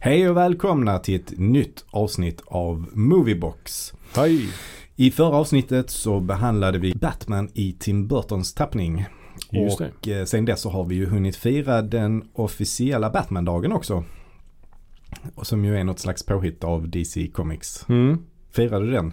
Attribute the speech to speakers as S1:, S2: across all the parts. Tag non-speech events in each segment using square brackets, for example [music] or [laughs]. S1: Hej och välkomna till ett nytt avsnitt av Moviebox.
S2: Hej!
S1: I förra avsnittet så behandlade vi Batman i Tim Burtons tappning.
S2: Just det.
S1: Och eh, sen dess så har vi ju hunnit fira den officiella Batman-dagen också. Och som ju är något slags påhitt av DC Comics.
S2: Mm.
S1: Firade du den?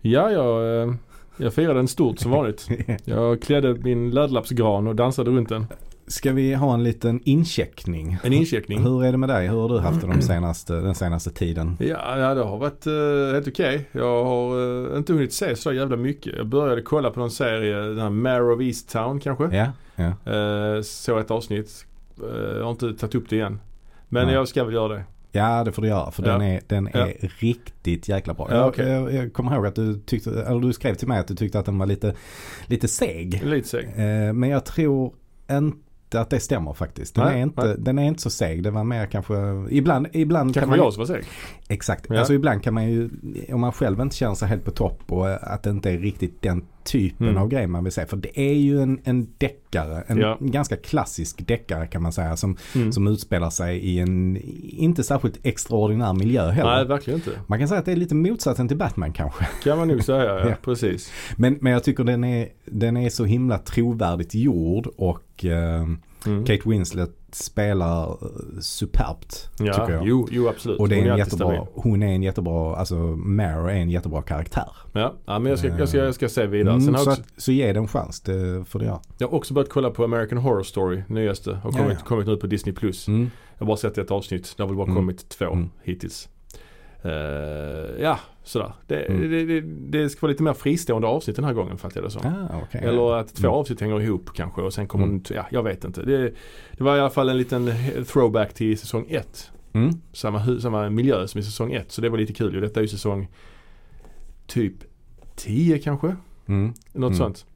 S2: Ja, jag, eh, jag firade den stort
S1: [laughs]
S2: som vanligt. Jag klädde min läderlappsgran och dansade runt den.
S1: Ska vi ha en liten incheckning?
S2: En incheckning.
S1: Hur är det med dig? Hur har du haft det
S2: [clears throat]
S1: de senaste, den senaste tiden?
S2: Ja, ja, det har varit eh, helt okej. Jag har eh, inte hunnit se så jävla mycket. Jag började kolla på någon serie, den här Mare of Easttown kanske.
S1: Ja, ja.
S2: Eh, så ett avsnitt. Eh, jag har inte tagit upp det igen. Men
S1: Nej.
S2: jag ska väl göra det.
S1: Ja det får du göra för
S2: Ja.
S1: den är, den är
S2: Ja.
S1: riktigt jäkla bra.
S2: Ja,
S1: Jag-
S2: okej.
S1: jag, jag kommer ihåg att du, tyckte, eller du skrev till mig att du tyckte att den var lite, lite seg.
S2: Det är Lite seg.
S1: Eh, men jag tror inte att det stämmer faktiskt. Den,
S2: Nej,
S1: är inte,
S2: nej.
S1: den är inte så seg. Det var mer kanske, ibland, ibland
S2: Kanske
S1: kan
S2: var
S1: man,
S2: jag som var seg.
S1: Exakt.
S2: Ja.
S1: Alltså ibland kan man ju, om man själv inte känner sig helt på topp och eh, att det inte är riktigt den typen
S2: Mm.
S1: av grej man vill se. För det är ju en, en deckare, en
S2: Ja.
S1: ganska klassisk deckare kan man säga. Som,
S2: Mm.
S1: som utspelar sig i en inte särskilt extraordinär miljö heller.
S2: Nej, verkligen inte.
S1: Man kan säga att det är lite motsatsen till Batman kanske.
S2: Kan man nog säga,
S1: [laughs]
S2: ja.
S1: Ja.
S2: Precis.
S1: Men, men jag tycker den är, den är så himla trovärdigt gjord och eh,
S2: Mm.
S1: Kate Winslet spelar eh, superbt tycker
S2: Ja,
S1: jag.
S2: jo, jo absolut.
S1: Och det är
S2: Hon
S1: en
S2: alltid stabil.
S1: jättebra, hon är en jättebra, alltså Mare är en jättebra karaktär.
S2: Ja, ja men jag ska, jag ska, jag ska se vidare.
S1: Mm,
S2: Sen har
S1: så,
S2: jag,
S1: att,
S2: också,
S1: så ge den en chans, det får du göra.
S2: jag har också börjat kolla på American Horror Story, nyaste. Har kommit,
S1: Ja, ja.
S2: kommit nu på Disney+. Plus.
S1: Mm.
S2: Jag har bara sett ett avsnitt. Det har väl bara
S1: Mm.
S2: kommit två
S1: Mm.
S2: hittills. Eh, ja, sådär. Det,
S1: Mm.
S2: det, det, det ska vara lite mer fristående avsnitt den här gången fattar jag det som.
S1: Ah, okay.
S2: Eller att två
S1: Mm.
S2: avsnitt hänger ihop kanske och sen kommer
S1: Mm.
S2: en, ja jag vet inte. Det, det var i alla fall en liten throwback till säsong ett.
S1: Mm.
S2: Samma, hu- samma miljö som i säsong ett. Så det var lite kul ju. Detta är ju säsong typ 10 kanske.
S1: Mm.
S2: Något
S1: Mm.
S2: sånt.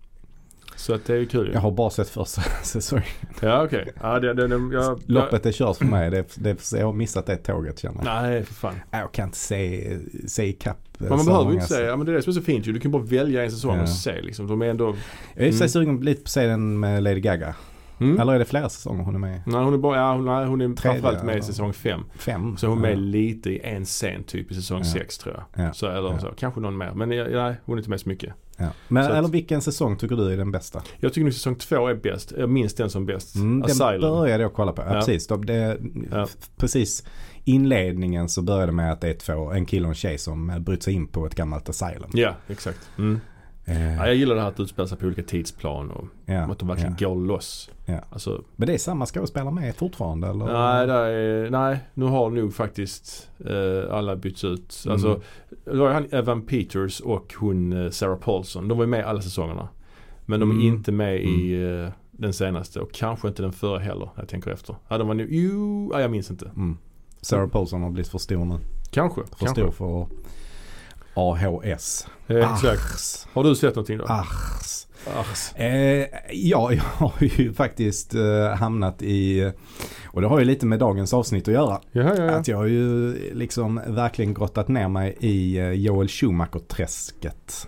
S2: Så att det är ju kul ju.
S1: Jag har bara sett första [laughs] säsongen.
S2: Ja okej. Ja, det, det, det, jag,
S1: Loppet är kört för mig. Det, det, jag har missat det tåget känner jag.
S2: Jag, nej för fan.
S1: Nej, Jag kan inte se, se ikapp. eh,
S2: Men man
S1: så
S2: behöver ju
S1: många
S2: inte säga, ja, men det är det som är så fint ju. Du kan bara välja en säsong
S1: Ja.
S2: och se liksom. De är ändå,
S1: Jag är i och för sig
S2: Mm.
S1: sugen lite på att se den med Lady Gaga.
S2: mm.
S1: Eller är det flera säsonger hon är med i?
S2: Nej hon är bara, ja, hon, nej, hon är
S1: Tredje,
S2: framförallt med i
S1: eller?
S2: säsong fem.
S1: Fem?
S2: Så hon är
S1: Ja.
S2: med lite i en scen typ i säsong
S1: Ja.
S2: sex tror jag.
S1: Ja.
S2: Så, eller
S1: Ja.
S2: så. Kanske någon mer. Men jag- nej, hon är inte med så mycket.
S1: Ja. Men,
S2: Så att-
S1: eller vilken säsong tycker du är den bästa?
S2: Jag tycker nog säsong två är bäst. Jag minns den som bäst.
S1: Mm, den
S2: Asylum.
S1: började jag kolla på. Ja,
S2: Ja.
S1: Precis, de, det,
S2: Ja.
S1: f- precis inledningen så började med att det är två, en kille och en tjej som eh, brytt sig in på ett gammalt asylum.
S2: Ja, exakt. Mm.
S1: Eh,
S2: Ja, jag gillar det här att det utspelar sig på olika tidsplan och
S1: ja,
S2: att de verkligen
S1: ja.
S2: går loss.
S1: Ja.
S2: Alltså,
S1: Men det är samma skådespelare med fortfarande eller?
S2: Nej, där är, nej, nu har nog faktiskt eh, alla bytts ut. Alltså,
S1: Mm.
S2: det var ju han Evan Peters och hon eh, Sarah Paulson. De var ju med alla säsongerna. Men de är
S1: Mm.
S2: inte med i eh, den senaste och kanske inte den förra heller. Jag tänker efter. Ja, de var nu, jo, ja, jag minns inte.
S1: Mm. Sarah Paulson har blivit för stor nu.
S2: Kanske.
S1: För
S2: kanske.
S1: stor för AHS.
S2: Eh, exakt.
S1: Ars.
S2: Har du sett någonting då?
S1: Ars.
S2: Ars.
S1: Eh, ja, [laughs] jag har ju faktiskt eh, hamnat i, och det har ju lite med dagens avsnitt att göra,
S2: Jaha, ja, ja.
S1: att jag har ju liksom verkligen grottat ner mig i eh, Joel Schumacher-träsket.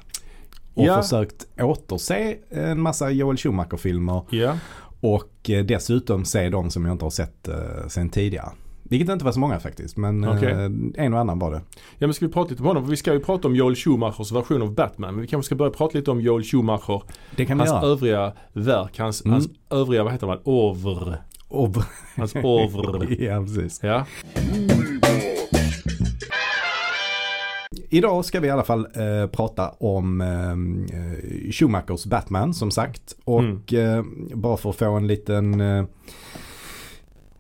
S1: Och
S2: Ja.
S1: försökt återse en massa Joel Schumacher-filmer
S2: Ja,
S1: och eh, dessutom se de som jag inte har sett eh, sen tidigare. Vilket inte var så många faktiskt, men eh,
S2: Okej.
S1: en och annan var det.
S2: ja men ska vi prata lite om honom? För vi ska ju prata om Joel Schumachers version av Batman. Men vi kanske ska börja prata lite om Joel Schumacher.
S1: Det kan vi
S2: Hans
S1: göra.
S2: övriga verk, hans,
S1: Mm.
S2: hans övriga, vad heter man, over.
S1: Och-
S2: Hans Alltså,
S1: [laughs]
S2: over.
S1: ja, precis.
S2: Ja.
S1: Idag ska vi i alla fall eh, prata om eh, eh, Schumachers Batman som sagt. Och eh, bara för att få en liten eh,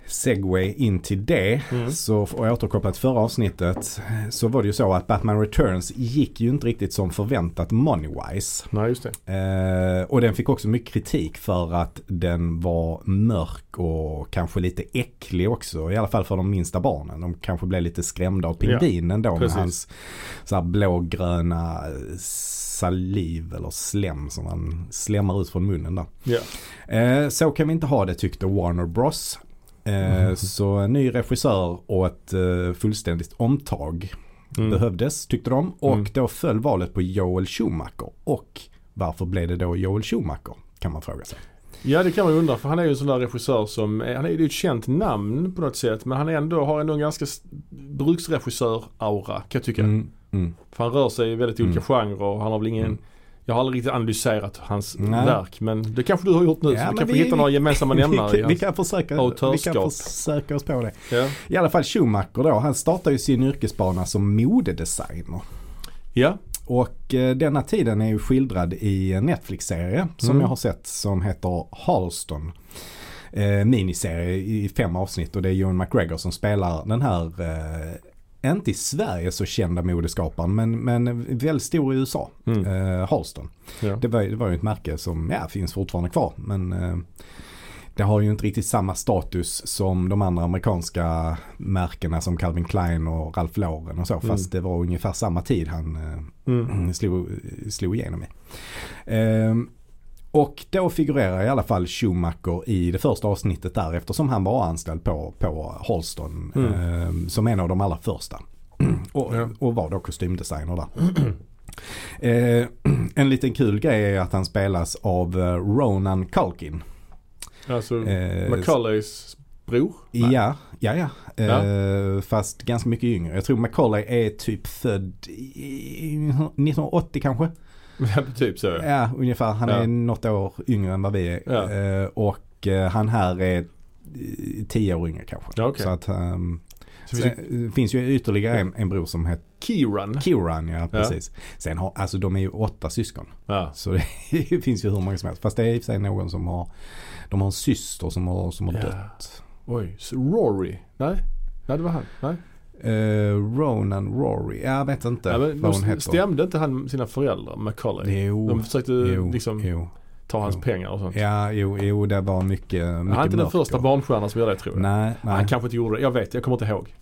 S1: segway in till det.
S2: Mm.
S1: Så och jag återkopplat till förra avsnittet. Så var det ju så att Batman Returns gick ju inte riktigt som förväntat Moneywise.
S2: Nej, just det.
S1: Eh, och den fick också mycket kritik för att den var mörk och kanske lite äcklig också. I alla fall för de minsta barnen. De kanske blev lite skrämda av pingvinen då
S2: precis.
S1: med hans så här blågröna saliv eller slem som han slemmar ut från munnen där.
S2: Ja.
S1: Eh, så kan vi inte ha det tyckte Warner Bros. Eh,
S2: Mm.
S1: Så en ny regissör och ett eh, fullständigt omtag
S2: Mm.
S1: behövdes tyckte de. Och
S2: Mm.
S1: då föll valet på Joel Schumacher. Och varför blev det då Joel Schumacher? Kan man fråga sig.
S2: Ja det kan man ju undra för han är ju en sån där regissör som, är, han är ju ett känt namn på något sätt men han är ändå, har ändå en ganska s- bruksregissör-aura kan jag tycka.
S1: Mm, mm.
S2: För han rör sig i väldigt olika
S1: Mm.
S2: genrer och han har väl ingen
S1: Mm.
S2: Jag har aldrig riktigt analyserat hans
S1: Nej.
S2: verk men det kanske du har gjort nu
S1: Ja,
S2: så
S1: men
S2: vi kanske
S1: vi-
S2: hittar
S1: [laughs]
S2: några gemensamma
S1: Vi,
S2: nämnare. i
S1: kan- vi,
S2: hans-
S1: kan försöka, vi kan
S2: Autörskap.
S1: försöka oss på det.
S2: Ja.
S1: I alla fall Schumacher då, han startade ju sin yrkesbana som modedesigner.
S2: ja,
S1: Och eh, denna tiden är ju skildrad i en Netflix-serie som
S2: Mm.
S1: jag har sett som heter Harleston. Eh, miniserie i fem avsnitt och det är Ewan McGregor som spelar den här, eh, inte i Sverige så kända modeskaparen men, men väldigt stor i USA,
S2: Mm.
S1: eh, Harleston.
S2: ja.
S1: Det var, det var ju ett märke som ja, finns fortfarande kvar. Men eh, det har ju inte riktigt samma status som de andra amerikanska märkena som Calvin Klein och Ralph Lauren och så. Fast det var ungefär samma tid han eh, [clears throat]
S2: Mm.
S1: slog, slog igenom i. Eh, och då figurerar i alla fall Schumacher i det första avsnittet där eftersom han var anställd på, på Holston
S2: Mm.
S1: eh, som en av de allra första. [clears throat] och,
S2: Ja.
S1: och var då kostymdesigner där. [clears throat] Eh, [clears throat] en liten kul grej är att han spelas av eh, Ronan Culkin.
S2: Alltså
S1: Eh,
S2: Macaulays bror? [laughs] Nej.
S1: ja, ja, ja. Eh, Fast ganska mycket yngre. Jag tror Macaulay är typ född i 1980 kanske.
S2: Ja, typ så.
S1: Ja,
S2: ja.
S1: ungefär. Han är
S2: Ja.
S1: något år yngre än vad vi är.
S2: Ja.
S1: Eh, och eh, han här är eh, tio år yngre kanske.
S2: Ja, okej.
S1: Så att ehm,
S2: Så
S1: sen,
S2: finns det
S1: eh, finns ju ytterligare en, en bror som heter
S2: Kieran.
S1: Kiran, ja precis. Sen har, alltså de är ju åtta syskon.
S2: Ja.
S1: Så det [laughs] finns ju hur många som helst. Fast det är i och för sig någon som har, de har en syster som har, som har
S2: Ja.
S1: dött.
S2: Oj, så Rory? Nej? Nej det var han. Nej.
S1: Eh, Ronan Rory, jag vet inte
S2: Nej, men
S1: vad hon
S2: de
S1: heter.
S2: stämde inte han sina föräldrar, Macaulay?
S1: Jo,
S2: De försökte
S1: jo,
S2: liksom
S1: jo.
S2: ta hans
S1: jo.
S2: pengar och sånt.
S1: Ja, jo, jo, det var mycket, mycket
S2: han är inte den
S1: mörker.
S2: första barnstjärnan som gör det tror jag.
S1: Nej, nej.
S2: Han kanske inte gjorde det. Jag vet, jag kommer inte ihåg.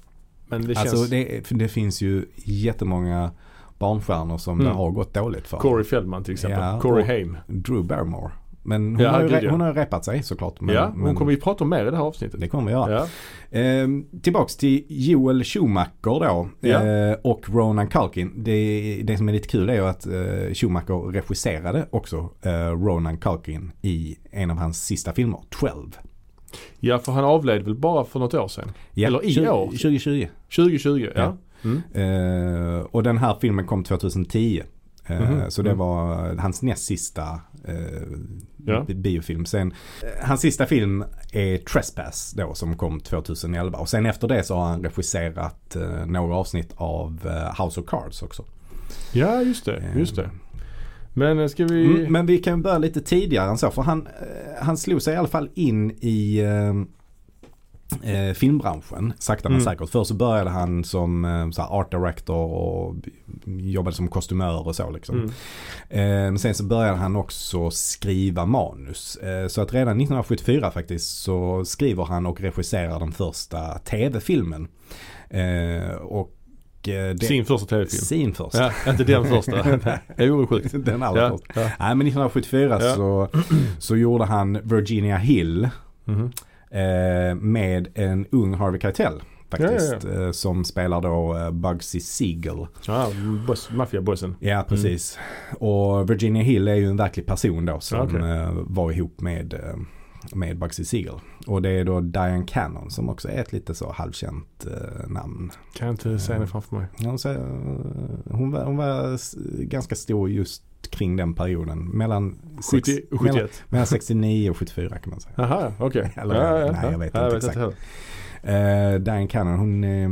S2: Men det
S1: alltså
S2: känns...
S1: det, det finns ju jättemånga barnstjärnor som det
S2: Mm.
S1: har gått dåligt för.
S2: Corey Feldman till exempel.
S1: Ja,
S2: Corey
S1: och-
S2: Haim.
S1: Drew Barrymore. Men hon,
S2: Ja,
S1: har ju,
S2: gud,
S1: re-
S2: ja.
S1: hon har ju repat sig såklart. Men,
S2: ja, hon
S1: men
S2: kommer vi prata om mer i det här avsnittet.
S1: det kommer vi göra.
S2: Ja.
S1: Ehm, tillbaks till Joel Schumacher då
S2: Ja.
S1: eh, och Ronan Culkin. Det, det som är lite kul är ju att eh, Schumacher regisserade också eh, Ronan Culkin i en av hans sista filmer, 12.
S2: ja, för han avled väl bara för något år sedan?
S1: Ja,
S2: Eller i år.
S1: 2020.
S2: 2020, ja.
S1: Ja.
S2: Mm.
S1: Eh, och den här filmen kom 2010. Eh,
S2: Mhm.
S1: Så det
S2: Mm.
S1: var hans näst sista eh,
S2: Ja.
S1: bi- biofilm. Sen, eh, hans sista film är Trespass då som kom 2011. Och sen efter det så har han regisserat eh, några avsnitt av eh, House of Cards också.
S2: Ja, just det. Just det. Men eh, ska vi...
S1: Mm, men vi kan börja lite tidigare än så. För han, eh, han slog sig i alla fall in i eh, eh, filmbranschen sakta men
S2: Mm.
S1: säkert. Först så började han som eh, så här art director och jobbade som kostymör och så liksom.
S2: Mm.
S1: Eh, men sen så började han också skriva manus. Eh, så att redan 1974 faktiskt så skriver han och regisserar den första tv-filmen. Eh, och eh, det,
S2: Sin första tv-film.
S1: sin första.
S2: Ja, inte den första.
S1: Nej.
S2: Det är sjukt.
S1: [laughs] Den allra
S2: Ja,
S1: första.
S2: ja.
S1: Nej men 1974
S2: Ja.
S1: så, så gjorde han Virginia Hill
S2: Mhm.
S1: eh, med en ung Harvey Keitel. Faktiskt, Eh, som spelar då eh, Bugsy Siegel.
S2: Ja, boss, maffiabossen.
S1: Ja, precis. Och Virginia Hill är ju en verklig person då som
S2: Okej.
S1: eh, var ihop med, eh, med Bugsy Siegel. Och det är då Diane Cannon som också är ett lite så halvkänt eh, namn.
S2: Kan jag
S1: Mm.
S2: inte se henne framför mig.
S1: Hon, säger, eh, hon, var, hon var s- ganska stor just kring den perioden. Mellan, sex,
S2: 70,
S1: mellan,
S2: 71?
S1: mellan 69 och 74 kan man säga.
S2: Aha, okej.
S1: [laughs] Eller, nej, jag vet inte exakt.
S2: heller.
S1: Eh, Diane Cannon, hon... Eh,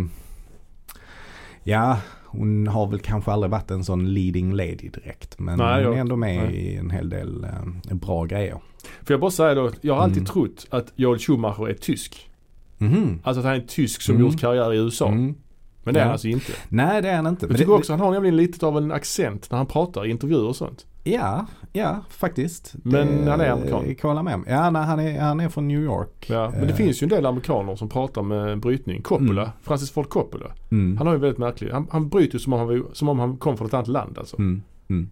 S1: ja, hon har väl kanske aldrig varit en sån leading lady direkt. Men
S2: Nej,
S1: hon
S2: jag-
S1: är ändå med
S2: nej.
S1: i en hel del eh, bra grejer.
S2: Får jag bara säga då, jag har alltid
S1: Mm.
S2: trott att Joel Schumacher är tysk.
S1: Mhm.
S2: Alltså att han är en tysk som
S1: Mm.
S2: gjort karriär i USA.
S1: Mm.
S2: Men det är han
S1: Ja.
S2: alltså inte.
S1: Nej, det är han inte.
S2: Jag
S1: Men
S2: tycker
S1: det,
S2: också han har nämligen lite av en accent när han pratar i intervjuer och sånt.
S1: Ja, ja, faktiskt.
S2: Men
S1: det,
S2: han är amerikan.
S1: kan jag hålla med om. Ja, nej, han, är, han är från New York.
S2: Ja, men det
S1: Eh.
S2: finns ju en del amerikaner som pratar med brytning. Coppola, Francis Ford Coppola.
S1: Mm.
S2: Han har ju väldigt märklig, han, han bryter ju som om han, var- som om han kom från ett annat land alltså.
S1: Mm. Mm.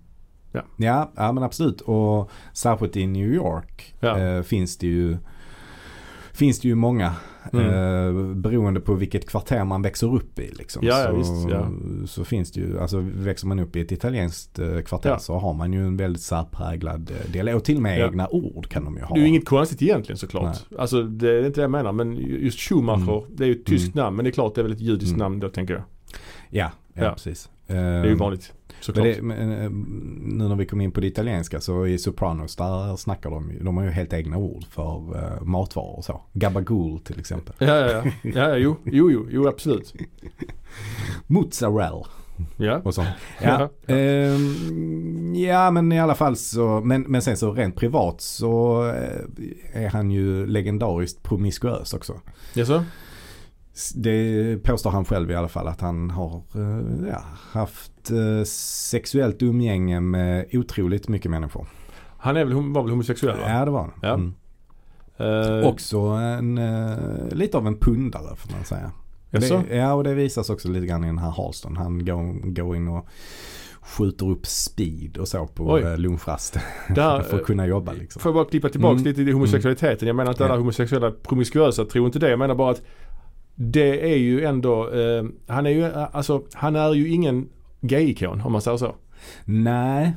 S2: Ja.
S1: Ja, ja, men absolut. Och särskilt i New York
S2: Ja.
S1: eh, finns det ju Finns det ju många
S2: Mm.
S1: Eh, beroende på vilket kvarter man växer upp i. Liksom.
S2: Ja, ja,
S1: så,
S2: visst, ja.
S1: så finns det ju, alltså växer man upp i ett italienskt eh, kvarter
S2: Ja.
S1: så har man ju en väldigt särpräglad eh, dialekt. Och till och med
S2: Ja.
S1: egna ord kan de ju ha.
S2: Det är ju inget konstigt egentligen såklart. Alltså det är inte det jag menar men just Schumacher, det är ju ett tyskt namn men det är klart det är väl ett judiskt
S1: Mm.
S2: namn då tänker jag.
S1: Ja, ja,
S2: Ja.
S1: precis. Ehm,
S2: Det är ju vanligt såklart.
S1: Mm. Men det, men, eh, nu när vi kom in på det italienska så i Sopranos där snackar de ju, de har ju helt egna ord för eh, matvaror och så. Gabagool till
S2: [laughs]
S1: exempel.
S2: Ja, ja, ja. ja, ja jo, jo, jo, jo, absolut.
S1: Mozzarella
S2: Ja. [laughs]
S1: och sånt. Ja,
S2: Ja.
S1: ehm, ja men i alla fall så, men, men sen så rent privat så eh, är han ju legendariskt promiskuös också.
S2: Jaså?
S1: S- Det påstår han själv i alla fall att han har eh, ja, haft eh, sexuellt umgänge med otroligt mycket människor.
S2: Han är väl, hom- var väl homosexuell va?
S1: Ja det var han.
S2: Ja.
S1: Mm.
S2: Eh,
S1: Också en, eh, lite av en pundare får man säga. Och
S2: Jaså?
S1: Det, ja och det visas också lite grann i den här Halston. Han går, går in och skjuter upp speed och så på
S2: Oj. eh,
S1: eh, lunchrasten
S2: Där,
S1: [laughs] för att kunna jobba liksom.
S2: Får jag bara klippa tillbaka
S1: Mm.
S2: lite till homosexualiteten. Jag menar inte alla
S1: Ja.
S2: homosexuella promiskuösa tror inte det. Jag menar bara att det är ju ändå, eh, han är ju, eh, alltså han är ju ingen gay-ikon om man säger så.
S1: Nej,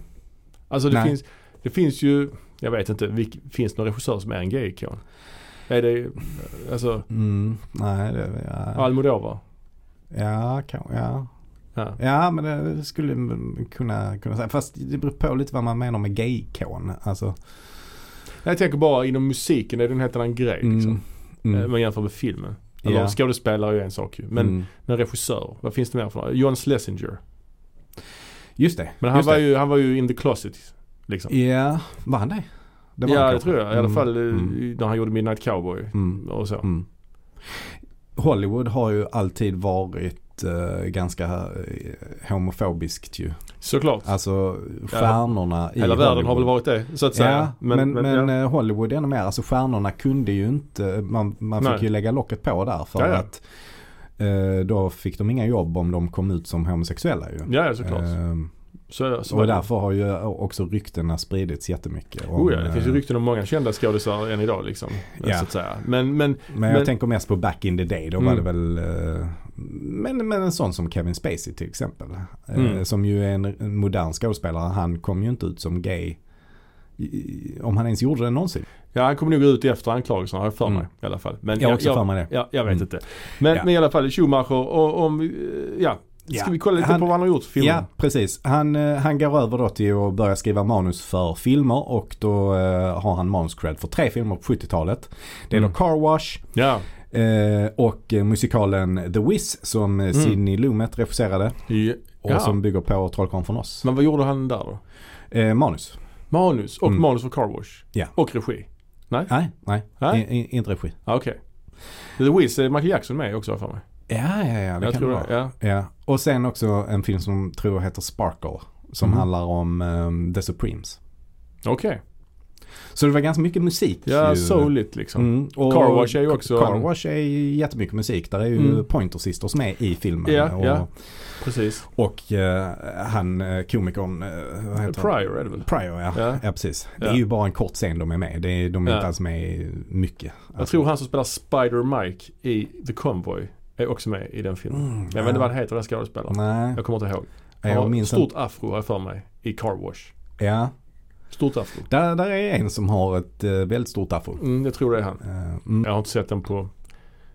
S2: Alltså det
S1: Nej.
S2: finns, det finns ju, jag vet inte, vilk, finns det någon regissör som är en gay-ikon? Är det, eh, alltså
S1: mm, nej det, ja,
S2: Almodovar?
S1: ja, kan, ja.
S2: Ja.
S1: ja men det skulle man kunna, kunna säga. Fast det beror på lite vad man menar med gay-ikon. Alltså,
S2: Jag tänker bara inom musiken är det en helt annan grej liksom.
S1: mm, mm,
S2: Eh, Man jämför med filmen. Eller
S1: Ja.
S2: skådespelare är ju en sak ju. Men,
S1: mm.
S2: men regissör, vad finns det mer för några? John Schlesinger.
S1: Just det.
S2: Men han
S1: just
S2: var,
S1: det.
S2: ju, han var ju in the closet. Liksom.
S1: Ja, var han det? det var
S2: ja,
S1: han
S2: det
S1: kanske.
S2: tror jag. I alla
S1: Mm,
S2: fall eh,
S1: mm,
S2: när han gjorde Midnight Cowboy
S1: mm.
S2: och så.
S1: Mm. Hollywood har ju alltid varit eh, ganska eh, homofobiskt ju.
S2: Såklart.
S1: Alltså stjärnorna i
S2: Hela
S1: Hollywood.
S2: världen har väl varit det, så att
S1: Ja,
S2: säga.
S1: men, men,
S2: ja.
S1: eh, Hollywood ännu mer. Alltså stjärnorna kunde ju inte, man, man fick
S2: Nej.
S1: ju lägga locket på där för
S2: Ja, ja.
S1: att eh, då fick de inga jobb om de kom ut som homosexuella ju.
S2: ja, ja, såklart.
S1: Ehm,
S2: så är det. Så
S1: och
S2: var det.
S1: därför har ju också ryktena spridits jättemycket. om,
S2: Oh ja, det finns ju
S1: eh,
S2: rykten om många kända skådisar än idag liksom.
S1: Ja.
S2: Så att säga. Men, men
S1: Men jag
S2: Men-
S1: tänker mest på back in the day. Då var
S2: Mm.
S1: det väl eh, men, men en sån som Kevin Spacey till exempel. eh,
S2: Mm.
S1: Som ju är en, en modern skådespelare. Han kom ju inte ut som gay. i- i- Om han ens gjorde det någonsin.
S2: ja, han kommer nog ut efter anklagelserna har jag för mig
S1: Mm.
S2: i alla fall. Men,
S1: Jag har också för mig det.
S2: Ja, jag vet
S1: Mm.
S2: inte. Men,
S1: Ja.
S2: men i alla fall Schumacher och om, eh, ja. Ska
S1: Ja.
S2: vi kolla lite
S1: Han-
S2: på vad han har gjort för filmen?
S1: Ja, precis. Han, eh, han går över då till att börja skriva manus för filmer och då eh, har han manuscred för tre filmer på 70-talet. Det är
S2: Mm.
S1: då Car Wash
S2: Ja,
S1: eh, och eh, musikalen The Wiz som mm. Sidney Lumet regisserade
S2: ja.
S1: och som bygger på Trollkarlen från oss.
S2: Men vad gjorde han där då?
S1: Eh, manus?
S2: Manus och
S1: Mm.
S2: manus för Car Wash.
S1: Ja.
S2: Och regi.
S1: Nej, nej.
S2: Nej?
S1: I, i, inte regi.
S2: Ja, Okej. The Wiz, är Michael Jackson med också har jag för mig.
S1: Ja, ja, ja. Det
S2: jag
S1: kan
S2: tror
S1: det vara.
S2: Ja.
S1: Ja. Och sen också en film som tror jag heter Sparkle. Som
S2: Mhm.
S1: handlar om ehm, The Supremes.
S2: Okej.
S1: Så det var ganska mycket musik.
S2: Ja,
S1: ju.
S2: souligt liksom.
S1: Mm. Och
S2: Car Wash är ju också
S1: Car
S2: en-
S1: Wash är ju jättemycket musik. Där är ju
S2: Mm.
S1: Pointer Sisters med i filmen.
S2: Ja,
S1: och
S2: ja. Precis.
S1: och eh, han eh, komikern, eh, vad heter han?
S2: Prior är det väl?
S1: Pryor, ja. ja.
S2: Ja.
S1: precis. Det
S2: Ja.
S1: är ju bara en kort scen de är med. Det är, de är
S2: Ja.
S1: inte alls med i mycket.
S2: Jag tror han som spelar Spider Mike i The Convoy är också med i den filmen.
S1: Mm,
S2: Jag vet inte vad han heter den skådespelaren.
S1: Nej,
S2: Jag kommer inte ihåg. Han
S1: jag
S2: har
S1: minns
S2: stort afro har jag för mig i Car Wash.
S1: inte. Ja,
S2: Stort afro.
S1: där, där är en som har ett eh, väldigt stort afro.
S2: Mm, jag tror det är han.
S1: Eh, mm.
S2: Jag har inte sett den på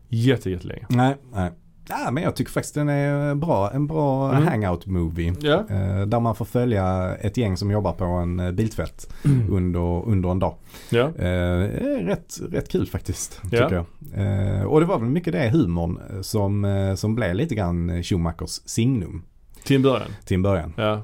S2: jätte, jättelänge.
S1: Nej, nej. Ja, men jag tycker faktiskt den är bra. En bra
S2: Mm.
S1: hangout-movie.
S2: Ja,
S1: Eh, där man får följa ett gäng som jobbar på en eh,
S2: [clears throat]
S1: biltvätt under, under en dag.
S2: ja.
S1: Eh, är rätt, rätt kul faktiskt,
S2: Ja.
S1: tycker jag. Eh, och det var väl mycket det humorn eh, som, eh, som blev lite grann Schumachers signum
S2: Till en början.
S1: till en början.
S2: Ja.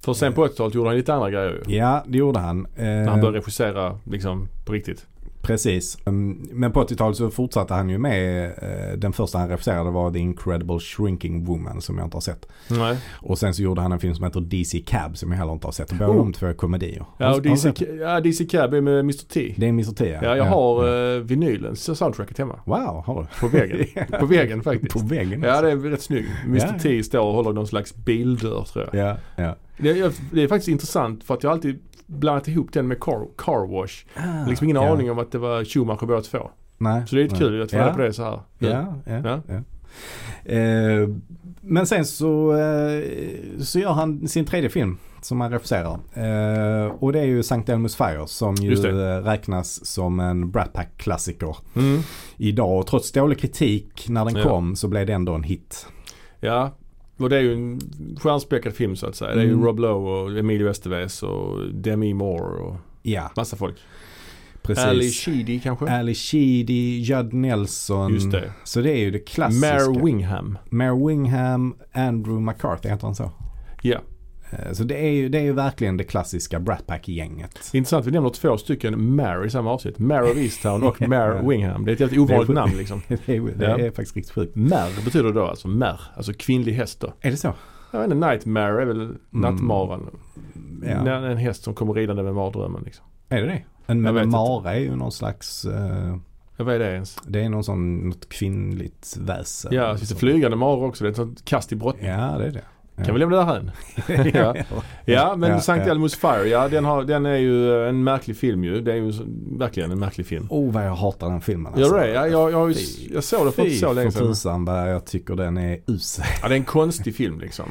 S2: För sen på 80-talet gjorde han lite andra grejer ju.
S1: Ja, det gjorde han.
S2: När han började regissera liksom på riktigt.
S1: Precis. Mm, Men på 80-talet så fortsatte han ju med, eh, den första han regisserade var The Incredible Shrinking Woman som jag inte har sett.
S2: Nej.
S1: Och sen så gjorde han en film som heter DC Cab som jag heller inte har sett. Båda
S2: Oh.
S1: de två är komedier. Har-
S2: Ja,
S1: har
S2: och
S1: du
S2: DC,
S1: sett den?
S2: ja, DC Cab är med Mr T.
S1: Det är Mr T ja.
S2: Ja, jag har
S1: Ja.
S2: eh, vinylen, så- soundtracket hemma.
S1: Wow, har du?
S2: På
S1: [laughs]
S2: väggen. På väggen faktiskt.
S1: På väggen?
S2: Ja, det är rätt snygg. Mr
S1: Alltså. Ja.
S2: T står och håller någon slags bildörr tror jag.
S1: ja, ja.
S2: Det, är, det är faktiskt intressant för att jag alltid blandat ihop den med Car, car Wash. Liksom ingen
S1: Ah, ja.
S2: aning om att det var Schumacher båda två.
S1: Nej,
S2: Så det är lite
S1: nej.
S2: kul att få
S1: Ja.
S2: reda på det så här.
S1: Ja, ja,
S2: Ja.
S1: ja. Eh, men sen så, eh, så gör han sin tredje film som han regisserar. Eh, och det är ju Sankt Elmo's Fire som
S2: Just
S1: ju
S2: det.
S1: eh, räknas som en Brat Pack-klassiker
S2: Mm.
S1: idag. Och trots dålig kritik när den
S2: Ja.
S1: kom så blev det ändå en hit.
S2: Ja, och det är ju en stjärnspäckad film så att säga. Det är ju
S1: Mm.
S2: Rob Lowe och Emilio Estevez och Demi Moore och
S1: Ja,
S2: massa folk.
S1: precis.
S2: Ali Sheedy kanske?
S1: Ali Sheedy, Judd Nelson.
S2: Just det.
S1: Så det är ju det klassiska.
S2: Mare Wingham.
S1: Mare Wingham, Andrew McCarthy, heter han så?
S2: Ja.
S1: Eh, Så det är ju, det är ju verkligen det klassiska Brat Pack-gänget.
S2: Intressant, vi nämner två stycken Mare i samma avsnitt. Mare of Easttown och Mare
S1: [laughs] Ja.
S2: Wingham. Det är ett helt ovanligt
S1: Det är-
S2: namn liksom.
S1: [laughs] Det är, det
S2: Ja.
S1: är faktiskt riktigt sjukt.
S2: Mare betyder då alltså mär, alltså kvinnlig häst då.
S1: Är det så?
S2: Jag vet inte, Nightmare är väl nattmaran.
S1: Mm. Ja.
S2: När En häst som kommer ridande med mardrömmen liksom.
S1: Är det det? En
S2: Jag vet
S1: men
S2: inte.
S1: mara är ju någon slags, eh,
S2: Ja, vad är det ens?
S1: det är någon sån, något kvinnligt väsen.
S2: Ja, det finns det flygande maror också. Det är ett sånt kast i brottning.
S1: Ja, det är det.
S2: Kan vi lämna
S1: [laughs]
S2: det här än? Ja. [laughs] Ja, men
S1: Ja,
S2: Sankt
S1: ja.
S2: Elmo's Fire, ja den, har, den är ju eh, en märklig film ju. Det är ju så- verkligen en märklig film.
S1: Oh vad jag hatar den filmen
S2: Gör du det? Ja, jag, jag, har ju-
S1: Alltså, Fy-
S2: jag såg det för inte så länge
S1: för
S2: sedan.
S1: tusan vad jag tycker den är usel. [laughs]
S2: Ja, det är en konstig film liksom.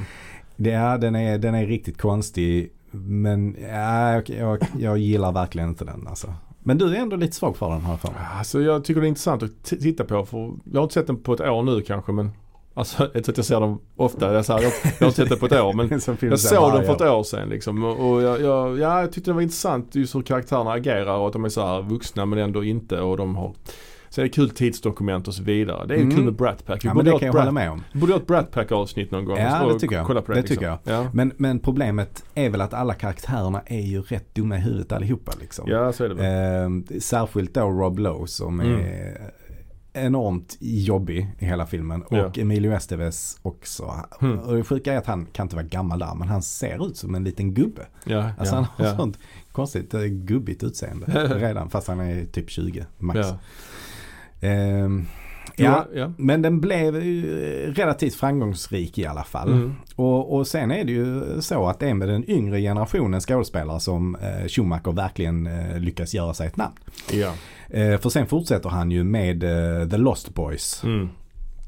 S1: Det är, den, är, den är riktigt konstig. Men ja, jag, jag, jag gillar verkligen inte den alltså. Men du är ändå lite svag för den här för mig.
S2: Alltså jag tycker det är intressant att t- titta på för jag har inte sett den på ett år nu kanske men Alltså [laughs] inte att jag ser dem ofta, jag, så här, jag, jag har inte sett den på ett
S1: [laughs]
S2: år men
S1: Som film
S2: jag
S1: sen
S2: såg den
S1: varje
S2: för ett år sedan liksom och och jag, jag, ja, jag tyckte det var intressant just hur karaktärerna agerar och att de är så här vuxna men ändå inte och de har Sen är det kul tidsdokument och så vidare. Det är ju
S1: Mm.
S2: kul med Brat Pack. Vi
S1: Ja, men
S2: borde
S1: det
S2: ha ett
S1: kan jag
S2: Brat-
S1: hålla med om.
S2: borde ha ett Brat Pack avsnitt någon gång.
S1: Ja,
S2: och
S1: det tycker jag.
S2: Kolla på det,
S1: Det
S2: liksom.
S1: tycker jag. Mm.
S2: Ja.
S1: Men, men problemet är väl att alla karaktärerna är ju rätt dumma i huvudet allihopa liksom.
S2: ja, så är det Mm. väl.
S1: Eh, särskilt då Rob Lowe som är enormt jobbig i hela filmen. Och
S2: Ja.
S1: Emilio Estevez också.
S2: Mm.
S1: Och det sjuka är att han kan inte vara gammal där men han ser ut som en liten gubbe.
S2: Ja,
S1: Alltså
S2: ja,
S1: han har
S2: ja.
S1: sånt konstigt eh, gubbigt
S2: [laughs]
S1: utseende redan fast han är typ 20 max.
S2: Ja.
S1: Ehm,
S2: Ja.
S1: ja,
S2: Ja.
S1: men den blev ju relativt framgångsrik i alla fall.
S2: Mm.
S1: Och, och sen är det ju så att det är med den yngre generationen skådespelare som eh, Schumacher verkligen eh, lyckas göra sig ett namn.
S2: ja.
S1: Eh, för sen fortsätter han ju med eh, The Lost Boys.
S2: Mm.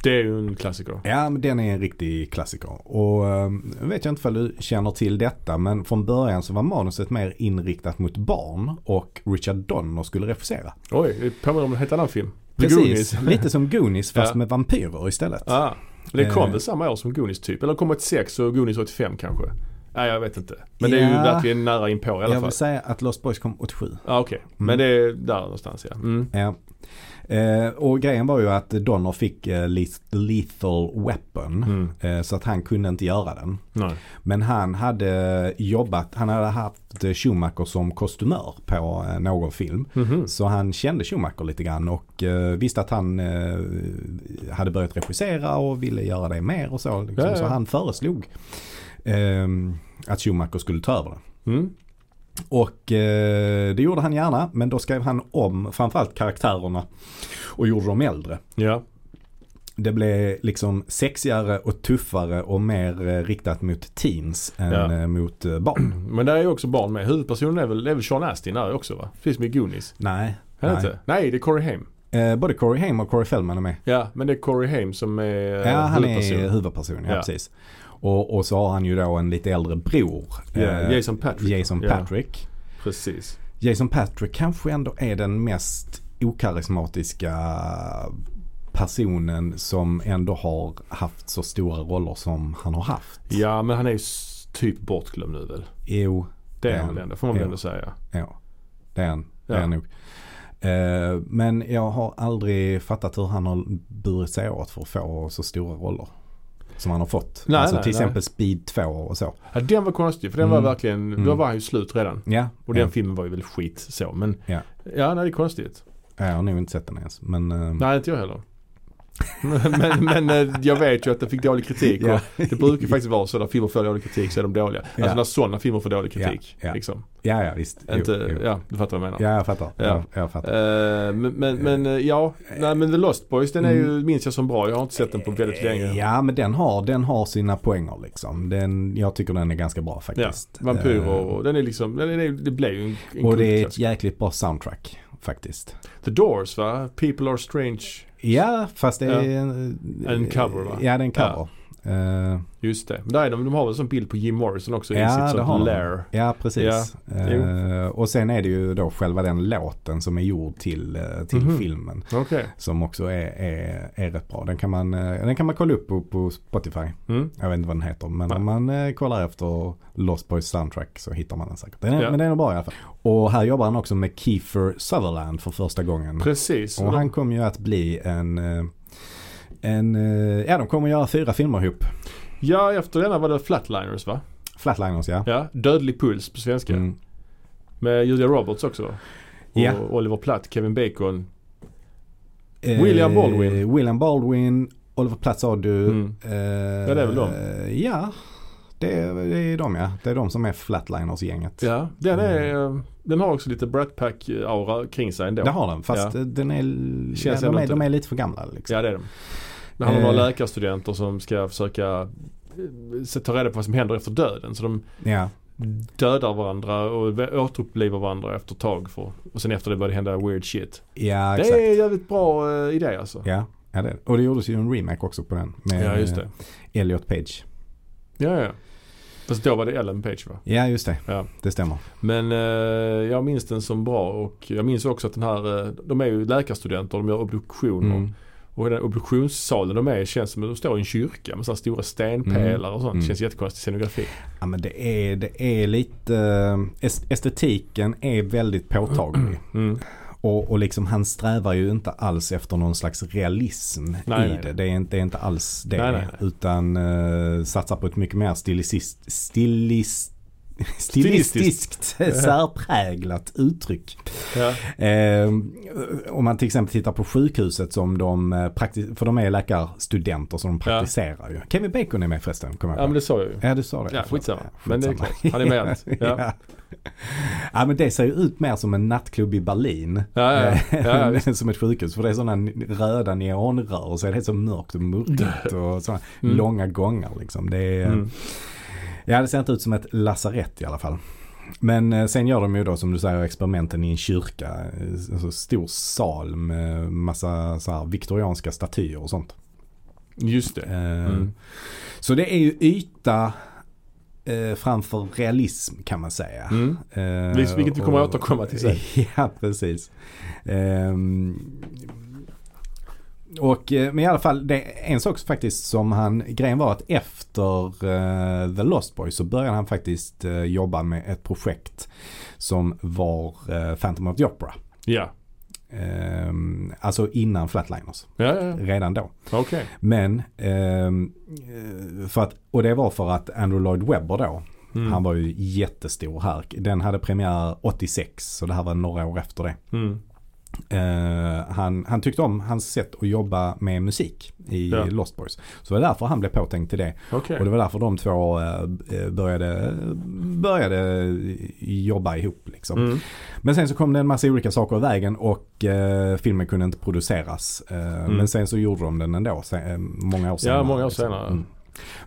S2: Det är ju en klassiker.
S1: Ja, men den är en riktig klassiker. Och eh, jag vet jag inte om du känner till detta men från början så var manuset mer inriktat mot barn och Richard Donner skulle regissera.
S2: Oj, det påminner om en helt annan film. The Goonies.
S1: Precis, lite som Goonies fast
S2: Ja.
S1: med vampyrer istället.
S2: Ah, det kom
S1: Eh.
S2: väl samma år som Goonies typ? Eller kom 86 och Goonies 85 kanske? Nej, jag vet inte. Men det är ju
S1: Ja.
S2: verkligen nära inpå i alla
S1: Jag
S2: fall.
S1: vill säga att Lost Boys kom 87.
S2: Ja, okej.
S1: Mm.
S2: Men det är där någonstans ja. Mm.
S1: Ja. Eh, och grejen var ju att Donner fick eh, leth- Lethal Weapon.
S2: Mm.
S1: Eh, så att han kunde inte göra den.
S2: Nej.
S1: Men han hade jobbat, han hade haft eh, Schumacher som kostymör på eh, någon film.
S2: Mhm.
S1: Så han kände Schumacher lite grann och eh, visste att han eh, hade börjat regissera och ville göra det mer och så. Liksom.
S2: Ja, ja.
S1: Så han föreslog ehm, att Schumacher skulle ta över den.
S2: Mm.
S1: Och eh, det gjorde han gärna men då skrev han om framförallt karaktärerna och gjorde dem äldre.
S2: Ja.
S1: Det blev liksom sexigare och tuffare och mer eh, riktat mot teens än
S2: Ja.
S1: eh, mot eh, barn.
S2: [clears throat] Men där är ju också barn med. Huvudpersonen är väl, det är väl Sean Astin där också va? Precis som i Goonies.
S1: Nej.
S2: Är det
S1: nej.
S2: inte? Nej, det är Corey Haim.
S1: Eh, både Corey Haim och Corey Feldman är med.
S2: Ja, men det är Corey Haim som är eh,
S1: Ja, han
S2: huvudperson.
S1: är huvudperson. Ja,
S2: Ja.
S1: precis. Och, och så har han ju då en lite äldre bror.
S2: Ja,
S1: eh,
S2: Jason Patrick.
S1: Jason
S2: Ja.
S1: Patrick.
S2: Precis.
S1: Jason Patrick kanske ändå är den mest okarismatiska personen som ändå har haft så stora roller som han har haft.
S2: Ja, men han är ju s- typ bortglömd nu väl?
S1: Jo,
S2: Det är
S1: Ja.
S2: han väl ändå, får man väl
S1: Ja.
S2: ändå säga.
S1: ja. Det är han. Det
S2: Ja.
S1: är han nog. Eh, Men jag har aldrig fattat hur han har burit sig åt för att få så stora roller. Som han har fått.
S2: Nej,
S1: alltså
S2: nej,
S1: till
S2: nej.
S1: exempel Speed 2 och så.
S2: Ja, den var konstig för den var verkligen, då var han ju slut redan.
S1: Mm. Ja,
S2: Och den filmen var ju väl skit så men
S1: Ja. Mm.
S2: ja nej, det är konstigt.
S1: ja, jag har nog inte sett den ens. Men, eh,
S2: Nej inte jag heller. [laughs] men, men eh, jag vet ju att den fick dålig kritik och
S1: Ja.
S2: det brukar ju faktiskt vara så när filmer får dålig kritik så är de dåliga. Alltså
S1: Ja.
S2: när sådana filmer får dålig kritik.
S1: Ja, ja.
S2: Liksom.
S1: ja, ja visst. Jo,
S2: Inte,
S1: jo.
S2: ja du fattar vad jag menar.
S1: Ja, jag fattar.
S2: Ja.
S1: Jag, jag fattar.
S2: Eh, men, men, men eh, ja, nej men The Lost Boys den är ju, minns jag som bra. Jag har inte sett den på väldigt länge.
S1: Mm. Ja men den har, den har sina poänger liksom. Den, jag tycker den är ganska bra faktiskt.
S2: Vampyrer
S1: Eh,
S2: och den är liksom, den är, det blev ju en, en
S1: och det är ett
S2: kultklassiker.
S1: jäkligt bra soundtrack. faktiskt.
S2: The Doors va? People Are Strange.
S1: Ja, fast det är
S2: Ja.
S1: en,
S2: En cover, va?
S1: Ja, det är en cover. Eh,
S2: Just det. Men där är de, de har väl en sån bild på Jim Morrison också
S1: Ja,
S2: i sitt
S1: det har de.
S2: sånt lair.
S1: ja, precis. Eh,
S2: jo.
S1: och sen är det ju då själva den låten som är gjord till, eh, till
S2: Mhm.
S1: filmen.
S2: Okej.
S1: Som också är, är, är rätt bra. Den kan, man, eh, den kan man kolla upp på, på Spotify.
S2: Mm.
S1: Jag vet inte vad den heter. Men
S2: Nej.
S1: om man eh, kollar efter Lost Boys Soundtrack så hittar man den säkert. Den är,
S2: Ja.
S1: Men den är bra i alla fall. Och här jobbar han också med Kiefer Sutherland för första gången.
S2: Precis.
S1: Och han kommer ju att bli en... eh, en eh, ja, de kommer göra fyra filmer ihop.
S2: Ja, efter denna var det Flatliners va?
S1: Flatliners ja.
S2: Ja. Dödlig puls på svenska.
S1: Mm.
S2: Med Julia Roberts också. va? Och
S1: Ja.
S2: Oliver Platt, Kevin Bacon. William Baldwin.
S1: Eh, William Baldwin, Oliver Platt sa du.
S2: Mm.
S1: Eh,
S2: Ja, det är väl de.
S1: Ja, det är, det är de ja. Det är de som är Flatliners-gänget.
S2: Ja, den, är, eh, den har också lite Brat Pack-aura kring sig ändå.
S1: Mm. Det har den, fast eh, den är,
S2: Känns
S1: ja, de,
S2: ändå
S1: är,
S2: inte
S1: de
S2: det.
S1: är lite för gamla. Liksom.
S2: Ja det är den. Det handlar om
S1: Eh.
S2: några läkarstudenter som ska försöka eh, se- ta reda på vad som händer efter döden. Så de
S1: Ja.
S2: dödar varandra och vä- återupplivar varandra efter ett tag. För, och sen efter det börjar det hända weird shit.
S1: Ja,
S2: det
S1: exakt.
S2: är en jävligt bra eh, idé alltså.
S1: Ja, ja det är det. Och det gjordes ju en remake också på den. Med
S2: Ja just det.
S1: eh, Elliot Page.
S2: Ja, ja. Fast då var det Ellen Page va?
S1: Ja, just det.
S2: Ja.
S1: Det stämmer.
S2: Men eh, jag minns den som bra och jag minns också att den här, eh, de är ju läkarstudenter, de gör obduktioner.
S1: Mm.
S2: Och den obduktionssalen de är i känns som att de står i en kyrka med så här stora stenpelare och sånt.
S1: Mm.
S2: Känns jättekonstig scenografi.
S1: Ja, men det är, det är lite... eh, est- Estetiken är väldigt påtaglig.
S2: [clears throat] Mm.
S1: Och, och liksom han strävar ju inte alls efter någon slags realism
S2: Nej,
S1: i
S2: nej,
S1: det. Det är, inte, det är inte alls det.
S2: Nej, nej, nej.
S1: Utan eh, satsar på ett mycket mer stilistiskt, stilis, stilistiskt särpräglat uttryck.
S2: Ja.
S1: Eh, om man till exempel tittar på sjukhuset som de eh, prakti- för de är läkarstudenter som de
S2: Ja.
S1: praktiserar ju. Kevin Bacon är med förresten, kommer jag
S2: ja men
S1: på.
S2: det sa jag ju.
S1: Ja, du sa det.
S2: Ja,
S1: Förlåt.
S2: skitsamma. Men det är
S1: skitsamma. [laughs]
S2: klart. Han är med allt. [laughs] Ja.
S1: ja. ja, men det ser ju ut mer som en nattklubb i Berlin.
S2: Ja, ja, ja.
S1: [laughs]
S2: ja, visst.
S1: än som ett sjukhus. För det är sådana röda neonrör och så är det helt så mörkt och
S2: [laughs]
S1: murrigt och sådana
S2: Mm.
S1: långa gångar liksom. Det är,
S2: Mm.
S1: Ja, det ser inte ut som ett lasarett i alla fall. Men eh, sen gör de ju då som du säger experimenten i en kyrka. eh, Alltså stor sal med massa så här viktorianska statyer och sånt.
S2: Just det.
S1: Eh,
S2: Mm.
S1: Så det är ju yta eh, framför realism kan man säga.
S2: Mm.
S1: Eh,
S2: Visst, vilket vi kommer
S1: och-
S2: att återkomma till sen.
S1: [laughs] Ja, precis. Ehm, och, eh, men i alla fall, det är en sak faktiskt som han, grejen var att efter eh, The Lost Boys så började han faktiskt eh, jobba med ett projekt som var eh, Phantom of the Opera.
S2: Ja.
S1: Ehm, alltså innan Flatliners,
S2: Ja, ja, ja.
S1: redan då.
S2: Okej.
S1: Men, ehm, eh, för att, och det var för att Andrew Lloyd Webber då,
S2: Mm.
S1: han var ju jättestor här. Den hade premiär 86, så det här var några år efter det.
S2: Mm.
S1: Eh, han, han tyckte om hans sätt att jobba med musik i
S2: Ja.
S1: Lost Boys. Så det var därför han blev påtänkt till det.
S2: Okej.
S1: Och det var därför de två eh, eh, började, började jobba ihop. Liksom.
S2: Mm.
S1: Men sen så kom det en massa olika saker i vägen och eh, filmen kunde inte produceras. Eh,
S2: Mm.
S1: Men sen så gjorde de den ändå, sen, eh, många år senare.
S2: Ja, många år
S1: liksom.
S2: senare.
S1: Mm.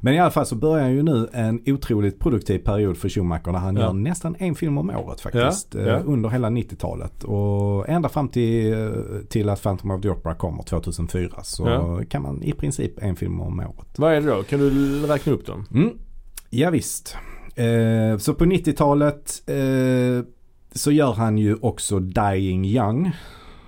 S1: Men i alla fall så börjar ju nu en otroligt produktiv period för Schumacher där han
S2: Ja.
S1: gör nästan en film om året faktiskt.
S2: Ja,
S1: eh,
S2: ja.
S1: Under hela 90-talet. Och ända fram till, eh, till att Phantom of the Opera kommer 2004 så
S2: Ja.
S1: kan man i princip en film om året.
S2: Vad är det då? Kan du räkna upp dem?
S1: Mm. Ja, visst. Eh, så på 90-talet eh, så gör han ju också Dying Young.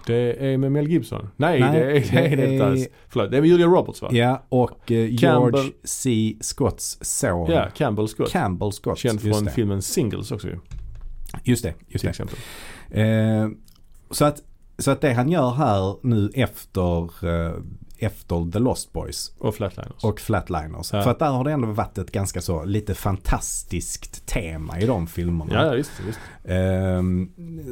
S2: Det är med Mel Gibson. Nej,
S1: Nej,
S2: det, är, det
S1: det
S2: är det inte
S1: är-
S2: alls. Förlåt, det är med Julia Roberts va?
S1: Ja, och eh,
S2: Campbell-
S1: George C. Scotts son.
S2: Ja, Campbell Scott.
S1: Campbell Scott.
S2: Känd
S1: just,
S2: från Typ
S1: det.
S2: filmen Singles också ju.
S1: just det. Just
S2: Till
S1: det.
S2: exempel.
S1: Eh, så, att, så att det han gör här nu efter, eh, efter The Lost Boys
S2: Och Flatliners.
S1: och Flatliners.
S2: Ja.
S1: För att där har det ändå varit ett ganska så lite fantastiskt tema i de filmerna.
S2: ja, ja, visst. visst.
S1: Eh,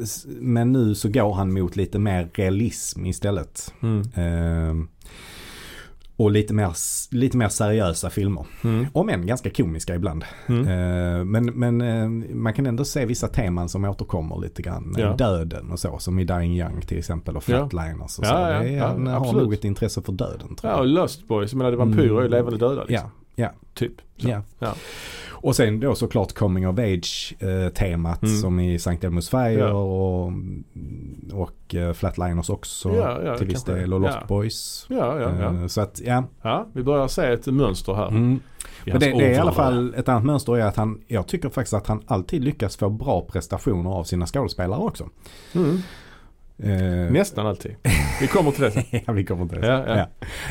S1: s- men nu så går han mot lite mer realism istället.
S2: Mm.
S1: Eh, och lite mer, s- lite mer seriösa filmer.
S2: Mm.
S1: Om än ganska komiska ibland.
S2: Mm.
S1: Eh, Men, men eh, man kan ändå se vissa teman som återkommer lite grann.
S2: Ja.
S1: Döden och så, som i Dying Young till exempel och
S2: Ja.
S1: Flatliners och så.
S2: Ja, ja,
S1: det är,
S2: ja,
S1: han har
S2: absolut.
S1: nog ett intresse för döden tror
S2: Ja, och
S1: jag.
S2: Lost Boys. Jag menar, det är vampyrer är ju levande döda liksom.
S1: Ja, Mm. Ja.
S2: Typ. Så.
S1: Ja.
S2: Ja.
S1: Och sen då såklart coming of age-temat
S2: Mm.
S1: som i Sankt Elmo's Fire
S2: Ja.
S1: och, och eh, Flatliners också
S2: Ja, ja,
S1: till viss
S2: kanske.
S1: del och Lost
S2: Ja.
S1: Boys.
S2: Ja, ja, ja.
S1: Eh, Så att ja.
S2: ja, vi börjar se ett mönster här.
S1: Mm.
S2: I
S1: Men
S2: hans
S1: det, det är i alla
S2: ordval.
S1: fall ett annat mönster är att han, jag tycker faktiskt att han alltid lyckas få bra prestationer av sina skådespelare också.
S2: Mm.
S1: Eh,
S2: Nästan alltid. Vi kommer till det sen.
S1: [laughs] ja, vi kommer inte ens.
S2: Ja, ja.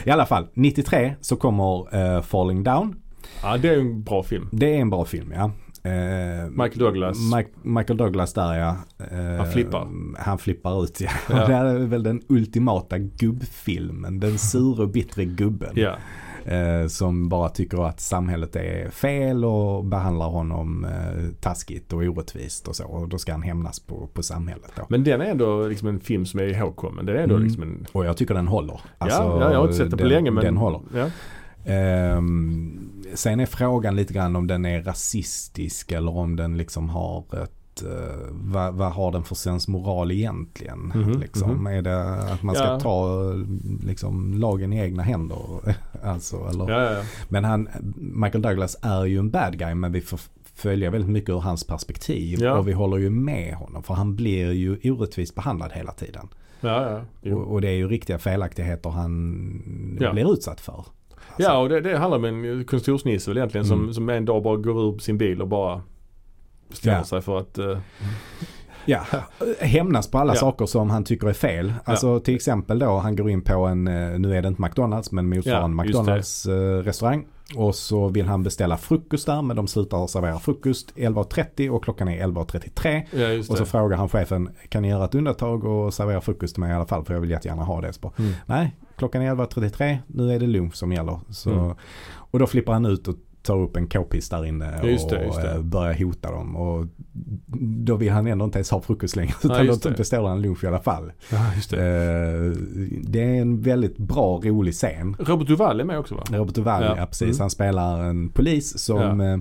S1: I alla fall, 93 så kommer eh, Falling Down.
S2: Ja, det är ju en bra film.
S1: Det är en bra film ja. Eh,
S2: Michael Douglas.
S1: Mike, Michael Douglas där ja. Eh,
S2: Han flippar.
S1: Han flippar ut ja. [laughs]
S2: Ja.
S1: Det här är väl den ultimata gubbfilmen. Den sure och bittre gubben.
S2: Ja,
S1: Eh, som bara tycker att samhället är fel och behandlar honom eh, taskigt och orättvist och så. Och då ska han hämnas på, på samhället då.
S2: men den är ändå liksom en film som är ihågkommen. Den är ändå
S1: Mm.
S2: liksom en...
S1: Och jag tycker den håller. Alltså,
S2: ja, ja, jag har inte sett den på
S1: den,
S2: länge men...
S1: Den håller.
S2: Ja.
S1: Ehm, sen är frågan lite grann om den är rasistisk eller om den liksom har ett eh, vad, vad har den för sensmoral egentligen?
S2: Mhm,
S1: liksom?
S2: mhm.
S1: Är det att man ska
S2: Ja.
S1: ta eh, liksom, lagen i egna händer? [laughs] alltså, eller?
S2: Ja, ja, ja.
S1: Men han, Michael Douglas är ju en bad guy men vi får följa väldigt mycket ur hans perspektiv.
S2: Ja.
S1: Och vi håller ju med honom för han blir ju orättvist behandlad hela tiden.
S2: ja, ja. Jo.
S1: Och, och det är ju riktiga felaktigheter han
S2: Ja.
S1: blir utsatt för.
S2: ja och det, det handlar om en kontorsnisse väl egentligen som,
S1: Mm.
S2: som en dag bara går ur sin bil och bara bestämmer
S1: Ja.
S2: sig för att... eh,
S1: Ja, hämnas på alla
S2: Ja.
S1: saker som han tycker är fel. Alltså till exempel då han går in på en, eh, nu är det inte McDonalds men motsvarande
S2: Ja, just det.
S1: McDonalds eh, restaurang. Och så vill han beställa frukost där men de slutar servera frukost 11.30 och klockan är 11.33.
S2: ja, just
S1: Och så
S2: det.
S1: frågar han chefen, kan ni göra ett undantag och servera frukost till mig i alla fall för jag vill jättegärna ha det. Så bara,
S2: Mm.
S1: Nej, klockan är 11.33, nu är det lunch som gäller. Så,
S2: Mm.
S1: Och då flippar han ut och tar upp en k-pist där inne
S2: Ja, just det,
S1: och
S2: just det.
S1: eh, börjar hota dem. Och då vill han ändå inte ens ha frukost längre [laughs] utan
S2: just
S1: då
S2: det.
S1: beställer han lunch i alla fall.
S2: Ja, just det.
S1: Eh, Det är en väldigt bra, rolig scen.
S2: Robert Duvall är med också va?
S1: Robert Duvall,
S2: Ja.
S1: ja. precis.
S2: Mm.
S1: Han spelar en polis som eh,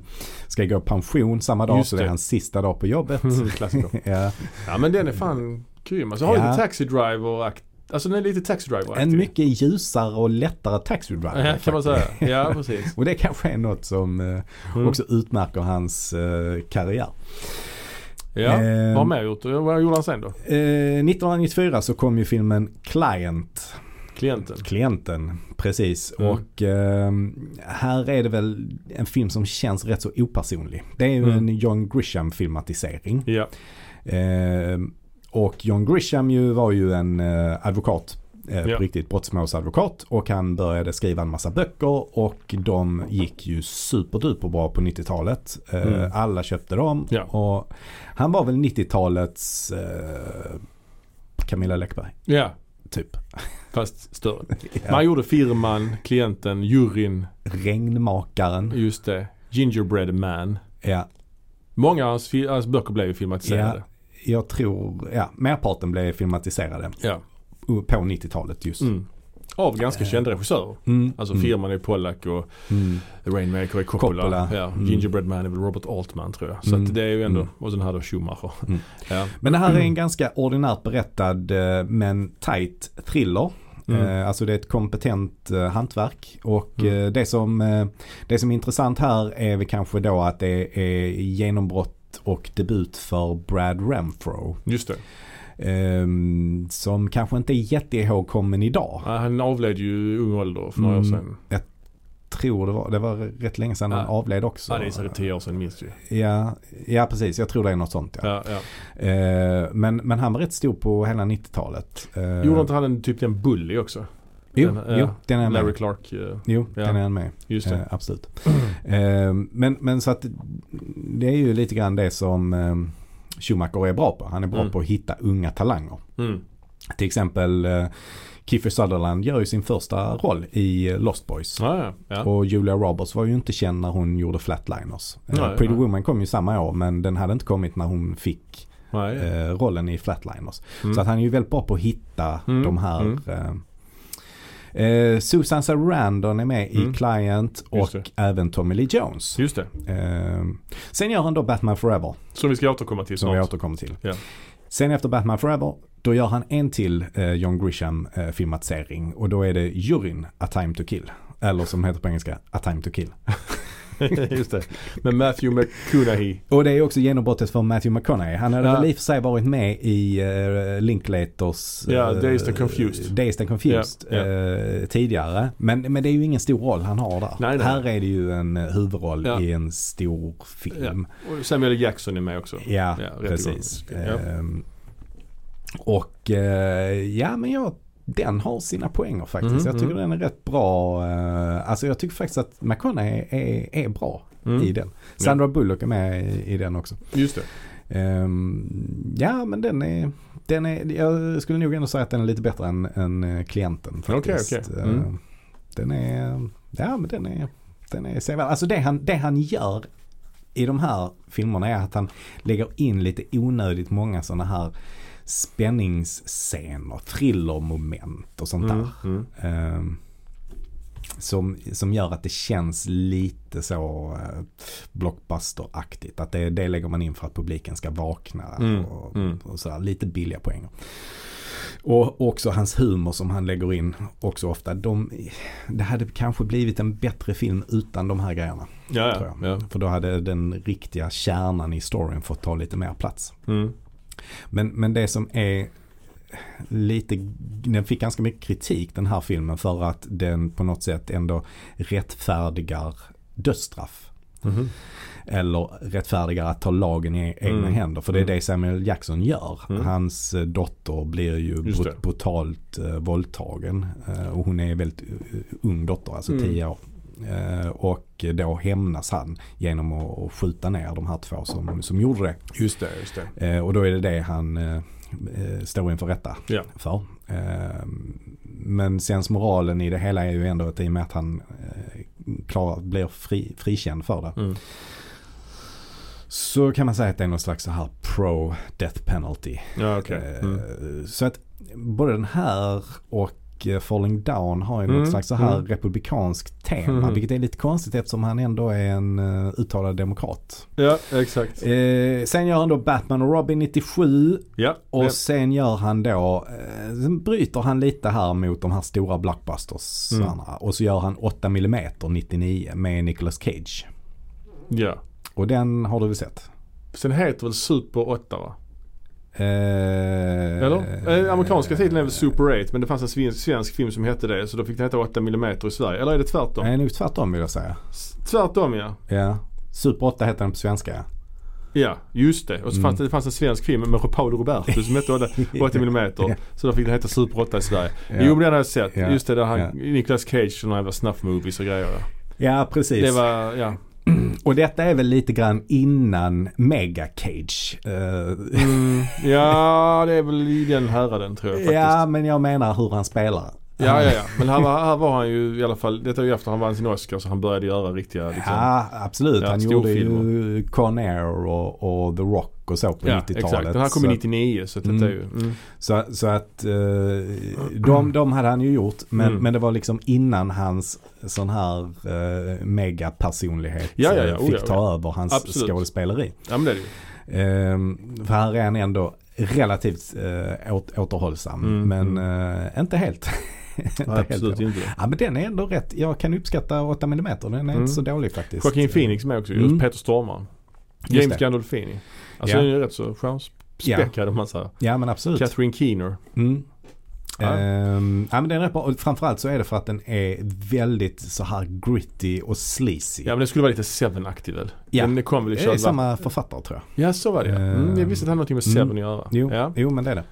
S1: ska gå i pension samma dag
S2: Just
S1: så det är
S2: det.
S1: hans sista dag på
S2: [laughs]
S1: jobbet. [laughs]
S2: Klassiker.
S1: ja.
S2: Ja men den är fan grym. Alltså har
S1: Ja.
S2: lite Taxi Driver Alltså den är lite Taxi Driver
S1: En mycket ljusare och lättare taxi driver.
S2: Ja, kan man
S1: faktiskt.
S2: säga. [laughs] Ja precis.
S1: Och det kanske är något som eh,
S2: Mm.
S1: också utmärker hans eh, karriär.
S2: Ja.
S1: Eh,
S2: Vad har mer gjort? Vad gjorde han sen då?
S1: eh, 1994 så kom ju filmen Client,
S2: Klienten.
S1: Klienten, precis.
S2: Mm.
S1: Och eh, här är det väl en film som känns rätt så opersonlig. Det är ju
S2: Mm.
S1: en John Grisham filmatisering.
S2: Ja.
S1: Eh, och John Grisham ju var ju en eh, advokat. Eh,
S2: Ja.
S1: på Riktigt brottmålsadvokat. Och han började skriva en massa böcker. Och de gick ju superduper bra på 90-talet. Eh,
S2: Mm.
S1: Alla köpte dem.
S2: Ja.
S1: Och han var väl 90-talets eh, Camilla Läckberg.
S2: Ja.
S1: Typ.
S2: Fast större. Men
S1: Ja.
S2: han gjorde Firman, Klienten, Juryn,
S1: Regnmakaren.
S2: just det. Gingerbread Man.
S1: Ja.
S2: Många av hans, fi- hans böcker blev ju filmatiserade.
S1: Jag tror, ja, merparten blev filmatiserade
S2: Ja.
S1: på 90-talet just.
S2: Mm. Av ganska kända regissörer.
S1: Mm,
S2: Alltså
S1: mm,
S2: Firman är Pollack och
S1: mm.
S2: Rainmaker är Coppola.
S1: Coppola.
S2: Ja.
S1: Mm.
S2: Gingerbread Man är väl Robert Altman tror jag. Så
S1: Mm.
S2: att det är ju ändå,
S1: Mm.
S2: och sen här då Schumacher.
S1: Mm.
S2: Ja.
S1: Men det här
S2: Mm.
S1: är en ganska ordinärt berättad eh, men tight thriller.
S2: Mm.
S1: Eh, Alltså det är ett kompetent eh, hantverk. Och
S2: Mm.
S1: eh, det, som, eh, det som är intressant här är väl kanske då att det är genombrott och debut för Brad Renfro.
S2: Just det.
S1: Eh, som kanske inte är jätteihågkommen idag.
S2: Ja, Han avled ju i ung ålder för några år
S1: Mm.
S2: sedan.
S1: Tror det var, det var rätt länge sedan han
S2: Ja.
S1: avled också.
S2: Ja, det är säkert tio år sedan minst ju.
S1: ja, ja, precis. Jag tror det är något sånt. Ja.
S2: Ja, ja.
S1: Eh, men, men han var rätt stor på hela 90-talet. Eh,
S2: Gjorde inte han en, typ den Bully också?
S1: Jo,
S2: den- ja,
S1: jo, den är med.
S2: Larry Clark. eh,
S1: Jo,
S2: Ja.
S1: den är han med.
S2: Just det.
S1: Eh, absolut. Eh, men, men så att det är ju lite grann det som eh, Schumacher är bra på. Han är bra
S2: Mm.
S1: på att hitta unga talanger.
S2: [clears throat] Mm.
S1: Till exempel eh, Kiefer Sutherland gör ju sin första roll i eh, Lost Boys.
S2: Ja, ja, ja.
S1: Och Julia Roberts var ju inte känd när hon gjorde Flatliners. Eh,
S2: Nej,
S1: Pretty
S2: nej.
S1: Woman kom ju samma år men den hade inte kommit när hon fick
S2: Nej.
S1: eh, rollen i Flatliners.
S2: Mm.
S1: Så att han är ju väldigt bra på att hitta
S2: Mm,
S1: de här.
S2: mm.
S1: Eh, eh, Susan Sarandon är med
S2: Mm.
S1: i Client
S2: Just
S1: och även Tommy Lee Jones.
S2: Just det.
S1: Eh, sen gör han då Batman Forever
S2: Som vi ska återkomma till
S1: som vi
S2: snart.
S1: återkommer till.
S2: Ja.
S1: Sen efter Batman Forever då gör han en till eh, John Grisham eh, filmatisering och då är det Juryn A Time To Kill. Eller som det heter på engelska, A Time To Kill.
S2: [laughs] Just det. Med Matthew McConaughey.
S1: Och det är också genombrottet för Matthew McConaughey. Han hade
S2: Ja.
S1: väl i och för sig varit med i eh, Linklaters
S2: Ja,
S1: eh,
S2: Dazed and Confused.
S1: Dazed and Confused
S2: Ja, ja.
S1: eh, tidigare. Men, men det är ju ingen stor roll han har där.
S2: Nej, nej.
S1: Här är det ju en eh, huvudroll
S2: Ja.
S1: i en stor film.
S2: Och Samuel Jackson är med också.
S1: Ja,
S2: Ja,
S1: precis.
S2: rättegång. Ja.
S1: Ehm, och eh, ja, men jag, den har sina poänger faktiskt.
S2: Mhm,
S1: jag tycker
S2: mhm.
S1: den är rätt bra. eh, alltså jag tycker faktiskt att McConaughey är, är bra
S2: Mm.
S1: i den. Sandra Bullock är med i, i den också.
S2: Just det.
S1: Ehm, ja, men den är, den är... Jag skulle nog ändå säga att den är lite bättre än, än eh, klienten faktiskt.
S2: Okej, okej. Mm.
S1: Ehm, Den är... Ja, men den är... Den är sevärd. Alltså det han, det han gör i de här filmerna är att han lägger in lite onödigt många sådana här spänningsscener, thrillermoment och sånt där.
S2: Mm. Mm.
S1: Ehm, som, som gör att det känns lite så eh, blockbusteraktigt. Att det, det lägger man in för att publiken ska vakna.
S2: Mm,
S1: Och,
S2: mm.
S1: och sådär, lite billiga poänger. Och också hans humor som han lägger in också ofta. De, det hade kanske blivit en bättre film utan de här grejerna.
S2: Ja,
S1: Tror
S2: ja. ja.
S1: För då hade den riktiga kärnan i storyn fått ta lite mer plats.
S2: Mm.
S1: Men, men det som är lite, den fick ganska mycket kritik den här filmen för att den på något sätt ändå rättfärdigar dödsstraff.
S2: Mhm.
S1: Eller rättfärdigar att ta lagen i egna
S2: Mm.
S1: händer. För det är
S2: Mm.
S1: det Samuel Jackson gör.
S2: Mm.
S1: Hans eh, dotter blir ju
S2: Just
S1: brut-
S2: det.
S1: brutalt eh, våldtagen. Eh, och hon är en väldigt eh, ung dotter, alltså
S2: Mm.
S1: 10 år. Eh, och då hämnas han genom att att skjuta ner de här två som, som gjorde det.
S2: Just det, just det.
S1: Eh, och då är det det han eh, eh, står inför rätta
S2: Ja.
S1: för. Eh, men sensmoralen i det hela är ju ändå att i och med att han eh, klar, blir fri, frikänd för det.
S2: Mm.
S1: Så kan man säga att det är någon slags så här pro death penalty.
S2: Ja, okej.
S1: Eh,
S2: Mm.
S1: Så att både den här och eh, Falling Down har ju något
S2: Mm,
S1: slags så här
S2: mm.
S1: republikanskt tema.
S2: Mhm.
S1: Vilket är lite konstigt eftersom han ändå är en eh, uttalad demokrat.
S2: Ja, exakt.
S1: Eh, sen gör han då Batman och Robin 97.
S2: Ja.
S1: Och
S2: ja.
S1: sen gör han då, eh, sen bryter han lite här mot de här stora blockbusters.
S2: Mm.
S1: Och så gör han 8 mm 99 med Nicolas Cage.
S2: ja.
S1: Och den har du väl sett?
S2: Sen heter väl Super 8 va?
S1: Eh,
S2: Eller? Eh, amerikanska titeln är väl Super 8 men det fanns en svensk, svensk film som hette det så då fick den heta 8 mm i Sverige. Eller är det tvärtom?
S1: Nej, eh, nog tvärtom vill jag säga.
S2: S- Tvärtom ja.
S1: Ja. Super 8 heter den på svenska. ja.
S2: Ja, just det. Och så fanns
S1: Mm.
S2: det, det fanns en svensk film med Paolo Roberto som hette 8 mm.
S1: [laughs] Ja.
S2: Så då fick den heta Super 8 i Sverige.
S1: Ja.
S2: Jo men den har jag sett.
S1: Ja.
S2: Just det, där han,
S1: Ja.
S2: Nicolas Cage och några jävla snuff-movies och grejer. ja.
S1: Ja, precis.
S2: Det var, ja.
S1: Och detta är väl lite grann innan Mega Cage. [laughs] Eh,
S2: Mm, ja, det är väl i den häraden tror jag faktiskt.
S1: ja, men jag menar hur han spelar.
S2: Ja, ja, ja. Men här var, här var han ju i alla fall, detta är ju efter han vann sin Oscar så han började göra riktiga liksom.
S1: Ja, absolut.
S2: Ja,
S1: han gjorde ju Con Air och, och The Rock och så på
S2: Ja,
S1: 90-talet.
S2: exakt. Den här kom i
S1: Så-
S2: 99 så att detta
S1: Mm.
S2: är ju... Mm.
S1: Så, så att eh, de, de hade han ju gjort. Men,
S2: Mm.
S1: men det var liksom innan hans sån här eh, megapersonlighet
S2: Ja, ja, ja.
S1: eh,
S2: Oh,
S1: fick
S2: ja,
S1: ta över hans
S2: Absolut.
S1: skådespeleri.
S2: Ja men det är det ju.
S1: Ehm, för här är han ändå relativt eh, åt, återhållsam.
S2: Mm,
S1: Men eh, inte helt. [laughs] inte
S2: Absolut inte.
S1: Ja men den är ändå rätt. Jag kan uppskatta 8 mm. Den är
S2: Mm.
S1: inte så dålig faktiskt.
S2: Joaquin Phoenix med också
S1: Mm.
S2: mm. Peter Stormare.
S1: Just
S2: James
S1: det.
S2: Gandolfini. Alltså
S1: Ja.
S2: den är ju rätt så stjärnspäckad om man säger.
S1: Ja men absolut.
S2: Catherine Keener.
S1: Mm.
S2: Ja.
S1: Ehm, ja men den är rätt bra. Och framförallt så är det för att den är väldigt så här gritty och sleazy.
S2: Ja men den skulle vara lite Seven-aktig väl?
S1: Ja.
S2: Den kom väl i
S1: det är
S2: kölvattnet.
S1: samma författare tror jag.
S2: Ja så var det ja. mm, Jag visste att det hade någonting med Seven
S1: Mm.
S2: att göra.
S1: Jo,
S2: Ja.
S1: jo men det är det.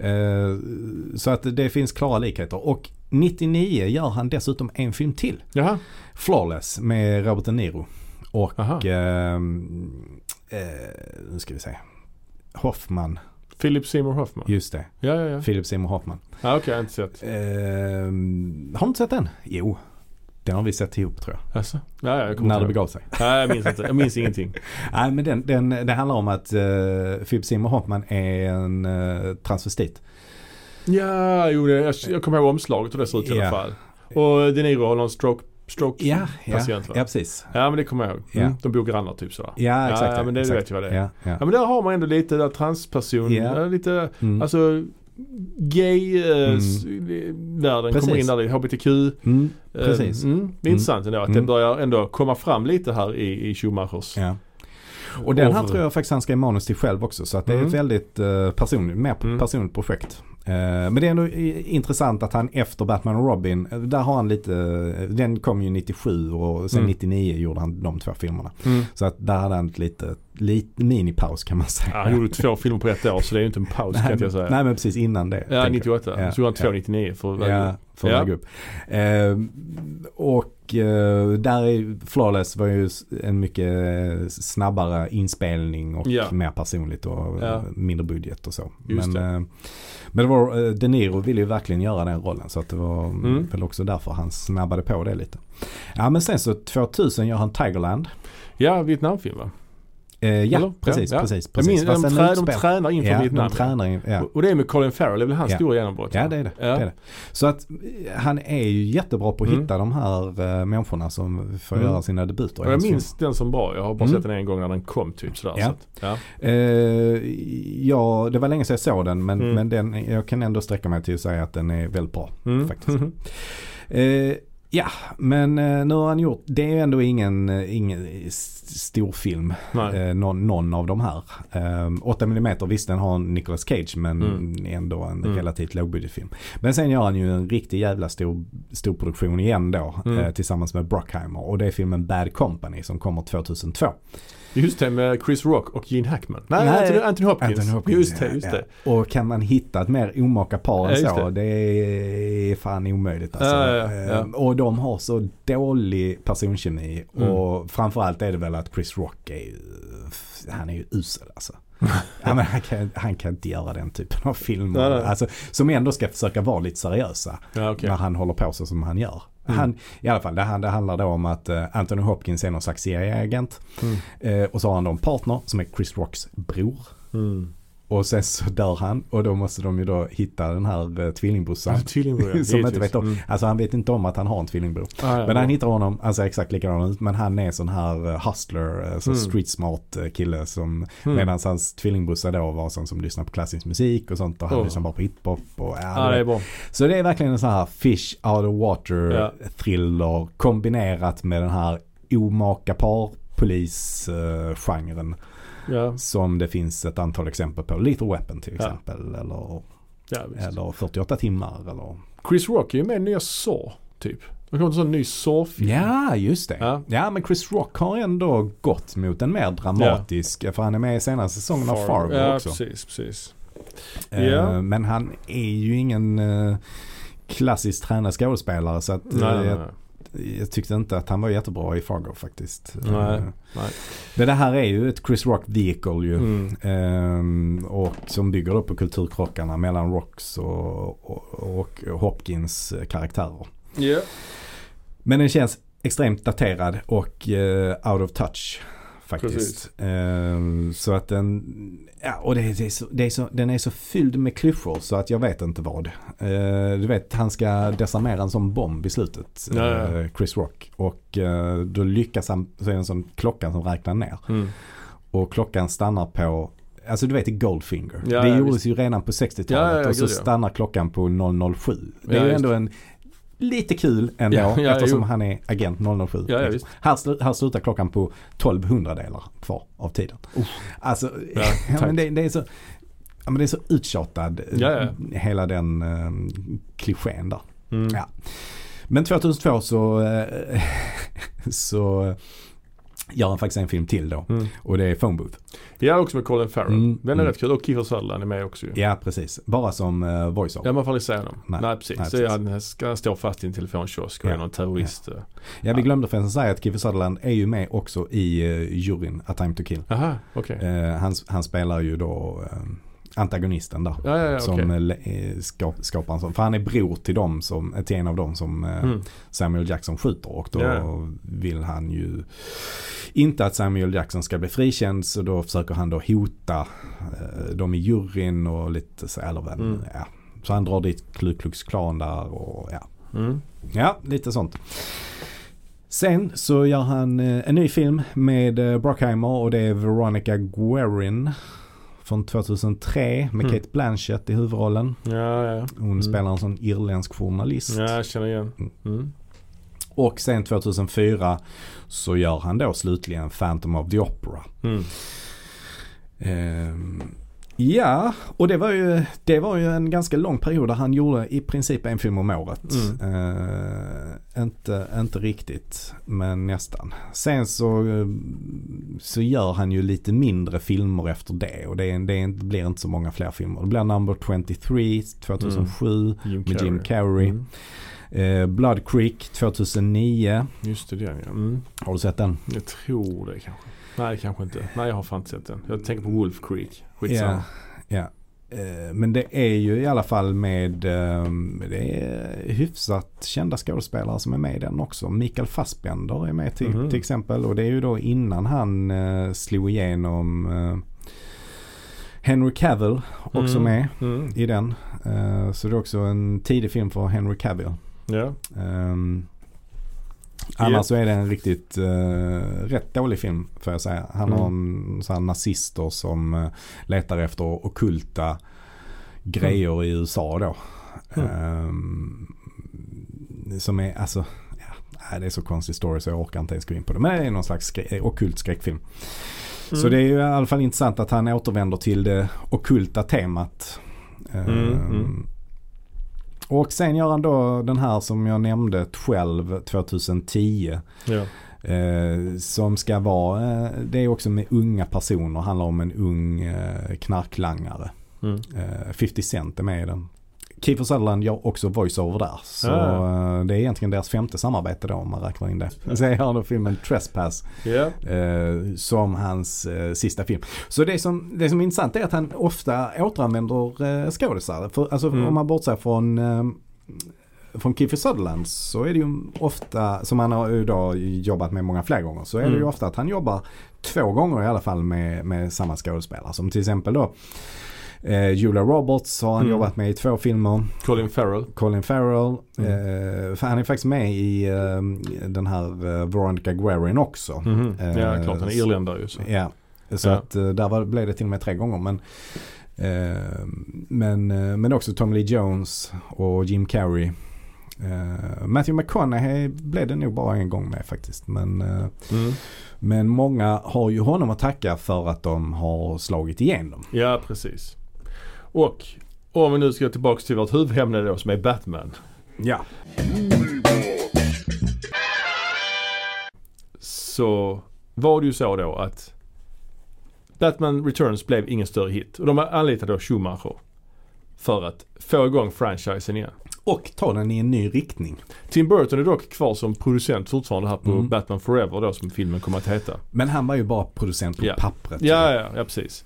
S2: ja.
S1: Ehm, så att det finns klara likheter. Och 99 gör han dessutom en film till.
S2: Jaha.
S1: Flawless med Robert De Niro. Och
S2: Aha.
S1: ehm, eh, nu ska vi se. Hoffman,
S2: Philip Seymour Hoffman.
S1: just det.
S2: Ja, ja, ja.
S1: Philip Seymour Hoffman.
S2: ja okej, jag har inte sett.
S1: Ehm, har du inte sett den? Jo, den har vi sett ihop tror jag.
S2: Alltså? Ja, ja, jag kommer
S1: När det
S2: inte ihåg.
S1: begav sig.
S2: Nej, jag minns inte. Jag
S1: [laughs]
S2: minns ingenting.
S1: Nej men den, den, det handlar om att uh, Philip Seymour Hoffman är en eh, transvestit.
S2: Ja, jo, det- jag, jag kommer ihåg omslaget och det ser ut i
S1: Ja.
S2: alla fall. Och De Niro har någon stroke, stroke
S1: Ja, ja,
S2: patient va?
S1: Mm. ja precis.
S2: Ja, men det kommer jag ihåg.
S1: Ja.
S2: Mm. De bor grannar typ sådär.
S1: Ja exakt.
S2: ja, men det
S1: exakt.
S2: vet jag Alltså, vad det är.
S1: Ja, ja.
S2: Ja men där har man ändå lite där transperson,
S1: Ja.
S2: ja. lite,
S1: Mm.
S2: alltså gay-världen
S1: Precis.
S2: kommer in där, i HBTQ. eh,
S1: Mm, precis.
S2: Mm, det är
S1: Mm.
S2: intressant ändå att det
S1: Mm.
S2: börjar ändå komma fram lite här i, i Schumachers.
S1: Ja. Och den här
S2: Orr.
S1: tror jag faktiskt han skrev manus till själv också. Så att det är
S2: Mm.
S1: ett väldigt eh, personligt, mer
S2: Mm.
S1: personligt projekt. Eh, men det är ändå i- intressant att han efter Batman och Robin, eh, där har han lite, eh, den kom ju 97 och sen
S2: Mm.
S1: 99 gjorde han de två filmerna. Så att där hade han ett lite, lite minipaus kan man säga.
S2: Ja, han gjorde två filmer på ett år så det är ju inte en paus kan jag inte säga.
S1: nej men precis innan det.
S2: ja,
S1: tänker jag.
S2: 98.
S1: Ja,
S2: Så gjorde han två
S1: ja.
S2: 99 för att väga
S1: Ja,
S2: upp.
S1: för
S2: Ja.
S1: ja. grupp. Eh, och eh, där är Flawless var ju s- en mycket eh, snabbare inspelning och
S2: Ja.
S1: mer personligt och
S2: Ja.
S1: eh, mindre budget och så.
S2: Just
S1: Men, eh, men det var, eh, De Niro ville ju verkligen göra den rollen så att det var
S2: Mm.
S1: väl också därför han snabbade på det lite. Ja men sen så 2000 gör han Tigerland.
S2: Ja, Vietnamfilm va?
S1: Eh, ja,
S2: Eller?
S1: precis,
S2: Ja, ja.
S1: precis,
S2: Jag
S1: precis.
S2: minns, de,
S1: Fast den
S2: trä, de
S1: utspelar-
S2: tränar inför
S1: ja,
S2: Vietnam.
S1: de tränar in, ja.
S2: Och det är med Colin Farrell, det är väl hans
S1: Ja.
S2: stora genombrott?
S1: Ja det är det.
S2: Ja.
S1: det, är det. Så att eh, han är ju jättebra på att
S2: Mm.
S1: hitta de här eh, människorna som får
S2: Mm.
S1: göra sina debuter. i
S2: Och jag
S1: hans
S2: minns den som bra. Jag har bara
S1: Mm.
S2: sett den en gång när den kom typ sådär.
S1: Ja.
S2: Så att, ja.
S1: film. Eh, ja, det var länge sedan jag såg den men,
S2: Mm.
S1: men den, jag kan ändå sträcka mig till att säga att den är väldigt bra.
S2: Mm.
S1: Faktiskt. Eh, ja, men eh, nu har han gjort, det är ju ändå ingen, eh, ingen s- stor film.
S2: [laughs] Nej.
S1: Eh, någon, någon av de här. Eh, 8 mm, visst den har Nicolas Cage men
S2: Mm.
S1: ändå en
S2: Mm.
S1: relativt lågbudgetfilm. Men sen gör han ju en riktig jävla stor, stor produktion igen då
S2: Mm.
S1: eh, tillsammans med Bruckheimer och det är filmen Bad Company som kommer 2002.
S2: Just det, med Chris Rock och Gene Hackman. Nej,
S1: Nej.
S2: Anthony, Anthony Hopkins.
S1: Anthony Hopkins,
S2: Just det,
S1: ja,
S2: just
S1: ja.
S2: det.
S1: Och kan man hitta ett mer omaka par än
S2: Ja, just
S1: så, det. är fan omöjligt alltså.
S2: Ja, ja, ja.
S1: Eh, Och de har så dålig personkemi
S2: Mm.
S1: och framförallt är det väl att Chris Rock är ju, han är ju usel
S2: [laughs]
S1: alltså. ja, men han, kan, han kan inte göra den typen av filmer.
S2: Nej, nej.
S1: Alltså, som ändå ska försöka vara lite seriösa
S2: Ja, okej.
S1: när han håller på så som han gör.
S2: Mm.
S1: Han, I alla fall, det, han- det handlar då om att eh, Anthony Hopkins är någon slags CIA-agent.
S2: Mm.
S1: Eh, och så har han då en partner som är Chris Rocks bror.
S2: Mm.
S1: Och sen så dör han och då måste de ju då hitta den här eh, tvillingbrorsan.
S2: Tvillingbror,
S1: [laughs]
S2: ja.
S1: Som inte
S2: Givetvis.
S1: vet om.
S2: Mm.
S1: Alltså han vet inte om att han har en tvillingbror.
S2: Ah, ja,
S1: Men han
S2: bra.
S1: hittar honom, alltså exakt likadan ut. Men han är sån här eh, hustler, eh, så
S2: Mm.
S1: street smart eh, kille som
S2: Mm.
S1: medan hans tvillingbrorsa då var sån som lyssnar på klassisk musik och sånt och han
S2: Oh.
S1: lyssnar bara på hiphop och ja,
S2: Ja,
S1: du
S2: det
S1: vet.
S2: är bra.
S1: Så det är verkligen en sån här fish out of water
S2: Ja.
S1: thriller kombinerat med den här omaka eh, par polis-genren.
S2: Ja.
S1: Som det finns ett antal exempel på. Lethal Weapon till
S2: Ja.
S1: exempel. Eller,
S2: Ja, visst.
S1: eller 48 timmar. Eller...
S2: Chris Rock är ju med i nya Saw, typ. Det kommer en sån ny Saw-film.
S1: Ja, just det.
S2: Ja.
S1: Ja. men Chris Rock har ändå gått mot en mer dramatisk. För han är med i senaste säsongen av Fargo
S2: ja,
S1: också.
S2: precis, precis.
S1: Eh,
S2: Ja.
S1: Men han är ju ingen eh, klassiskt tränad skådespelare. Så att, eh,
S2: Nej, nej,
S1: jag,
S2: nej.
S1: jag tyckte inte att han var jättebra i Fargo faktiskt.
S2: Nej,
S1: Eh,
S2: nej.
S1: Men det här är ju ett Chris Rock vehicle ju.
S2: Mm.
S1: Ehm, och som bygger upp på kulturkrockarna mellan Rocks och, och, och Hopkins eh, karaktärer.
S2: Ja.
S1: Men den känns extremt daterad och eh, out of touch.
S2: Precis.
S1: Faktiskt. Ehm, så att den, ja, och det, är- det är så, det är så, den är så fylld med klyschor så att jag vet inte vad. Eh, du vet han ska desarmera en sån bomb i slutet,
S2: Ja, ja.
S1: eh, Chris Rock. Och eh, då lyckas han, så är det en sån klockan som räknar ner.
S2: Mm.
S1: Och klockan stannar på, alltså du vet i Goldfinger.
S2: Ja,
S1: det
S2: ja,
S1: gjordes
S2: visst.
S1: ju redan på 60-talet
S2: Ja, ja, ja,
S1: och så
S2: gud, ja.
S1: stannar klockan på 007. Det
S2: Ja,
S1: är ju
S2: just
S1: ändå en lite kul ändå
S2: Ja, ja,
S1: eftersom
S2: jo.
S1: han är agent 007.
S2: Ja, ja, visst.
S1: här, slu- här slutar klockan på 12 hundradelar kvar av tiden. Alltså,
S2: Ja,
S1: [laughs] ja,
S2: tack.
S1: men det, det är så Ja, men det är så uttjatad
S2: Ja, ja.
S1: hela den eh, klichén där.
S2: Mm.
S1: Ja. Men 2002 så, eh, [laughs] så gör han faktiskt en film till då.
S2: Mm.
S1: Och det är Phone Booth.
S2: Ja, också med Colin Farrell.
S1: Mm,
S2: Den är
S1: mm.
S2: rätt kul. Och Kiefer Sutherland är med också ju.
S1: Ja, precis. Bara som uh, voice-off.
S2: Ja, man får aldrig säga honom. Nej,
S1: Nej.
S2: precis.
S1: Nej,
S2: Det är,
S1: precis.
S2: han ska han stå fast i en telefonkiosk och
S1: Ja.
S2: är någon terrorist. eh.
S1: Ja, vi glömde förresten säga att Kiefer Sutherland är ju med också i uh, juryn A Time To Kill.
S2: Aha, okej.
S1: Eh, han, han spelar ju då eh, antagonisten där.
S2: Ja, ja, ja,
S1: Som
S2: okej.
S1: eh, le- eh, skap, skapar en sån. För han är bror till, dem som, till en av dem som eh,
S2: Mm.
S1: Samuel Jackson skjuter. Och då
S2: Ja.
S1: vill han ju inte att Samuel Jackson ska bli frikänd. Så då försöker han då hota eh, dem i juryn och lite så. Eller vad,
S2: Mm.
S1: ja. Så han drar dit Ku Klux Klan där och ja.
S2: Mm.
S1: Ja, lite sånt. Sen så gör han eh, en ny film med eh, Brockheimer och det är Veronica Guerin. Från 2003 med
S2: Mm.
S1: Kate Blanchett i huvudrollen.
S2: Ja, ja.
S1: Hon spelar en sån irländsk journalist.
S2: Ja, jag känner igen.
S1: Mm.
S2: Mm.
S1: Och sen 2004 så gör han då slutligen Phantom of the Opera.
S2: Mm.
S1: Ehm, ja, och det var, ju, det var ju en ganska lång period där han gjorde i princip en film om året.
S2: Mm.
S1: Ehm, inte, inte riktigt, men nästan. Sen så, eh, så gör han ju lite mindre filmer efter det och det, är- det är- det blir inte så många fler filmer. Det blir Number 23 2007
S2: Jim
S1: med Jim Carrey.
S2: Mm.
S1: Eh, Blood Creek 2009.
S2: Just det, den ja. Mm.
S1: Har du sett den?
S2: Jag tror det kanske. Nej, det kanske inte. Nej, jag har fan inte sett den. Jag tänker på Wolf Creek. Skitsamma.
S1: Ja, ja. Eh, Men det är ju i alla fall med ehm, det är hyfsat kända skådespelare som är med i den också. Mikael Fassbender är med till,
S2: Mhm.
S1: till exempel och det är ju då innan han eh, slog igenom eh, Henry Cavill också
S2: Mm.
S1: med
S2: Mm.
S1: i den. Eh, så det är också en tidig film för Henry Cavill.
S2: Ja.
S1: Ehm, annars
S2: Ja.
S1: så är det en riktigt eh, rätt dålig film får jag säga. Han
S2: Mm.
S1: har en sån här nazister som eh, letar efter okulta grejer i USA då. Eh,
S2: Mm.
S1: Ehm, som är alltså ja, nej, det är så konstig story så jag orkar inte ens gå in på det. Men det är någon slags skrä- ockult skräckfilm.
S2: Mm.
S1: Så det är ju i alla fall intressant att han återvänder till det ockulta temat. Ehm,
S2: mm.
S1: Och sen gör han då den här som jag nämnde själv 2010.
S2: Mm. Ja.
S1: Eh, som ska vara, eh, det är också med unga personer, handlar om en ung eh, knarklangare.
S2: Mm.
S1: Eh, 50 Cent är med i den. Kiefer Sutherland gör också voiceover där. Så
S2: Ja,
S1: eh, det är egentligen deras femte samarbete då om man räknar in det. Sen gör han då filmen Trespass
S2: Ja.
S1: eh, som hans eh, sista film. Så det som, det som är intressant är att han ofta återanvänder eh, skådisar. För, alltså,
S2: Mm.
S1: Om man bortser från eh, från Kiefer Sutherland så är det ju ofta, som han har ju då jobbat med många fler gånger, så är det ju
S2: Mm.
S1: ofta att han jobbar två gånger i alla fall med, med samma skådespelare. Som till exempel då eh, Julia Roberts har han
S2: Mm.
S1: jobbat med i två filmer.
S2: Colin Farrell.
S1: Colin Farrell,
S2: Mm.
S1: eh, för han är faktiskt med i eh, den här eh, Veronica Guerin också.
S2: Mhm.
S1: Eh,
S2: Ja, klart. Han är irländare ju. Så.
S1: Ja, så
S2: Alltså. Ja.
S1: att eh, där var, blev det till och med tre gånger. Men, eh, men, eh, men också Tom Lee Jones och Jim Carrey. Eh, Matthew McConaughey blev det nog bara en gång med faktiskt. Men, eh,
S2: Mm.
S1: men många har ju honom att tacka för att de har slagit igenom.
S2: Ja, precis. Och om vi nu ska tillbaka till vårt huvudämne då som är Batman.
S1: Ja.
S2: Så var det ju så då att Batman Returns blev ingen större hit. Och de anlitade då Schumacher för att få igång franchisen igen.
S1: Och ta den i en ny riktning.
S2: Tim Burton är dock kvar som producent fortfarande här på
S1: Mm.
S2: Batman Forever då som filmen kommer att heta.
S1: Men han var ju bara producent på
S2: Ja.
S1: pappret.
S2: Ja, ja, ja precis.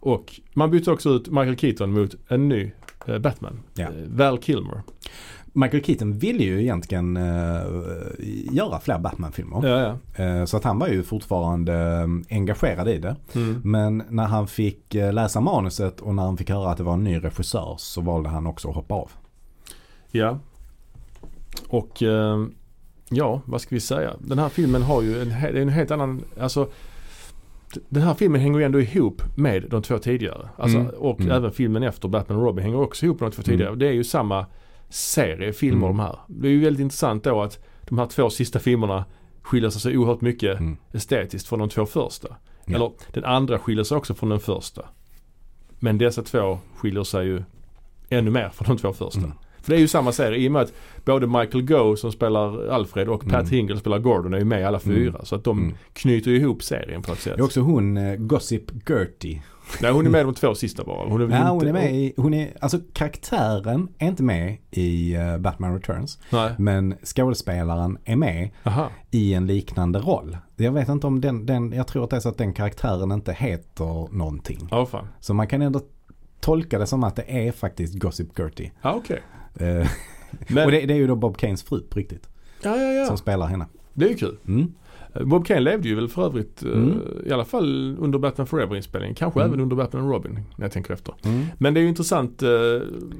S2: Och man bytte också ut Michael Keaton mot en ny eh, Batman.
S1: Ja.
S2: Eh, Val Kilmer.
S1: Michael Keaton ville ju egentligen eh, göra fler Batman-filmer.
S2: Ja, ja.
S1: Eh, Så att han var ju fortfarande eh, engagerad i det.
S2: Mm.
S1: Men när han fick eh, läsa manuset och när han fick höra att det var en ny regissör så valde han också att hoppa av.
S2: Ja. Och eh, ja, vad ska vi säga? Den här filmen har ju en, he- det är en helt annan, alltså d- den här filmen hänger ju ändå ihop med de två tidigare. Alltså,
S1: Mm.
S2: Och
S1: Mm.
S2: även filmen efter Batman och Robin hänger också ihop med de två
S1: Mm.
S2: tidigare. Det är ju samma serie filmer
S1: Mm.
S2: de här. Det är ju väldigt intressant då att de här två sista filmerna skiljer sig så oerhört mycket
S1: Mm.
S2: estetiskt från de två första.
S1: Ja.
S2: Eller den andra skiljer sig också från den första. Men dessa två skiljer sig ju ännu mer från de två första.
S1: Mm.
S2: För det är ju samma serie i och med att både Michael Goh som spelar Alfred och Pat
S1: Mm.
S2: Hingle spelar Gordon är ju med i alla fyra. Så att de
S1: Mm.
S2: knyter ju ihop serien på något sätt.
S1: Det är också hon, eh, Gossip Gertie.
S2: Nej hon är med i de två sista bara. Hon är, väl
S1: Nej,
S2: inte-
S1: hon är med i, hon är, alltså karaktären är inte med i eh, Batman Returns.
S2: Nej.
S1: Men skådespelaren är med
S2: Aha.
S1: i en liknande roll. Jag vet inte om den, den jag tror att det är så att den karaktären inte heter någonting.
S2: Ja fan.
S1: Så man kan ändå tolka det som att det är faktiskt Gossip Gertie.
S2: Ja okej.
S1: Eh,
S2: Men,
S1: och det, det är ju då Bob Kanes fru på riktigt.
S2: ja ja ja.
S1: Som spelar henne.
S2: Det är ju kul.
S1: Mm.
S2: Bob Kane levde ju väl för övrigt eh,
S1: Mm.
S2: i alla fall under Batman Forever inspelningen. Kanske
S1: Mm.
S2: även under Batman och Robin när jag tänker efter.
S1: Mm.
S2: Men det är ju intressant eh,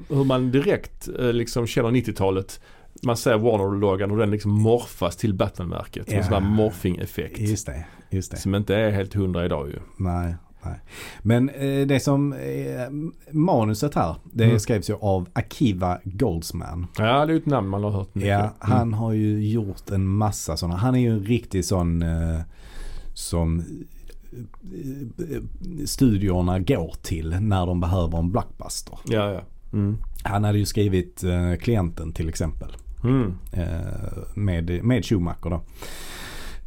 S2: hur man direkt eh, liksom känner 90-talet. Man ser Warner-loggan och den liksom morfas till Batman-märket.
S1: Ja.
S2: En sån här morphing-effekt.
S1: Just det, just det.
S2: Som inte är helt hundra idag ju.
S1: Nej. Men eh, det som eh, manuset här, det
S2: Mm.
S1: skrevs ju av Akiva Goldsman.
S2: Ja, det är ju ett namn man har hört mycket. Mm.
S1: Ja, han har ju gjort en massa sådana. Han är ju en riktig sån eh, som eh, eh, studiorna går till när de behöver en blockbuster.
S2: Ja, ja. Mm.
S1: Han hade ju skrivit eh, Klienten till exempel.
S2: Mm.
S1: eh, med, med Schumacher då.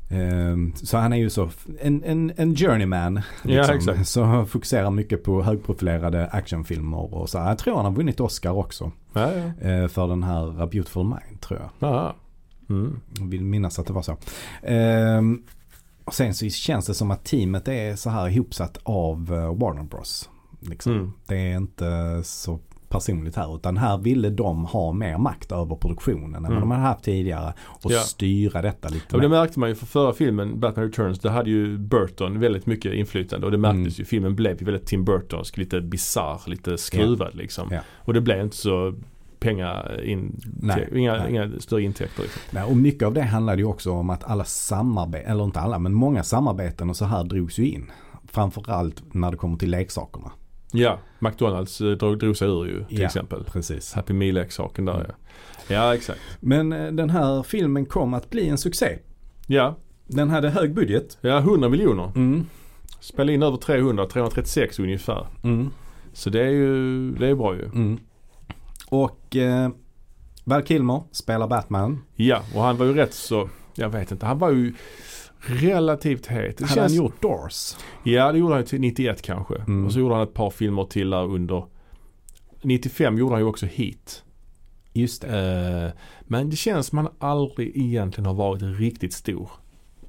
S1: Eh, Så han är ju så f- en, en, en journeyman.
S2: Ja,
S1: Liksom,
S2: exakt.
S1: Så han fokuserar mycket på högprofilerade actionfilmer och så. Jag tror han har vunnit Oscar också.
S2: Ja, ja.
S1: eh, För den här A Beautiful Mind tror jag.
S2: Aha. Mm.
S1: Jag vill minnas att det var så. Eh, Och sen så känns det som att teamet är så här ihopsatt av eh, Warner Bros. Liksom.
S2: Mm.
S1: Det är inte så personligt här utan här ville de ha mer makt över produktionen än vad
S2: Mm.
S1: de hade haft tidigare och
S2: Ja.
S1: styra detta lite
S2: Ja, och det
S1: mer.
S2: märkte man ju för förra filmen, Batman Returns, där hade ju Burton väldigt mycket inflytande och det märktes
S1: Mm.
S2: ju. Filmen blev ju väldigt Tim Burtonsk, lite bisarr, lite skruvad liksom.
S1: Ja.
S2: Och det blev inte så pengar in,
S1: Nej,
S2: inga,
S1: nej.
S2: inga större intäkter liksom.
S1: Nej, och mycket av det handlade ju också om att alla samarbeten, eller inte alla, men många samarbeten och så här drogs ju in. Framförallt när det kommer till leksakerna.
S2: Ja, McDonalds eh, drog, drog sig ur ju till
S1: Ja. Mm.
S2: exempel.
S1: Precis.
S2: Happy Meal-leksaken där ja. Ja, exakt.
S1: Men eh, den här filmen kom att bli en succé.
S2: Ja,
S1: Den hade hög budget.
S2: ja 100 miljoner.
S1: Mm.
S2: Spelade in över 300, 336 ungefär.
S1: Mm.
S2: Så det är ju, det är bra ju.
S1: Mm. Och eh, Val Kilmer spelar Batman.
S2: Ja, och han var ju rätt så, jag vet inte, han var ju relativt het. Det
S1: Hade han
S2: känns-
S1: gjort Doors?
S2: Ja, det gjorde han ju till 91 kanske.
S1: Mm.
S2: Och så gjorde han ett par filmer till där under. 95 gjorde han ju också Heat.
S1: Just det.
S2: Eh, men det känns som han aldrig egentligen har varit riktigt stor.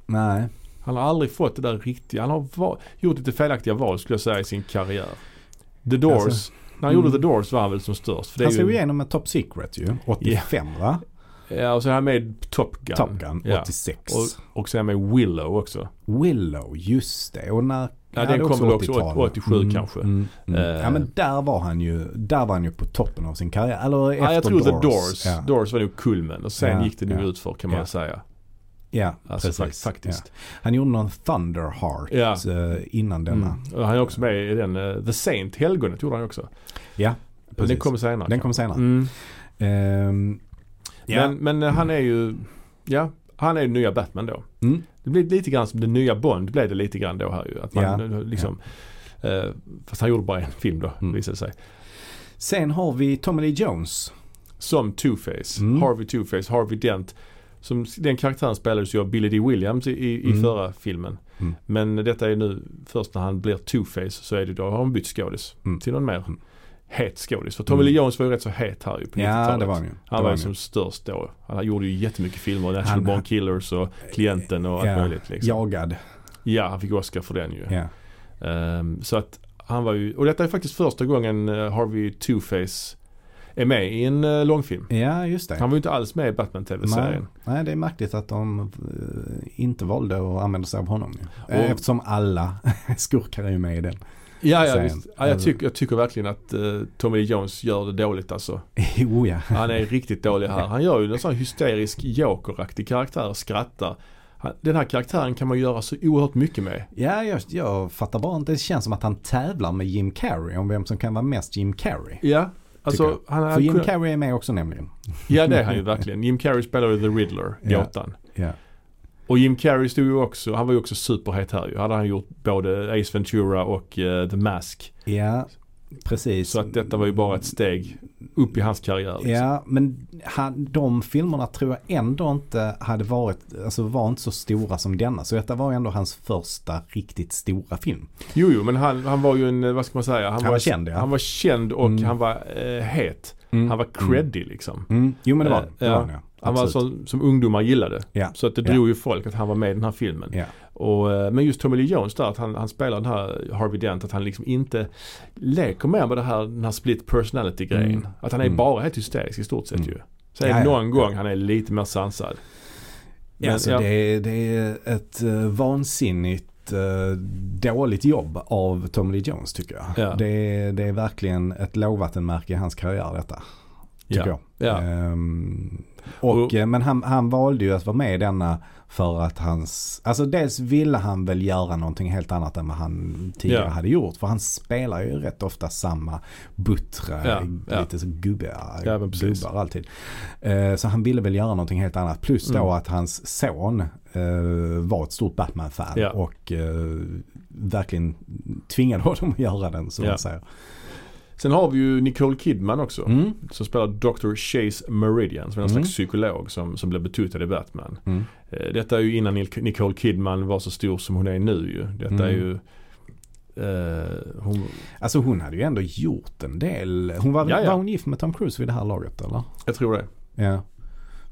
S1: Nej.
S2: Han har aldrig fått det där riktiga. Han har va- gjort lite felaktiga val skulle jag säga i sin karriär. The Doors.
S1: Alltså,
S2: när han
S1: mm.
S2: gjorde The Doors var han väl som störst. För det
S1: Han
S2: är
S1: slog
S2: ju,
S1: igenom med Top Secret ju. 85 va?
S2: ja, och så är han med i Top Gun.
S1: Top Gun
S2: Ja.
S1: 86.
S2: Och, och så är han med i Willow också.
S1: Willow, just det. Och när,
S2: den
S1: det är
S2: kom väl också
S1: 80-talet.
S2: 87 kanske.
S1: Mm, mm.
S2: Eh.
S1: Ja men där var han ju, där var han ju på toppen av sin karriär. Eller efter
S2: Ja, jag tror
S1: Doors.
S2: The Doors.
S1: Ja,
S2: Doors var nog kulmen och sen
S1: Ja,
S2: gick det nog
S1: ja.
S2: utför kan man
S1: Ja.
S2: säga.
S1: ja
S2: Alltså
S1: precis.
S2: Precis. faktiskt.
S1: Ja. Han gjorde någon Thunderheart
S2: Ja.
S1: eh, innan denna.
S2: Mm. Och Han är också med i den eh, The Saint, Helgonet gjorde han ju också.
S1: Ja, precis.
S2: Den kommer senare.
S1: Den kom senare.
S2: Mm.
S1: Ehm, ja.
S2: Men, men eh, han är ju, ja, han är ju nya Batman då.
S1: Mm.
S2: Det blir lite grann som den nya Bond blev det lite grann då här ju. Att man eh, liksom, eh, fast han gjorde bara en film då
S1: Mm.
S2: visade det sig.
S1: Sen har vi Tommy Lee Jones.
S2: Som Two-Face,
S1: Mm.
S2: Harvey Two-Face, Harvey Dent. Som, den karaktären spelades ju av Billy D. Williams i, i
S1: Mm.
S2: förra filmen.
S1: Mm.
S2: Men detta är nu först när han blir Two-Face så är det då har han bytt skådis
S1: Mm.
S2: till någon mer
S1: Mm.
S2: het skådis. För Tommy
S1: Mm.
S2: Lee Jones var ju rätt så het här ju på 90-talet.
S1: Ja, det var han ju. Det
S2: Han
S1: var
S2: var ju
S1: han ju.
S2: som störst då. Han gjorde ju jättemycket filmer. National
S1: Han-
S2: Born Killers och Klienten och allt
S1: Ja,
S2: möjligt. Liksom. Ja.
S1: Jagad.
S2: han fick Oscar för den ju.
S1: Ja.
S2: Ehm, så att han var ju, och detta är faktiskt första gången eh, Harvey Two-Face är med i en eh, långfilm.
S1: ja, just det.
S2: Han var ju inte alls med i Batman-tv-serien.
S1: Nej, det är märkligt att de eh, inte valde att använda sig av honom. ju. Eh,
S2: Och-
S1: Eftersom alla [laughs] skurkar är ju med i den. [laughs]
S2: Ja, ja,
S1: Serien.
S2: visst. ja jag, tycker, jag tycker verkligen att eh, Tommy Lee Jones gör det dåligt alltså.
S1: jo ja.
S2: Han är riktigt dålig här. Han gör ju en sån här hysterisk jokeraktig karaktär, skrattar. Han, den här karaktären kan man göra så oerhört mycket med.
S1: Ja, jag, jag fattar bara inte. Det känns som att han tävlar med Jim Carrey om vem som kan vara mest Jim Carrey.
S2: Ja, alltså
S1: Tycker
S2: han
S1: För
S2: hade
S1: Jim
S2: kunnat,
S1: Carrey är med också nämligen.
S2: Ja det är han ju verkligen. Jim Carrey spelade ju The Riddler,
S1: Ja.
S2: gåtan.
S1: Ja.
S2: Och Jim Carrey stod ju också, han var ju också superhet här ju. Hade han gjort både Ace Ventura och eh, The Mask.
S1: Ja, precis.
S2: Så att detta var ju bara ett steg upp i hans karriär. Liksom.
S1: Ja, men han, de filmerna tror jag ändå inte hade varit, alltså var inte så stora som denna. Så detta var ändå hans första riktigt stora film.
S2: Jo, jo, men han, han var ju en, eh, vad ska man säga?
S1: Han var känd, ja.
S2: Han var känd och
S1: Mm.
S2: han var eh, het. Han var creddy liksom.
S1: Mm. Jo men det var
S2: Eh,
S1: det. det
S2: ja.
S1: var han, ja.
S2: Han var en
S1: Absolut.
S2: sån som ungdomar gillade.
S1: Ja.
S2: Så att det
S1: Ja.
S2: drog ju folk att han var med i den här filmen.
S1: Ja.
S2: Och, eh, men just Tommy Lee Jones där, att han, han spelar den här Harvey Dent, att han liksom inte leker mer med det här, den här split personality-grejen.
S1: Mm.
S2: Att han är
S1: Mm.
S2: bara helt hysterisk i stort sett
S1: Mm.
S2: ju. Så är det
S1: Ja, ja.
S2: någon gång han är lite mer sansad.
S1: Ja, alltså,
S2: ja.
S1: Det, är, det är ett eh, vansinnigt eh, dåligt jobb av Tom Lee Jones tycker jag.
S2: Ja.
S1: Det, är, det är verkligen ett lågvattenmärke i hans karriär detta. Tycker
S2: ja.
S1: jag.
S2: Ja.
S1: Ehm, Och, eh, men han, han valde ju att vara med i denna för att hans, alltså dels ville han väl göra någonting helt annat än vad han tidigare
S2: Ja.
S1: hade gjort. För han spelar ju rätt ofta samma buttra,
S2: Ja, ja.
S1: lite så gubbe,
S2: Ja, men precis.
S1: gubbar alltid. Eh, så han ville väl göra någonting helt annat. Plus då
S2: Mm.
S1: att hans son eh, var ett stort Batman-fan
S2: Ja.
S1: och eh, verkligen tvingade honom att göra den som
S2: Ja.
S1: man säger.
S2: Sen har vi ju Nicole Kidman också.
S1: Mm.
S2: Som spelar Dr. Chase Meridian som är någon
S1: Mm.
S2: slags psykolog som, som blev betutad i Batman.
S1: Mm.
S2: Eh, Detta är ju innan Nic- Nicole Kidman var så stor som hon är nu ju. Detta är
S1: Mm.
S2: ju eh, hon,
S1: Alltså hon hade ju ändå gjort en del. Hon var,
S2: Ja, ja.
S1: var hon gift med Tom Cruise vid det här laget eller?
S2: Jag tror det.
S1: Ja.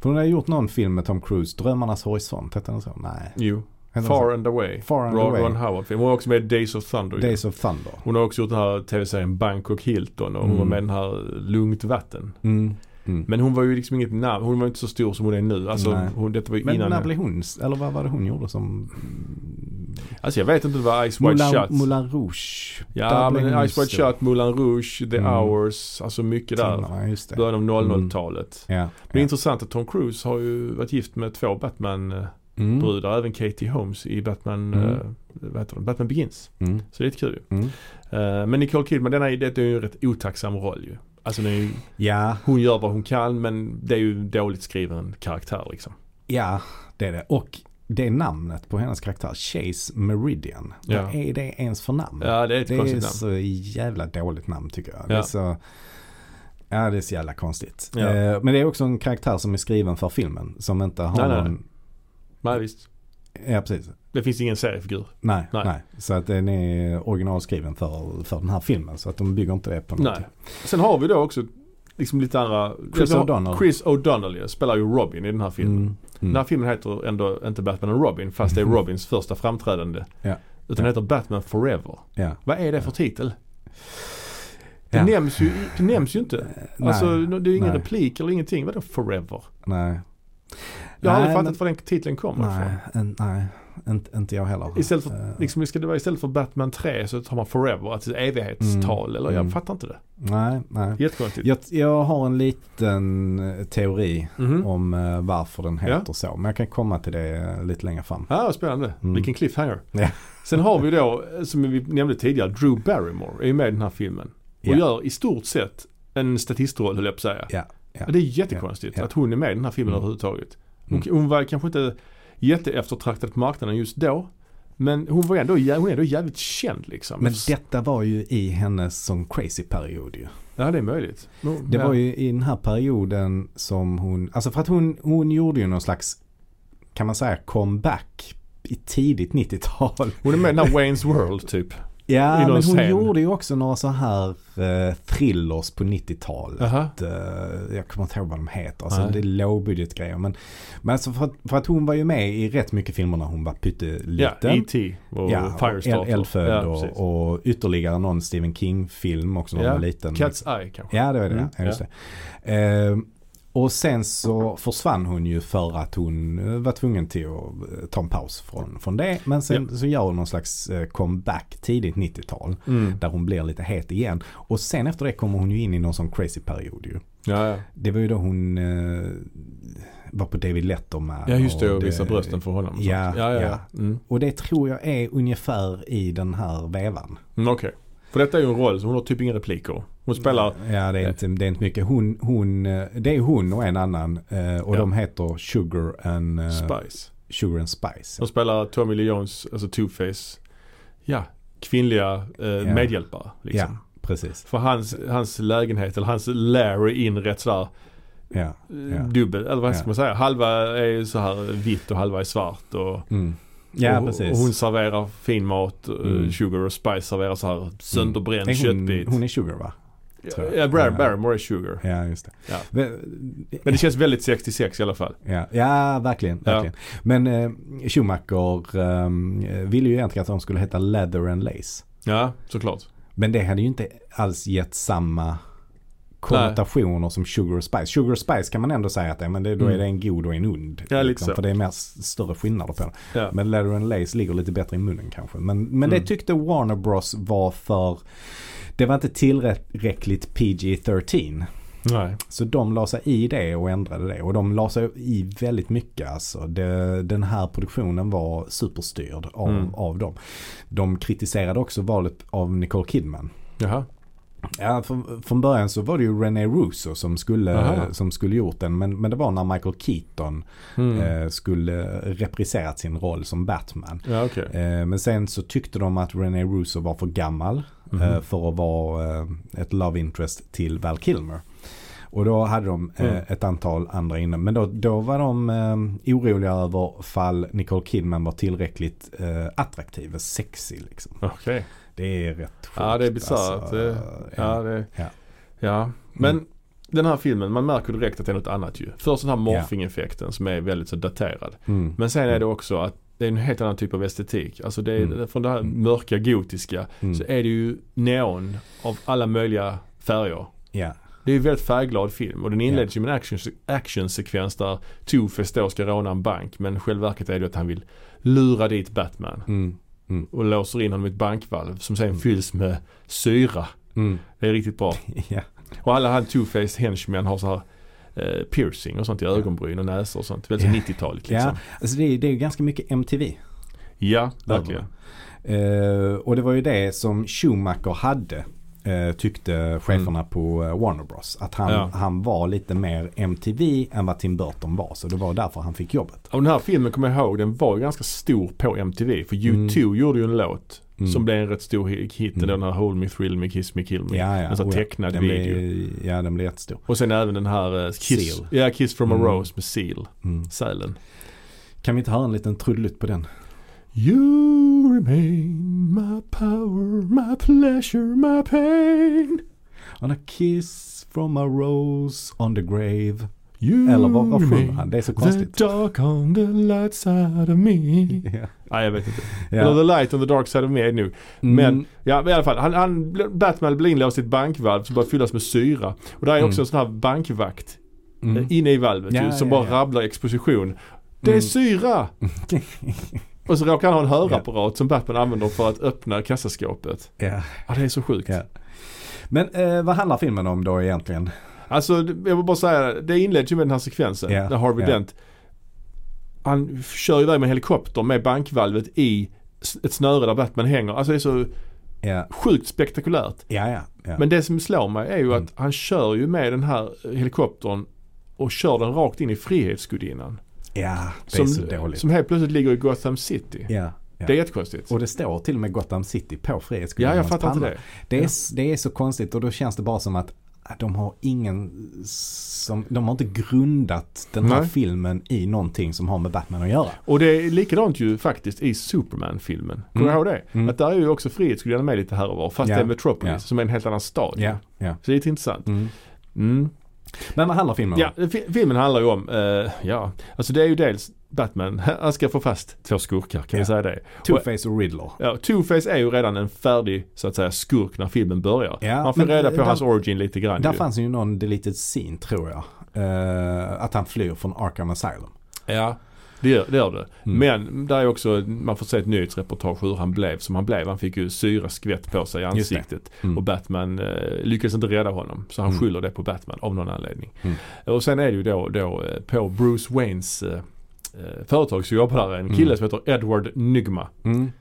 S1: För hon hade gjort någon film med Tom Cruise, Drömmarnas horisont, hette den så? Nej.
S2: Jo.
S1: Hette den
S2: Far and Away.
S1: så? Far and
S2: Ron,
S1: Away,
S2: Ron Howard film. Hon var också med i Days of Thunder. ju.
S1: Days of Thunder.
S2: Hon har också gjort den här tv-serien Bangkok Hilton och hon
S1: Mm.
S2: var med i den här Lugnt Vatten.
S1: Mm. Mm.
S2: Men hon var ju liksom inget namn. Hon var inte så stor som hon är nu. Alltså,
S1: Nej.
S2: hon, detta var ju
S1: Men
S2: innan.
S1: när blev hon, eller vad var det hon gjorde som?
S2: Alltså jag vet inte vad Ice White
S1: Moulin,
S2: Shut.
S1: Moulin Rouge.
S2: Ja
S1: Där blev hon
S2: men Ice White
S1: stor.
S2: Shut, Moulin Rouge, The
S1: Mm.
S2: Hours. Alltså mycket där.
S1: Ja, just det.
S2: Början av 00-talet.
S1: Ja.
S2: Det är
S1: ja.
S2: intressant att Tom Cruise har ju varit gift med två Batman-brudar.
S1: Mm.
S2: Även Katie Holmes i Batman,
S1: Mm.
S2: eh, vad heter den? Batman Begins.
S1: Mm.
S2: Så det är lite kul ju.
S1: Mm.
S2: Eh, men Nicole Kidman, den är, det är ju en rätt otacksam roll ju. Alltså den är ju,
S1: Ja,
S2: hon gör vad hon kan men det är ju en dåligt skriven karaktär liksom.
S1: ja, det är det. Och det är namnet på hennes karaktär, Chase Meridian.
S2: Ja.
S1: Vad är det ens för namn?
S2: Ja det är ett
S1: Mm. Det är
S2: konstigt namn.
S1: så jävla dåligt namn tycker jag. Det är
S2: Ja.
S1: så, ja, det är så jävla konstigt.
S2: Ja.
S1: Eh, Men det är också en karaktär som är skriven för filmen. Som inte har
S2: Nej, nej,
S1: någon...
S2: Nej visst.
S1: Ja, precis.
S2: Det finns ingen seriefigur.
S1: Nej, nej.
S2: Nej.
S1: Så att den är originalskriven för, för den här filmen. Så att de bygger inte det på något.
S2: Nej. Sen har vi då också liksom lite andra.
S1: Chris
S2: vi har-
S1: O'Donnell.
S2: Chris O'Donnell ja, spelar ju Robin i den här filmen.
S1: Mm,
S2: Den
S1: mm.
S2: här filmen heter ändå inte Batman och Robin fast
S1: [laughs]
S2: det är Robins första framträdande.
S1: Ja.
S2: Utan den heter Batman Forever.
S1: Ja.
S2: Vad är det för titel? Det,
S1: Ja.
S2: nämns, ju, det nämns ju inte.
S1: Nej,
S2: alltså det är ingen
S1: nej.
S2: replik eller ingenting. Vadå Forever?
S1: Nej.
S2: Jag har aldrig
S1: Nej,
S2: fattat
S1: men-
S2: var den titeln kommer
S1: Nej,
S2: ifrån.
S1: en, nej. Inte, inte jag heller.
S2: Istället för,
S1: Eh,
S2: liksom, ska det vara istället för Batman 3 så tar man Forever, alltså evighetstal
S1: Mm,
S2: eller jag
S1: mm.
S2: fattar inte det.
S1: Nej, nej.
S2: Jättekonstigt.
S1: Jag, jag har en liten eh, teori
S2: Mhm.
S1: om eh, varför den heter
S2: Ja.
S1: så. Men jag kan komma till det eh, lite längre fram.
S2: Ja, vad spännande.
S1: Mm.
S2: Vilken cliffhanger.
S1: Ja.
S2: Sen har vi då, som vi nämnde tidigare, Drew Barrymore är ju med i den här filmen. Och
S1: Ja.
S2: gör i stort sett en statistroll höll jag på att säga.
S1: Ja, ja.
S2: Det är jättekonstigt
S1: Ja, ja.
S2: att hon är med i den här filmen
S1: Mm.
S2: överhuvudtaget. Hon,
S1: Mm.
S2: hon var kanske inte jätteeftertraktad på marknaden just då. Men hon var ändå, jä- hon är ändå jävligt känd liksom.
S1: Men detta var ju i hennes som crazy-period ju.
S2: ja, det är möjligt. Men-
S1: Det
S2: ja.
S1: var ju i den här perioden som hon, alltså för att hon, hon gjorde ju någon slags, kan man säga comeback i tidigt 90-tal.
S2: Hon är med i den här Wayne's World typ.
S1: Ja,
S2: [laughs] I någon
S1: men hon
S2: scen.
S1: gjorde ju också några så här eh, thrillers på 90-talet.
S2: Aha.
S1: Eh, jag kommer inte ihåg vad de heter. Alltså,
S2: Nej.
S1: det är lågbudgetgrejer. Men, men alltså för, att, för att hon var ju med i rätt mycket filmer när hon var
S2: Ja,
S1: pytteliten.
S2: E.T. och Firestarter.
S1: El- Eldfödd
S2: Ja, precis.
S1: och, och ytterligare någon Stephen King-film också när
S2: Ja,
S1: hon var liten.
S2: Cat's Eye kanske.
S1: Ja, det var det.
S2: Mm,
S1: ja, just det. Ehm, och sen så försvann hon ju för att hon eh, var tvungen till att eh, ta en paus från, från det. Men sen så gör hon någon slags eh, comeback tidigt 90-tal.
S2: Mm.
S1: Där hon blir lite het igen. Och sen efter det kommer hon ju in i någon sån crazy period ju.
S2: Ja, ja.
S1: Det var ju då hon eh, var på David Letterman.
S2: ja, just det.
S1: och
S2: Och visa brösten för honom. och
S1: Ja,
S2: sånt. ja, ja.
S1: ja.
S2: ja. Mm.
S1: Och det tror jag är ungefär i den här vevan.
S2: Mm, Okej. För detta är ju en roll så hon har typ inga repliker. Hon spelar,
S1: Ja det är inte, det är inte mycket. Hon, hon, eh, det är hon och en annan eh, och
S2: Ja.
S1: de heter Sugar and, eh,
S2: Spice.
S1: Sugar and Spice.
S2: Hon spelar Tommy Lee Jones, alltså Two-Face. Ja, kvinnliga eh, medhjälpare. Liksom.
S1: Precis.
S2: För hans, hans lägenhet, eller hans lair är inrätt sådär
S1: Ja.
S2: eh,
S1: Ja.
S2: dubbel, eller vad ska
S1: Ja.
S2: man säga? Halva är så här vitt och halva är svart. Och,
S1: Mm. Ja
S2: och,
S1: precis.
S2: och hon serverar fin mat, eh,
S1: Mm.
S2: Sugar och Spice serverar så här sönderbränd
S1: Nej,
S2: köttbit.
S1: hon, hon är Sugar va? tror jag.
S2: ja, Bar-
S1: Ja.
S2: Barrymore är Sugar.
S1: Ja just det.
S2: Ja.
S1: Ve-
S2: Men det känns väldigt 66 i alla fall.
S1: Ja, ja verkligen.
S2: Ja.
S1: verkligen. Men eh, Schumacher eh, ville ju egentligen att de skulle heta Leather and Lace.
S2: Ja, såklart.
S1: Men det hade ju inte alls gett samma konnotationer som Sugar och Spice. Sugar och Spice kan man ändå säga att det är, men det, då är
S2: Mm.
S1: det en god och en ond. liksom,
S2: Ja, lite så.
S1: För det är mer s- större skillnader på den.
S2: Ja.
S1: Men Leather and Lace ligger lite bättre i munnen kanske. Men, men det
S2: Mm.
S1: tyckte Warner Bros var för, det var inte tillräckligt PG-13.
S2: Nej.
S1: Så de la sig i det och ändrade det. Och de la sig i väldigt mycket. Alltså. Det, den här produktionen var superstyrd av,
S2: Mm.
S1: av dem. De kritiserade också valet av Nicole Kidman.
S2: Jaha.
S1: Ja, från, från början så var det ju René Russo som skulle,
S2: Aha.
S1: som skulle gjort den. Men, men det var när Michael Keaton
S2: Mm.
S1: eh, skulle repriserat sin roll som Batman.
S2: Ja, okej.
S1: Eh, men sen så tyckte de att René Russo var för gammal
S2: Mhm.
S1: eh, för att vara eh, ett love interest till Val Kilmer. Och då hade de eh,
S2: Mm.
S1: ett antal andra inne. Men då, då var de eh, oroliga över fall Nicole Kidman var tillräckligt eh, attraktiv och sexig. Liksom.
S2: Okej.
S1: Det är rätt sjukt. alltså.
S2: Ja, det är bisarrt. Det- Ja,
S1: ja.
S2: det,
S1: Ja.
S2: ja. Mm. men den här filmen, man märker direkt att det är något annat ju. Först den här morphing-effekten som är väldigt så daterad.
S1: Mm.
S2: Men sen är det också att det är en helt annan typ av estetik. Alltså det är
S1: Mm.
S2: från det här
S1: Mm.
S2: mörka gotiska
S1: Mm.
S2: så är det ju neon av alla möjliga färger.
S1: ja.
S2: Det är ju en väldigt färgglad film och den inleds ju med en action, actionsekvens där Two-Face då ska råna en bank men själva verket är det att han vill lura dit Batman
S1: Mm.
S2: och låser in honom i ett bankvalv som sen
S1: Mm.
S2: fylls med syra.
S1: Mm.
S2: Det är riktigt bra.
S1: [laughs] ja.
S2: Och alla han two-faced henchmen har så här eh, piercing och sånt i ögonbryn och näsor och sånt. Väldigt
S1: Ja.
S2: så 90-taligt liksom.
S1: ja. Alltså det, är- det är ganska mycket MTV.
S2: Ja, verkligen.
S1: Eh, och det var ju det som Schumacher hade. eh, tyckte cheferna på eh, Warner Bros. Att han,
S2: Mm. Ja.
S1: han var lite mer MTV än vad Tim Burton var. Så det var därför han fick jobbet.
S2: Och den här filmen kommer jag ihåg, den var ju ganska stor på MTV. För U2 gjorde ju en låt
S1: Mm.
S2: som blev en rätt stor hit. Mm.
S1: Mm.
S2: Den här Hold Me Thrill Me Kiss Me Kill Me.
S1: Ja, ja.
S2: En sån
S1: Oh,
S2: här
S1: ja.
S2: Alltså, tecknad
S1: Den
S2: video.
S1: blev, ja, den blev jättestor.
S2: Och sen även den här eh, Kiss,
S1: Seal.
S2: ja, Kiss from
S1: Mm.
S2: a Rose med Seal.
S1: Mm.
S2: Sälen.
S1: Kan vi inte höra en liten trudelutt på den?
S2: You remain my power, my pleasure, my pain.
S1: On a kiss from a rose on the grave.
S2: You
S1: Eller vad, vad sjunger
S2: remain
S1: han? Det är så
S2: Mm. The
S1: konstigt.
S2: dark on the light side of [laughs] me.
S1: Ja.
S2: Nej, jag vet inte. Eller
S1: [laughs]
S2: the
S1: Ja. Mm.
S2: light on the dark side of me är det nu. Men- Ja, men i alla fall. Han, han, Batman blir inlåst i ett bankvalv som börjar fyllas med syra. Och där är
S1: Mm.
S2: också en sån här bankvakt
S1: Mm. Mm.
S2: eh, inne i valvet
S1: Ja,
S2: ju, som
S1: ja,
S2: bara
S1: ja.
S2: rabblar exposition.
S1: Mm.
S2: Det
S1: [laughs]
S2: är syra! Och så råkar han ha en hörapparat som Batman använder för att öppna kassaskåpet.
S1: Ja.
S2: Ja, det är så sjukt.
S1: Ja. Men eh, vad handlar filmen om då egentligen?
S2: Alltså det- jag vill bara säga, det inleds ju med den här sekvensen
S1: Ja,
S2: där Harvey
S1: ja.
S2: Dent han f- kör iväg med helikopter med bankvalvet i s- ett snöre där Batman hänger. Alltså det är så
S1: Ja,
S2: sjukt spektakulärt.
S1: ja, ja. ja.
S2: Men det som slår mig är ju
S1: Mm.
S2: att han kör ju med den här helikoptern och kör den rakt in i Frihetsgudinnan.
S1: ja det
S2: Som,
S1: är så dåligt.
S2: som helt plötsligt ligger i Gotham City.
S1: ja, ja.
S2: Det är jättekonstigt.
S1: Och det står till och med Gotham City på Frihetsgudinnan.
S2: Ja, jag fattar inte det.
S1: Det är,
S2: Ja.
S1: s- det är så konstigt och då känns det bara som att äh, de har ingen som, de har inte grundat den här
S2: Nej.
S1: filmen i någonting som har med Batman att göra.
S2: Och det är likadant ju faktiskt i Superman-filmen. Kommer
S1: Mm.
S2: du ihåg det?
S1: Mm.
S2: Att där är ju också Frihetsgudinnan med lite här och var. Fast
S1: Ja.
S2: det är Metropolis
S1: Ja.
S2: som är en helt annan stad.
S1: Ja, ja.
S2: Så det är lite intressant.
S1: Mm.
S2: Mm.
S1: Men vad handlar filmen om?
S2: Ja, fi- filmen handlar ju om, eh, ja, alltså det är ju dels Batman, [laughs] han ska få fast två skurkar, kan
S1: Ja.
S2: vi säga det?
S1: Two-Face och Riddler.
S2: Ja, Two-Face är ju redan en färdig, så att säga, skurk när filmen börjar.
S1: Ja,
S2: Man får
S1: men,
S2: reda
S1: eh,
S2: på
S1: där-
S2: hans origin lite grann
S1: Där
S2: ju.
S1: fanns ju någon deleted scene tror jag. Eh, att han flyr från Arkham Asylum.
S2: Ja, det gör det. Gör det.
S1: Mm.
S2: Men där är också, man får se ett nyhetsreportage hur han blev som han blev. Han fick ju syraskvätt på sig i
S1: Just det.
S2: ansiktet.
S1: Mm.
S2: Och Batman eh, lyckades inte rädda honom. Så han
S1: Mm.
S2: skyller det på Batman av någon anledning.
S1: Mm.
S2: Och sen är det ju då, då eh, på Bruce Waynes eh, eh, företag så jobbar där en kille
S1: Mm.
S2: som heter Edward Nygma.
S1: Mm.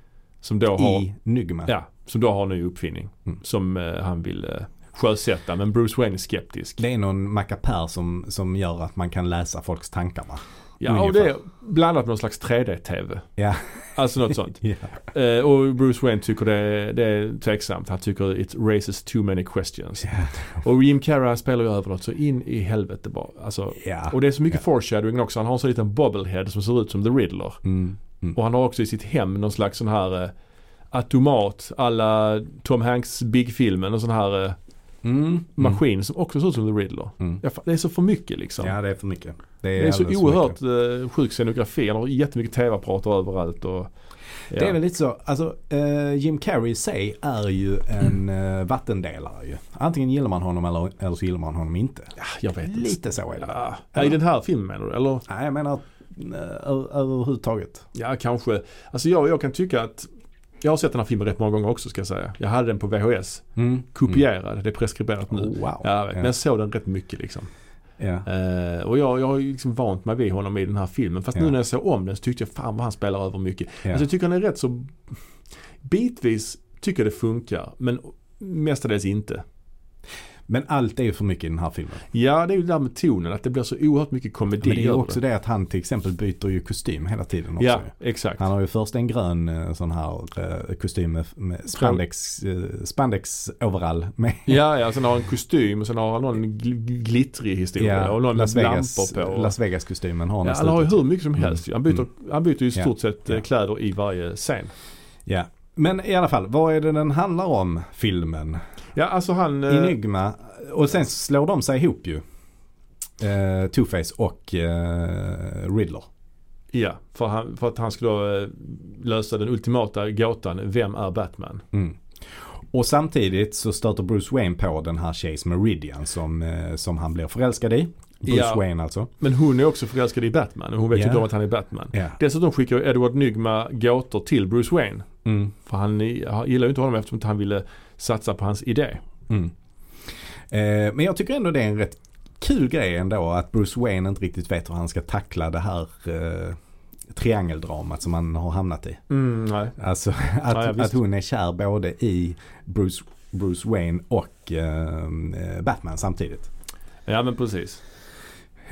S2: Som då har,
S1: I Nygma.
S2: ja, som då har en ny uppfinning.
S1: Mm.
S2: Som eh, han vill eh, sjösätta. Men Bruce Wayne är skeptisk.
S1: Det är någon mackapär som, som gör att man kan läsa folks tankar va?
S2: ja, och
S1: ungefär.
S2: det är blandat med någon slags 3D-TV.
S1: Ja.
S2: Alltså något sånt.
S1: [laughs] Ja.
S2: Eh, och Bruce Wayne tycker det, det är tveksamt. Han tycker it raises too many questions. Och Jim Carrey han spelar ju över något så in i helvete bara. Alltså,
S1: Ja.
S2: och det är så mycket
S1: Ja.
S2: foreshadowing också. Han har en sån liten bobblehead som ser ut som The Riddler.
S1: Mm. Mm.
S2: Och han har också i sitt hem någon slags sån här eh, automat alla Tom Hanks Big-filmen. En sån här eh,
S1: Mm. Mm.
S2: maskin som också ser ut som The Riddler.
S1: Mm.
S2: Ja, fan, Det är så för mycket liksom.
S1: Ja det är för mycket.
S2: Det är, så
S1: alldeles för mycket.
S2: oerhört eh, sjuk scenografi. Han har jättemycket tv-apparater överallt. Och, ja.
S1: Det är väl lite så, alltså eh, Jim Carrey i sig är ju
S2: Mm.
S1: en eh, vattendelare ju. Antingen gillar man honom eller, eller så gillar man honom inte.
S2: Ja, jag vet inte.
S1: Lite så är det.
S2: Ja, ja, i den här filmen menar du? Eller?
S1: Nej jag menar eh, ö- överhuvudtaget.
S2: Ja, kanske. Alltså jag, jag kan tycka att Jag har sett den här filmen rätt många gånger också ska jag säga. Jag hade den på VHS.
S1: Mm.
S2: Kopierad, det är preskriberat nu.
S1: Mm. Oh, wow.
S2: Ja, jag vet. Men
S1: Ja.
S2: jag såg den rätt mycket liksom.
S1: Ja.
S2: Eh, och jag, jag har ju liksom vant mig vid honom i den här filmen. Fast
S1: Ja.
S2: nu när jag såg om den så tyckte jag fan vad han spelar över mycket.
S1: Ja.
S2: Alltså jag tycker han är rätt så... Bitvis tycker jag det funkar. Men mestadels inte.
S1: Men allt är ju för mycket i den här filmen.
S2: Ja, det är ju det där med tonen. Att det blir så oerhört mycket komedi
S1: Men det är ju
S2: över
S1: också det att han till exempel byter ju kostym hela tiden också.
S2: Ja,
S1: ju.
S2: exakt.
S1: Han har ju först en grön eh, sån här eh, kostym med, med spandex, eh, spandex overall. Med,
S2: Ja, ja, sen har han kostym och sen har han någon gl- gl- glittrig historia
S1: Ja,
S2: och någon
S1: Las
S2: med
S1: Vegas,
S2: lampor på.
S1: Las Vegas-kostymen har han
S2: ja,
S1: i
S2: han har ju
S1: slutet. Mm.
S2: hur mycket som helst. Han byter, han byter ju i
S1: Ja,
S2: stort sett eh,
S1: ja.
S2: kläder i varje scen.
S1: Ja. Men i alla fall, vad är det den handlar om, filmen?
S2: Ja, alltså han... eh,
S1: Enigma. Och sen slår de sig ihop ju. Eh, Two-Face och eh, Riddler.
S2: Ja, för, han, för att han skulle då, eh, lösa den ultimata gåtan. Vem är Batman?
S1: Mm. Och samtidigt så stöter Bruce Wayne på den här Chase Meridian som, eh, som han blir förälskad i. Bruce
S2: Ja.
S1: Wayne alltså.
S2: Men hon är också förälskad i Batman och hon vet ju
S1: Ja.
S2: inte om att han är Batman.
S1: Ja.
S2: Dessutom skickar ju Edward Nygma gåtor till Bruce Wayne.
S1: Mm.
S2: För han, i- han gillar ju inte honom eftersom inte han ville satsa på hans idé.
S1: Mm. Eh, men jag tycker ändå det är en rätt kul grej ändå att Bruce Wayne inte riktigt vet hur han ska tackla det här eh, triangeldramat som han har hamnat i.
S2: Mm, nej.
S1: Alltså [laughs]
S2: Ja, ja,
S1: att,
S2: visst.
S1: att hon är kär både i Bruce, Bruce Wayne och eh, eh, Batman samtidigt.
S2: Ja men precis.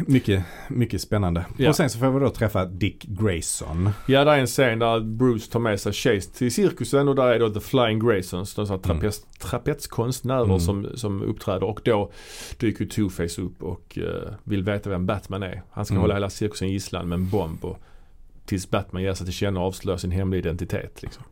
S1: Mycket, mycket spännande.
S2: Ja.
S1: Och sen så får vi då träffa Dick Grayson.
S2: Ja, där är en scen där Bruce tar med sig Chase till cirkusen och där är då The Flying Graysons, de så här trapez, trapetskonstnärer
S1: Mm.
S2: som, som uppträder. Och då dyker ju Two-Face upp och eh, vill veta vem Batman är. Han ska
S1: Mm.
S2: hålla hela cirkusen gisslan med en bomb och tills Batman ger sig till känna och avslöjar sin hemliga identitet. Liksom.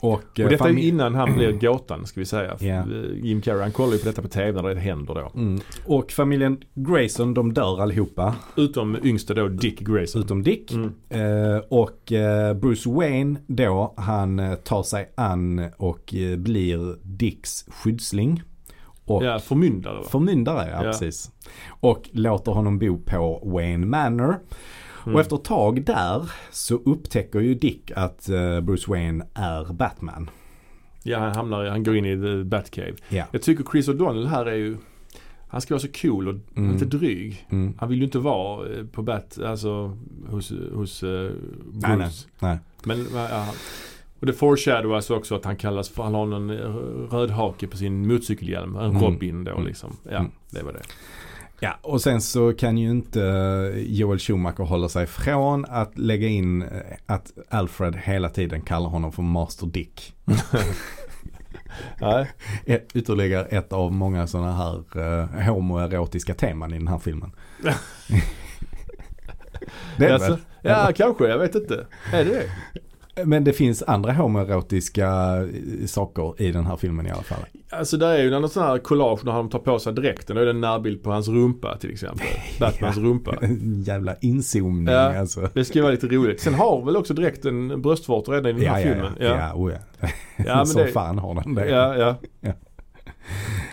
S1: Och, eh,
S2: Och detta är ju
S1: famil-
S2: innan han
S1: [clears throat]
S2: blir gåtan, ska vi säga.
S1: Ja.
S2: Eh, Jim Carrey, han kollar ju på detta på TV när det händer då.
S1: mm. och familjen Grayson de dör allihopa.
S2: Utom yngste då Dick Grayson.
S1: Utom Dick.
S2: Mm.
S1: Eh, och eh, Bruce Wayne då, han eh, tar sig an och eh, blir Dicks skyddsling. Och
S2: Ja, förmyndare va?
S1: förmyndare, ja,
S2: Ja.
S1: precis. Och låter honom bo på Wayne Manor.
S2: Mm.
S1: Och efter ett tag där så upptäcker ju Dick att eh, Bruce Wayne är Batman.
S2: Ja, han hamnar, han går in i The Batcave.
S1: Ja.
S2: Jag tycker Chris O'Donnell här är ju han ska vara så cool och
S1: Mm.
S2: inte dryg.
S1: Mm.
S2: Han vill ju inte vara eh, på Bat, alltså hos, hos eh, Bruce.
S1: Nej, nej. nej.
S2: Men, va- ja, han- och det foreshadowas också att han kallas för, han har någon eh, röd hake på sin motorcykelhjälm. En
S1: Mm.
S2: Robin då
S1: Mm.
S2: liksom. Ja,
S1: Mm.
S2: det var det.
S1: Ja, och sen så kan ju inte eh, Joel Schumacher hålla sig från att lägga in eh, att Alfred hela tiden kallar honom för Master Dick.
S2: Nej.
S1: Ett, eh, ytterligare ett av många sådana här eh, homoerotiska teman i den här
S2: [laughs]
S1: filmen. det är det väl?
S2: Alltså, Ja, kanske. Jag vet inte. Är det det?
S1: Men det finns andra homoerotiska eh, saker i den här filmen i alla fall.
S2: Alltså det är ju någon sån här collage när han tar på sig dräkten. Då är det en närbild på hans rumpa till exempel. [laughs]
S1: [laughs]
S2: Batmans rumpa.
S1: En jävla inzoomning
S2: Ja.
S1: alltså.
S2: Det ska ju vara lite roligt. Sen har väl också direkt en bröstvårta redan i den
S1: Ja,
S2: här
S1: ja, ja.
S2: filmen.
S1: ja. ja, oh, ja.
S2: Ja, men
S1: Som
S2: det-
S1: fan har den det.
S2: ja, ja.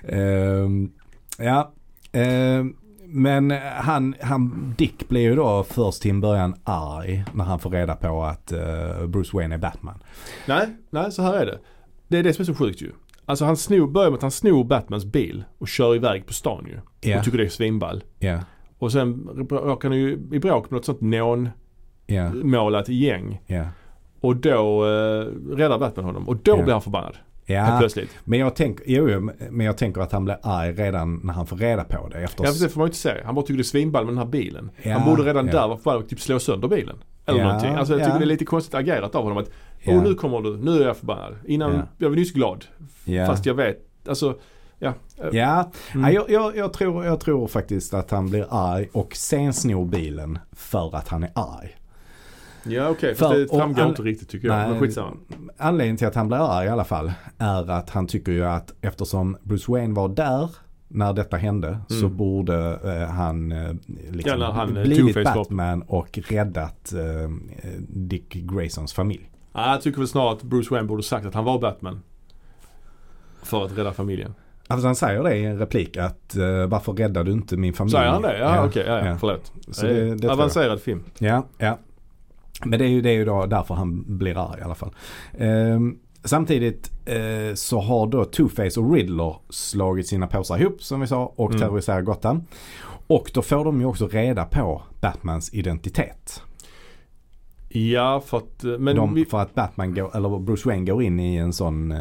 S1: Ehm, ja. Ehm, men han, han, Dick blir ju då först till en början arg när han får reda på att eh, Bruce Wayne är Batman.
S2: Nej, nej, så här är det. Det är det som är så sjukt ju. Alltså han snor, börjar med att han snor Batmans bil och kör iväg på stan ju.
S1: Ja.
S2: Och tycker det är svinball.
S1: Ja,
S2: Och sen råkar han ju i bråk med något sånt
S1: ja,
S2: neonmålat gäng.
S1: ja.
S2: Och då eh, räddar Batman honom. Och då
S1: Ja.
S2: blir han förbannad. Helt
S1: Ja,
S2: plötsligt.
S1: men jag, tänker, jo, jo, men jag tänker att han blir arg redan när han får reda på det. Efter,
S2: Ja, för det får man ju inte se. Han bara tycker det är svinball med den här bilen.
S1: Ja,
S2: Han borde redan
S1: ja.
S2: där vara förbannad och typ slå sönder bilen. Eller
S1: Ja,
S2: någonting. Alltså jag tycker
S1: ja.
S2: det är lite konstigt agerat av honom att
S1: ja,
S2: oh, nu kommer du, nu är jag förbannad. Innan,
S1: Ja.
S2: jag var nyss glad.
S1: ja.
S2: Fast jag vet, alltså ja. eh,
S1: Ja,
S2: Mm.
S1: Nej, jag, jag, jag, tror, jag tror faktiskt att han blir arg och sen snor bilen för att han är arg.
S2: Ja okej,
S1: För-
S2: fast det
S1: och
S2: framgår
S1: all-
S2: inte riktigt tycker jag.
S1: Nej.
S2: Men skitsamma.
S1: Anledningen till att han blir arg i alla fall är att han tycker ju att eftersom Bruce Wayne var där när detta hände så borde eh, han eh,
S2: Mm. Ja,
S1: liksom
S2: när han, eh,
S1: blivit
S2: Two-Face var-
S1: Batman och räddat eh, eh, Dick Graysons familj.
S2: Nej, jag tycker väl snarare att Bruce Wayne borde sagt att han var Batman. För att rädda familjen.
S1: Alltså han säger det i en replik att eh, varför räddade du inte min familj?
S2: Säger han det? Ja,
S1: Ja,
S2: okej, ja, ja,
S1: ja.
S2: förlåt.
S1: Så
S2: Eh,
S1: det, det tror jag.
S2: avancerad film.
S1: Ja, ja. Men det är ju, det är ju då därför han blir arg i alla fall. Ehm, Samtidigt eh, så har då Two-Face och Riddler slagit sina påsar ihop som vi sa och
S2: Mm.
S1: terroriserar Gotham. Och då får de ju också reda på Batmans identitet.
S2: Ja, för att, eh, men
S1: de,
S2: vi,
S1: För att Batman går, eller Bruce Wayne går in i en sån eh,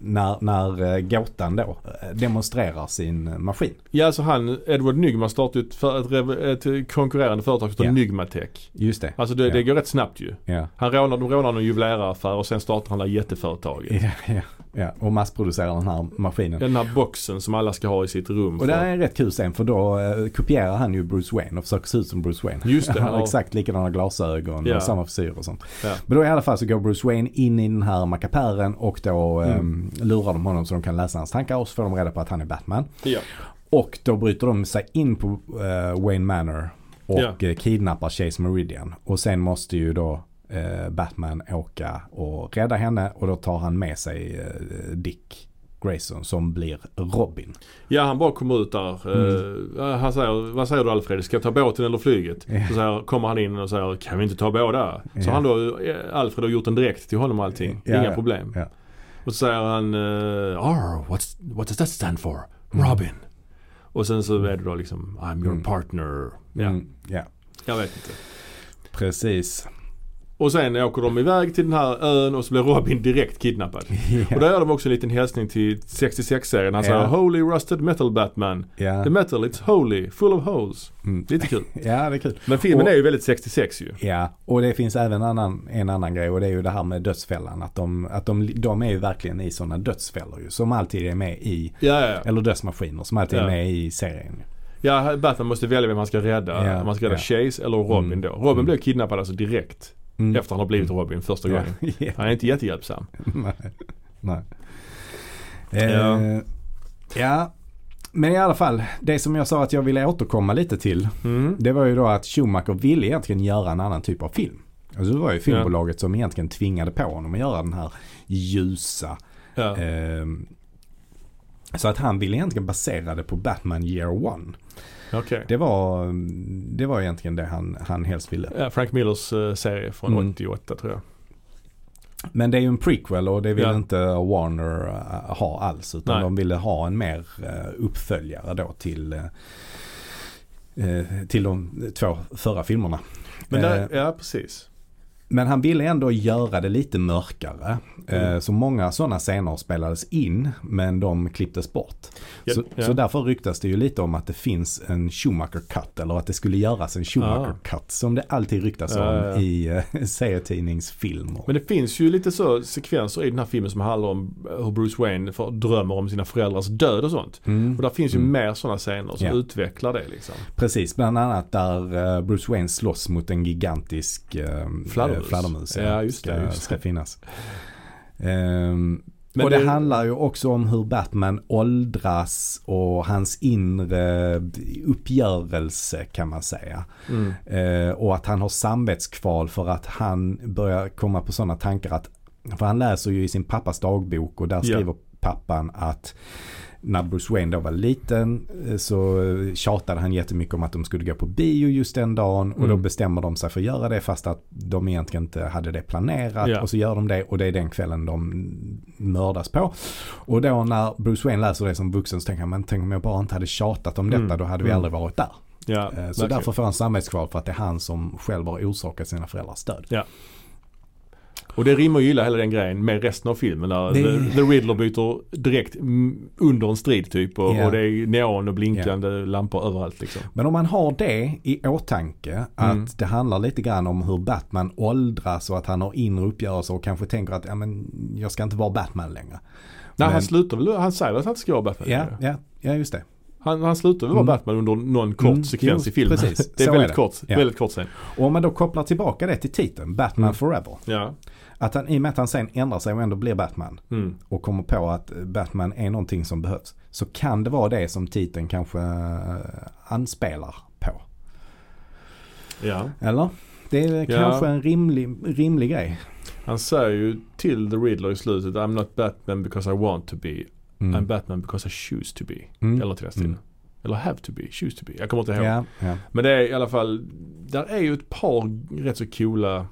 S1: när, när eh, gåtan då eh, demonstrerar sin eh, maskin.
S2: ja, alltså han, Edward Nygma startade ju ett, för- ett, rev- ett konkurrerande företag som heter
S1: Ja.
S2: Nygmatech.
S1: Just det.
S2: Alltså det, det går rätt snabbt ju.
S1: Ja.
S2: Han rånar, de rånar en juveleraraffär och sen startar han det här jätteföretaget.
S1: Ja, ja, ja. Och massproducerar den här maskinen.
S2: Den här boxen som alla ska ha i sitt rum.
S1: Och det här
S2: för-
S1: är en rätt kul scen för då eh, kopierar han ju Bruce Wayne och försöker se ut som Bruce Wayne. [laughs]
S2: Just det,
S1: han har
S2: ja.
S1: exakt likadana glasögon
S2: Ja.
S1: och samma frisyr och sånt.
S2: Ja.
S1: Men då i alla fall så går Bruce Wayne in i den här mackapären och då
S2: Mm.
S1: eh, lurar de honom så de kan läsa hans tankar och så får de reda på att han är Batman.
S2: ja.
S1: Och då bryter de sig in på eh, Wayne Manor och
S2: Ja.
S1: eh, kidnappar Chase Meridian. Och sen måste ju då eh, Batman åka och rädda henne och då tar han med sig eh, Dick Grayson som blir Robin.
S2: ja, han bara kommer ut där. Eh, han säger, vad säger du Alfred? Ska jag ta båten eller flyget?
S1: Mm. Ja.
S2: Så säger, kommer han in och säger, kan vi inte ta båda? Så
S1: Ja.
S2: han då, eh, Alfred har gjort en direkt till honom och allting.
S1: Ja,
S2: Inga
S1: ja.
S2: problem.
S1: Ja.
S2: Och så säger han, eh, R, what's, what does that stand for? Robin. Och sen så är det då liksom, I'm your
S1: Mm.
S2: partner. Ja,
S1: Mm, ja.
S2: jag vet inte.
S1: Precis.
S2: Och sen åker de iväg till den här ön och så blir Robin direkt kidnappad. Och där gör de också en liten hälsning till 66-serien. Han säger
S1: Ja.
S2: Holy Rusted Metal Batman.
S1: [laughs] Ja.
S2: The metal it's holy, full of holes.
S1: Mm.
S2: Lite kul.
S1: ja, det är kul.
S2: Men filmen
S1: Och-
S2: är ju väldigt 66 ju.
S1: Ja, och det finns även annan, en annan grej och det är ju det här med dödsfällan. Att de, att de, de är ju verkligen i sådana dödsfällor ju, som alltid är med i,
S2: Ja, ja.
S1: eller dödsmaskiner som alltid
S2: Ja.
S1: är med i serien.
S2: ja, Batman måste välja vem han ska rädda.
S1: Ja,
S2: Om han ska rädda Chase eller Robin
S1: Mm.
S2: då. Robin
S1: Mm.
S2: blir kidnappad alltså direkt
S1: Mm.
S2: efter han har blivit Robin första
S1: Ja.
S2: gången.
S1: [laughs] Ja.
S2: Han är inte jättehjälpsam.
S1: Nej. Nej.
S2: Ja.
S1: Eh, ja, men i alla fall. Det som jag sa att jag ville återkomma lite till.
S2: Mm.
S1: Det var ju då att Schumacher ville egentligen göra en annan typ av film. Alltså det var ju filmbolaget som egentligen tvingade på honom att göra den här ljusa.
S2: Ja.
S1: Eh, så att han ville egentligen basera det på Batman Year One.
S2: Okej.
S1: Det var, det var egentligen det han, han helst ville.
S2: Ja, Frank Millers eh, serie från
S1: Mm.
S2: 88 tror jag.
S1: Men det är ju en prequel och det vill
S2: Ja.
S1: inte Warner eh, ha alls. Utan
S2: Nej.
S1: de ville ha en mer eh, uppföljare då till, eh, eh, till de två förra filmerna.
S2: Men
S1: Eh,
S2: där, ja precis.
S1: Men han ville ändå göra det lite mörkare. Eh,
S2: Mm.
S1: Så många sådana scener spelades in men de klipptes bort.
S2: Ja,
S1: så,
S2: ja.
S1: så därför ryktas det ju lite om att det finns en Schumacher cut eller att det skulle göras en Schumacher cut som det alltid ryktas om
S2: Ah. Ja, ja, ja.
S1: i eh, serietidningsfilmer.
S2: Men det finns ju lite så sekvenser i den här filmen som handlar om eh, hur Bruce Wayne för, drömmer om sina föräldrars död och sånt.
S1: Mm.
S2: Och där finns ju
S1: Mm.
S2: mer sådana scener som
S1: Ja.
S2: utvecklar det liksom.
S1: Precis, bland annat där eh, Bruce Wayne slåss mot en gigantisk eh,
S2: Fladdermus.
S1: eh, fladdermus ja,
S2: Ja, just det,
S1: ska,
S2: just det.
S1: ska finnas. Ehm,
S2: Men
S1: och det,
S2: det-
S1: handlar ju också om hur Batman åldras och hans inre uppgörelse kan man säga.
S2: Mm.
S1: Eh, och att han har samvetskval för att han börjar komma på sådana tankar att, för han läser ju i sin pappas dagbok och där
S2: Ja.
S1: skriver pappan att när Bruce Wayne då var liten eh, så eh, tjatade han jättemycket om att de skulle gå på bio just den dagen och då
S2: Mm.
S1: bestämmer de sig för att göra det fast att de egentligen inte hade det planerat
S2: Ja.
S1: och så gör de det och det är den kvällen de mördas på. Och då när Bruce Wayne läser det som vuxen så tänker han men tänk om jag bara inte hade tjatat om detta
S2: Mm.
S1: då hade vi
S2: Mm.
S1: aldrig varit där.
S2: Ja,
S1: Eh, Så
S2: verkligen.
S1: därför får han samvetskval för att det är han som själv har orsakat sina föräldrars död.
S2: Och det rimmar ju illa hela den grejen med resten av filmen där
S1: Det-
S2: The, The Riddler byter direkt mm, under en strid typ och,
S1: Ja.
S2: och det är neon och blinkande lampor överallt liksom.
S1: Men om man har det i åtanke att
S2: Mm.
S1: det handlar lite grann om hur Batman åldras och att han har inre uppgörelser och kanske tänker att ja, men, jag ska inte vara Batman längre.
S2: Nej
S1: Men-
S2: han slutar väl, han säger väl att han inte ska vara Batman?
S1: Ja, ja, ja just det.
S2: Han, han slutar väl vara
S1: Mm.
S2: Batman under någon kort
S1: Mm,
S2: sekvens
S1: jo,
S2: i filmen.
S1: precis.
S2: [laughs] det är
S1: Så
S2: väldigt
S1: är det.
S2: kort,
S1: Ja.
S2: väldigt kort sen.
S1: Och om man då kopplar tillbaka det till titeln, Batman
S2: Mm.
S1: Forever.
S2: Ja.
S1: Att han, I och med att han sen ändrar sig och ändå blir Batman
S2: Mm.
S1: och kommer på att eh, Batman är någonting som behövs. Så kan det vara det som titeln kanske eh, anspelar på.
S2: ja.
S1: Eller? Det är
S2: Ja.
S1: kanske en rimlig, rimlig grej.
S2: Han säger ju till The Riddler i slutet I'm not Batman because I want to be. I'm Batman because I choose to be.
S1: Mm.
S2: Eller till den stilen.
S1: Mm.
S2: Eller have to be, choose to be. Jag kommer inte ihåg.
S1: Ja, ja.
S2: Men det är i alla fall, där är ju ett par rätt så coola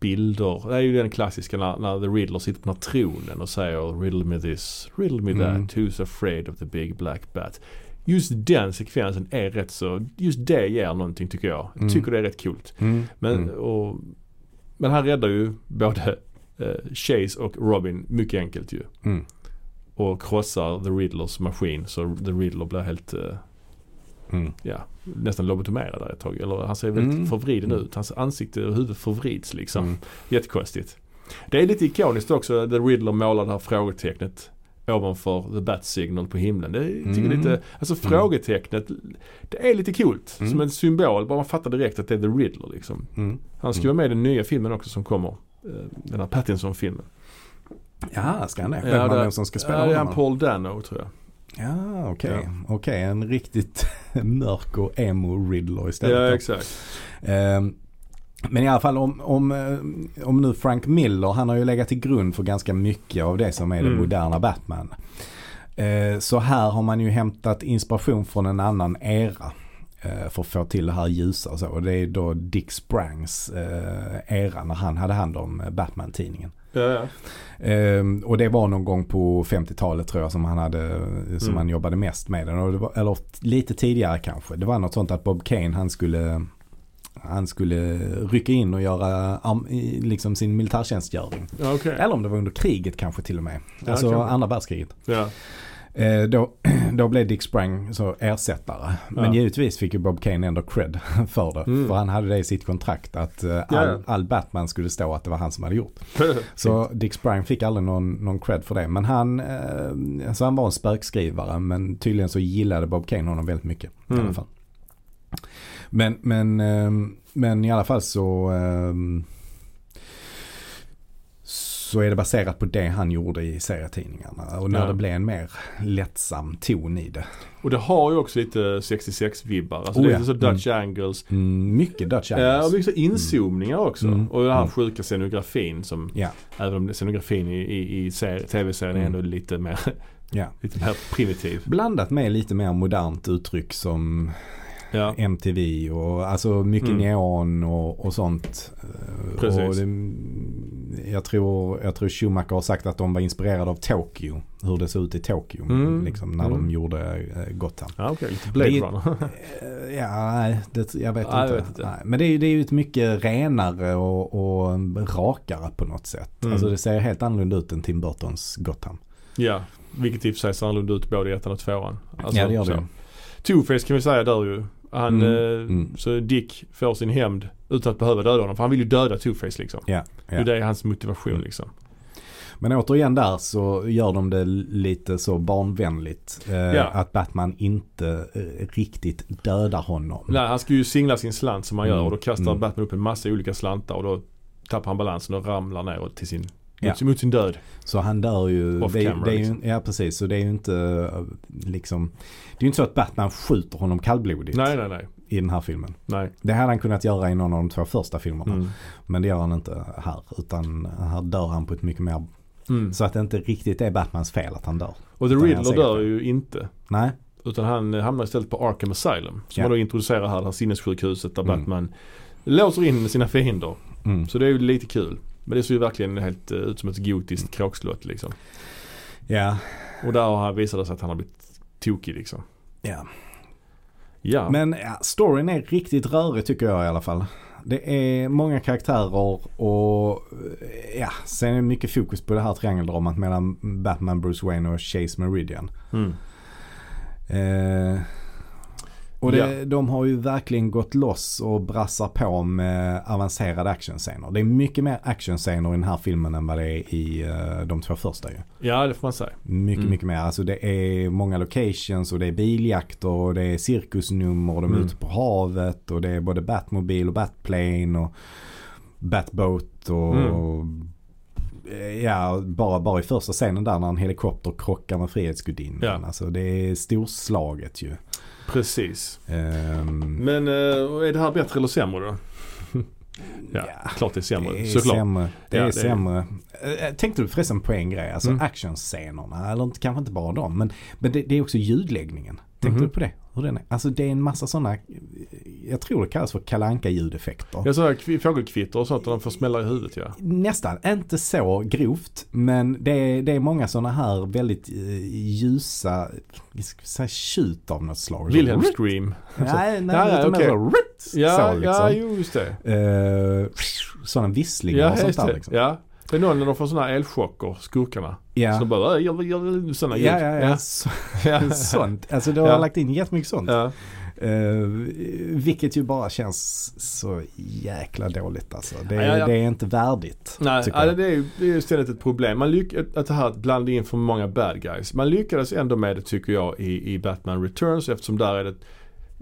S2: bilder. Det är ju den klassiska när, när The Riddler sitter på den här tronen och säger Riddle me this, riddle me that,
S1: Mm.
S2: who's afraid of the big black bat. Just den sekvensen är rätt så, just det ger någonting tycker jag. Jag
S1: Mm.
S2: tycker det är rätt coolt.
S1: Mm.
S2: Men,
S1: Mm.
S2: och, men han räddar ju både eh, Chase och Robin mycket enkelt ju.
S1: Mm.
S2: Och krossar The Riddlers maskin så The Riddler blir helt, eh,
S1: Mm.
S2: ja, nästan lobotomerad där ett tag. Eller han ser väldigt
S1: Mm.
S2: förvriden
S1: Mm.
S2: ut. Hans ansikte och huvud förvrids liksom.
S1: Mm.
S2: Jättekonstigt. Det är lite ikoniskt också. eh, The Riddler målar det här frågetecknet ovanför The Bat Signal på himlen. Det är, jag tycker
S1: Mm.
S2: lite, alltså frågetecknet, det är lite coolt.
S1: Mm.
S2: Som en symbol, bara man fattar direkt att det är The Riddler liksom.
S1: Mm.
S2: Han ska vara med i den nya filmen också som kommer. Eh, Den här Pattinson-filmen.
S1: Ja, ska han det?
S2: Ja,
S1: Vem
S2: det-
S1: ja, som ska spela
S2: Ja, det är
S1: honom?
S2: han Paul Dano tror jag.
S1: Ja, okej. Okej, en riktigt [laughs] mörk och emo Riddler istället.
S2: Ja,
S1: då.
S2: exakt.
S1: Ehm, Men i alla fall om, om, eh, om nu Frank Miller, han har ju legat till grund för ganska mycket av det som är den
S2: Mm.
S1: moderna Batman. Eh, Så här har man ju hämtat inspiration från en annan era eh, för att få till det här ljusa och så. Och det är då Dick Sprangs eh, era när han hade hand om eh, Batman-tidningen.
S2: Ja, ja.
S1: Ehm, och det var någon gång på 50-talet tror jag som han, hade, som
S2: Mm.
S1: han jobbade mest med den. Och det var, eller lite tidigare kanske. Det var något sånt att Bob Kane han skulle, han skulle rycka in och göra arm, i- liksom sin militärtjänstgöring.
S2: ja okej.
S1: Eller om det var under kriget kanske till och med.
S2: Ja,
S1: alltså
S2: kanske.
S1: andra världskriget.
S2: Ja. [laughs]
S1: Eh, då, [clears throat] då blev Dick Sprang så ersättare. Men
S2: Ja.
S1: givetvis fick ju Bob Kane ändå cred [laughs] för det.
S2: Mm.
S1: För han hade det i sitt kontrakt att eh,
S2: Ja.
S1: all, all Batman skulle stå att det var han som hade gjort. Så Dick Sprang fick aldrig någon, någon cred för det. Men han, eh, alltså han var en spökskrivare men tydligen så gillade Bob Kane honom väldigt mycket. I alla
S2: Mm.
S1: fall. Men, men, eh, men i alla fall så eh, så är det baserat på det han gjorde i serietidningarna. Och när
S2: Ja.
S1: det blev en mer lättsam ton i det.
S2: Och det har ju också lite 66-vibbar. Alltså
S1: Oh,
S2: det är
S1: ja.
S2: lite så Dutch angles.
S1: Mm, mycket Dutch
S2: Ja, och
S1: Angles.
S2: mycket så inzoomningar också.
S1: Mm.
S2: Och den här
S1: Mm.
S2: sjuka scenografin som,
S1: Ja,
S2: även om scenografin i, i, i ser- tv-serien är
S1: Mm.
S2: ändå lite mer, [laughs]
S1: ja.
S2: lite mer primitiv.
S1: Blandat med lite mer modernt uttryck som
S2: Ja,
S1: MTV och alltså mycket
S2: Mm.
S1: neon och, och sånt. Eh,
S2: Precis.
S1: Och det, jag, tror, jag tror Schumacher har sagt att de var inspirerade av Tokyo. Hur det såg ut i Tokyo.
S2: Mm.
S1: Liksom, när
S2: Mm.
S1: de gjorde eh, Gotham.
S2: ja okej. Lite Blade
S1: Det-
S2: Runner. [laughs]
S1: Eh, Ja, nej, det, jag vet
S2: Nej, jag
S1: inte.
S2: vet inte.
S1: Nej, men det är ju det är ju ett mycket renare och, och rakare på något sätt.
S2: Mm.
S1: Alltså det ser helt annorlunda ut än Tim Burtons Gotham.
S2: ja, vilket i och för sig ser annorlunda ut både i ettan och tvåan. Alltså,
S1: ja, det gör
S2: så.
S1: det.
S2: Two-Face kan vi säga där ju. Han,
S1: Mm.
S2: eh,
S1: Mm.
S2: Så Dick får sin hämnd utan att behöva döda honom. För han vill ju döda Two-Face liksom.
S1: Ja, ja.
S2: Det är hans motivation
S1: Mm.
S2: liksom.
S1: Men återigen där så gör de det lite så barnvänligt. Eh,
S2: Ja.
S1: Att Batman inte eh, riktigt dödar honom.
S2: Nej, han ska ju singla sin slant som han gör
S1: Mm.
S2: och då kastar
S1: Mm.
S2: Batman upp en massa olika slantar och då tappar han balansen och ramlar ner till sin,
S1: Ja.
S2: mot, sin- mot sin död.
S1: Så han dör ju.
S2: Off
S1: det, är-
S2: camera,
S1: det är ju
S2: liksom.
S1: ja precis. Så det är ju inte eh, liksom. Det är ju inte så att Batman skjuter honom kallblodigt
S2: Nej, nej, nej.
S1: i den här filmen.
S2: nej.
S1: Det hade han kunnat göra i någon av de två första filmerna.
S2: Mm.
S1: Men det gör han inte här. Utan här dör han på ett mycket mer.
S2: Mm.
S1: Så att det inte riktigt är Batmans fel att han dör.
S2: Och The
S1: Utan
S2: Riddler
S1: han säger
S2: dör
S1: det.
S2: ju inte.
S1: Nej.
S2: Utan han eh, hamnar istället på Arkham Asylum. Som
S1: Ja.
S2: man då introducerar här, det här sinnessjukhuset där
S1: Mm.
S2: Batman låser in sina fiender.
S1: Mm.
S2: Så det är ju lite kul. Men det ser ju verkligen helt eh, ut som ett gotiskt kråkslott liksom.
S1: Ja.
S2: Och där har han visat sig att han har blivit tokig liksom.
S1: Ja.
S2: Ja.
S1: Men ja, storyn är riktigt rörig tycker jag i alla fall. Det är många karaktärer och eh, ja, sen är det mycket fokus på det här triangeldramat mellan Batman, Bruce Wayne och Chase Meridian.
S2: Mm.
S1: Eh, och det, de har ju verkligen gått loss och brassar på med avancerade actionscener. Det är mycket mer actionscener i den här filmen än vad det är i eh, de två första ju.
S2: ja, det får man säga.
S1: Mycket,
S2: Mm.
S1: mycket mer. Alltså det är många locations och det är biljakter och det är cirkusnummer och de är
S2: Mm.
S1: ute på havet och det är både Batmobil och Batplane och Batboat och
S2: Mm.
S1: eh, ja, bara, bara i första scenen där när en helikopter krockar med Frihetsgudinnan.
S2: Ja.
S1: Alltså det är storslaget ju.
S2: Precis.
S1: Ehm,
S2: Men eh, är det här bättre eller sämre då? Ja,
S1: Ja,
S2: klart det är sämre.
S1: Ah, det är
S2: såklart.
S1: sämre. Det
S2: Ja,
S1: är
S2: det är-
S1: sämre. Eh, Tänkte du förresten på en grej, alltså
S2: Mm.
S1: actionscenerna, eller inte- kanske inte bara dem, men, men det, det är också ljudläggningen. Tänkte
S2: Mhm.
S1: du på det? Hur den är? Alltså det är en massa sådana jag tror det kallas för kalanka ljudeffekter
S2: Jag sa fågelkvitter och sånt där de får smälla i huvudet ja.
S1: Nästan, inte så grovt. Men det är, det är många sådana här väldigt eh, ljusa, vi ska säga tjut av något slag.
S2: Wilhelm Scream.
S1: Nej, nej,
S2: Ja, ja,
S1: lite
S2: okej.
S1: mer så, rutt,
S2: Ja,
S1: så
S2: ja,
S1: liksom.
S2: jo just det.
S1: Eh, sådana visslingar
S2: Ja,
S1: och sånt
S2: just
S1: där
S2: det.
S1: liksom.
S2: Ja. Det är någon när de får sådana här elchocker, skurkarna. Så de bara, "Äh, gör, gör sådana ljud.
S1: ja, ja. ja. [laughs] Så,
S2: ja.
S1: sånt. Alltså du har
S2: Ja.
S1: lagt in jättemycket sånt.
S2: ja.
S1: Eh, vilket ju bara känns så jäkla dåligt alltså. Det,
S2: Ja, ja, ja.
S1: det är inte värdigt.
S2: Nej,
S1: tycker
S2: nej,
S1: jag.
S2: det är ju det är ju ständigt ett problem. Man lyck, att det här att blanda in för många bad guys. Man lyckades ändå med det tycker jag i, i Batman Returns eftersom där är det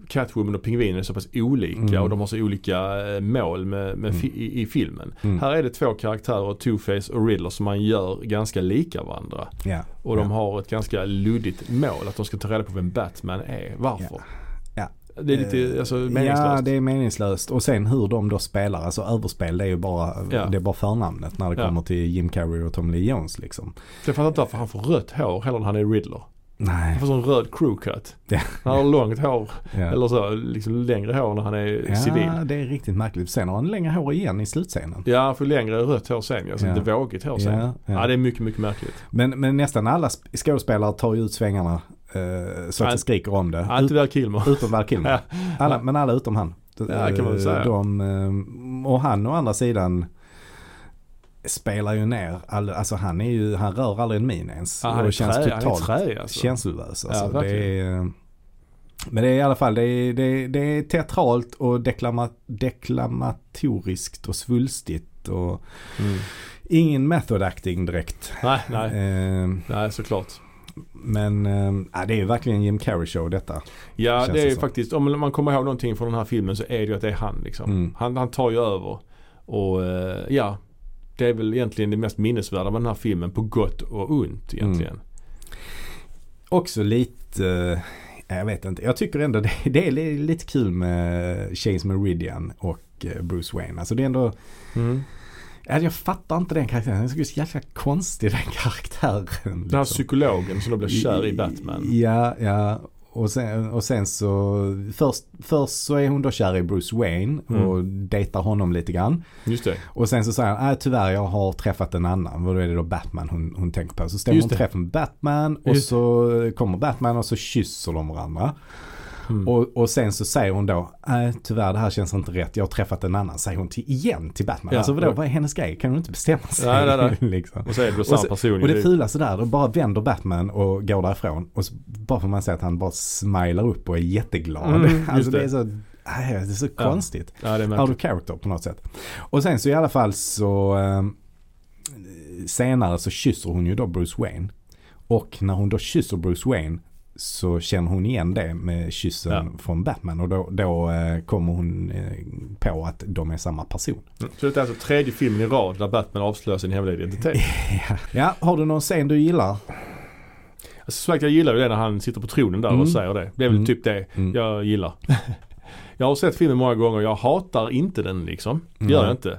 S2: Catwoman och Pingvinen är så pass olika
S1: Mm.
S2: och de har så olika eh, mål med, med fi, i, i filmen.
S1: Mm.
S2: Här är det två karaktärer, Two-Face och Riddler, som man gör ganska lika varandra.
S1: Ja.
S2: Och de
S1: Ja.
S2: har ett ganska luddigt mål, att de ska ta reda på vem Batman är. Varför?
S1: Ja. Eh,
S2: Det är lite alltså, meningslöst.
S1: Ja, det är meningslöst. Och sen hur de då spelar, alltså överspel det är ju bara,
S2: Ja.
S1: det är bara förnamnet när det
S2: Ja.
S1: kommer till Jim Carrey och Tom Lee Jones liksom.
S2: Jag fattar inte varför han får rött hår heller när han är Riddler. Han
S1: Nej.
S2: får sån röd crewcut.
S1: Ja.
S2: Han har långt hår,
S1: Ja.
S2: eller så liksom längre hår när han är civil.
S1: ja, det är riktigt märkligt. Sen har han längre hår igen i slutscenen.
S2: Ja, han får längre rött hår sen. Alltså
S1: Ja.
S2: lite vågigt hår sen.
S1: Ja,
S2: Ja,
S1: ja.
S2: det är mycket, mycket märkligt.
S1: Men, men nästan alla sp- skådespelare tar ju ut svängarna eh, så att
S2: Ja.
S1: det skriker om det.
S2: Ja, inte
S1: Ut,
S2: där
S1: [laughs]
S2: Kilmer.
S1: utom Val Kilmer.
S2: Ja.
S1: Alla, men alla utom han.
S2: Ja, det kan man väl säga.
S1: De, eh, och han å andra sidan spelar ju ner, all, alltså han är ju, han rör aldrig en min ens.
S2: Ja,
S1: Och
S2: han är
S1: det känns
S2: trä, han är
S1: totalt
S2: trä alltså.
S1: känslolös.
S2: Ja,
S1: Alltså.
S2: verkligen.
S1: det är, men det är i alla fall, det är, det är, det är teatralt och deklama, deklamatoriskt och svulstigt. Och
S2: Mm.
S1: ingen method acting direkt.
S2: Nej, nej.
S1: Eh,
S2: Nej, såklart.
S1: men eh, ja, det är ju verkligen Jim Carrey show detta.
S2: Ja,
S1: Känns
S2: det är
S1: det så.
S2: faktiskt, om man kommer ihåg någonting från den här filmen så är det ju att det är han liksom.
S1: Mm.
S2: Han, han tar ju över. Och eh, ja, det är väl egentligen det mest minnesvärda med den här filmen på gott och ont egentligen.
S1: Också lite, eh, jag vet inte, jag tycker ändå [laughs] det, det är li- lite kul med James Meridian och eh, Bruce Wayne. Alltså det är ändå,
S2: Mm.
S1: ja, jag fattar inte den karaktären, den är så jäkla konstig den [laughs] karaktären.
S2: Den här
S1: liksom.
S2: psykologen som då blir kär i Batman.
S1: Ja, ja. Och sen, och sen så, först, först så är hon då kär i Bruce Wayne och
S2: Mm.
S1: dejtar honom lite grann.
S2: Just det.
S1: Och sen så säger han, nej tyvärr jag har träffat en annan. Vad är det då Batman hon, hon tänker på? Så stämmer
S2: Just
S1: hon
S2: det.
S1: träffen med Batman och
S2: Just
S1: så kommer Batman och så kysser de varandra.
S2: Mm.
S1: Och, och sen så säger hon då, nej tyvärr det här känns inte rätt, jag har träffat en annan, säger hon till, igen till Batman.
S2: Ja.
S1: Alltså vadå, vad är hennes grej? Kan hon inte bestämma sig?
S2: Nej, nej,
S1: [laughs]
S2: nej.
S1: liksom.
S2: Och så är det då samma
S1: så-
S2: person.
S1: Och
S2: ju.
S1: det fulaste där, då bara vänder Batman och går därifrån. Och så bara får man se att han bara smilar upp och är jätteglad.
S2: Mm,
S1: [laughs]
S2: just
S1: alltså det är
S2: det.
S1: så, nej, det är så
S2: Ja.
S1: konstigt.
S2: Ja, det är
S1: Out
S2: märkligt.
S1: of character på något sätt. Och sen så i alla fall så eh, senare så kysser hon ju då Bruce Wayne. Och när hon då kysser Bruce Wayne så känner hon igen det med kyssen
S2: Ja.
S1: från Batman. Och då, då eh, kommer hon eh, på att de är samma person.
S2: Mm. Så det är alltså tredje filmen i rad där Batman avslöjar sin hemliga identitet.
S1: [laughs] Ja, har du någon scen du gillar?
S2: Alltså, som sagt, jag gillar ju det när han sitter på tronen där
S1: Mm.
S2: och säger det. Det är väl
S1: Mm.
S2: typ det
S1: Mm. [laughs]
S2: jag gillar. jag har sett filmen många gånger. Jag hatar inte den liksom. Det gör
S1: Nej.
S2: jag inte.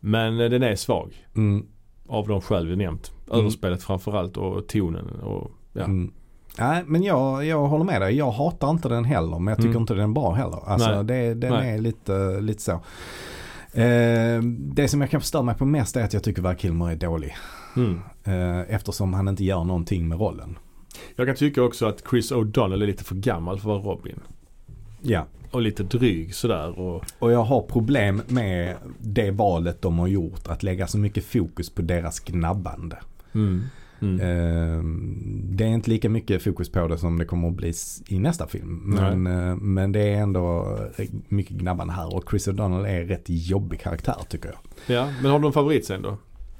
S2: Men eh, den är svag.
S1: Mm.
S2: Av de skäl vi nämnt.
S1: Mm.
S2: Överspelet framförallt och tonen. Och, ja.
S1: Mm. Nej, men jag, jag håller med dig. Jag hatar inte den heller, men jag tycker
S2: Mm.
S1: inte den är bra heller. Alltså,
S2: Nej.
S1: det, den
S2: Nej.
S1: är lite, lite så. Eh, det som jag kan förstöra mig på mest är att jag tycker Val Kilmer är dålig.
S2: Mm.
S1: Eh, eftersom han inte gör någonting med rollen.
S2: Jag kan tycka också att Chris O'Donnell är lite för gammal för att vara Robin.
S1: Ja,
S2: Och lite dryg sådär. Och,
S1: och jag har problem med det valet de har gjort. Att lägga så mycket fokus på deras gnabbande.
S2: mm. Mm.
S1: Eh, det är inte lika mycket fokus på det som det kommer att bli s- i nästa film.
S2: Nej.
S1: Men, eh, men det är ändå eh, mycket gnabbande här och Chris O'Donnell är en rätt jobbig karaktär tycker jag.
S2: Ja, men har du en favorit sen då?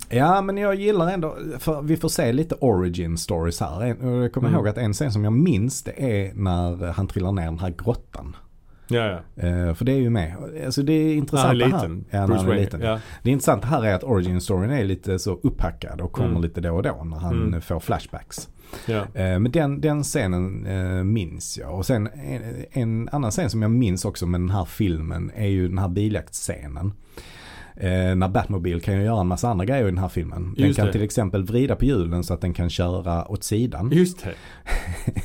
S1: Ja men jag gillar ändå, för vi får se lite origin stories här. En- och Jag kommer
S2: Mm.
S1: ihåg att en scen som jag minns det är när han trillar ner den här grottan.
S2: Ja, ja.
S1: Eh, för det är ju med. Alltså det är
S2: Han är
S1: intressant det här.
S2: liten.
S1: Ja, när
S2: Bruce
S1: han är
S2: Wayne.
S1: liten.
S2: Ja.
S1: Det intressanta här är att origin storyn är lite så upphackad och kommer
S2: Mm.
S1: lite då och då när han
S2: Mm.
S1: eh, får flashbacks.
S2: Ja.
S1: Eh, Men den, den scenen eh, minns jag. Och sen en, en annan scen som jag minns också med den här filmen är ju den här biljaktscenen. Eh, när Batmobile kan ju göra en massa andra grejer i den här filmen. Den
S2: Just
S1: kan
S2: det.
S1: till exempel vrida på hjulen så att den kan köra åt sidan.
S2: Just det.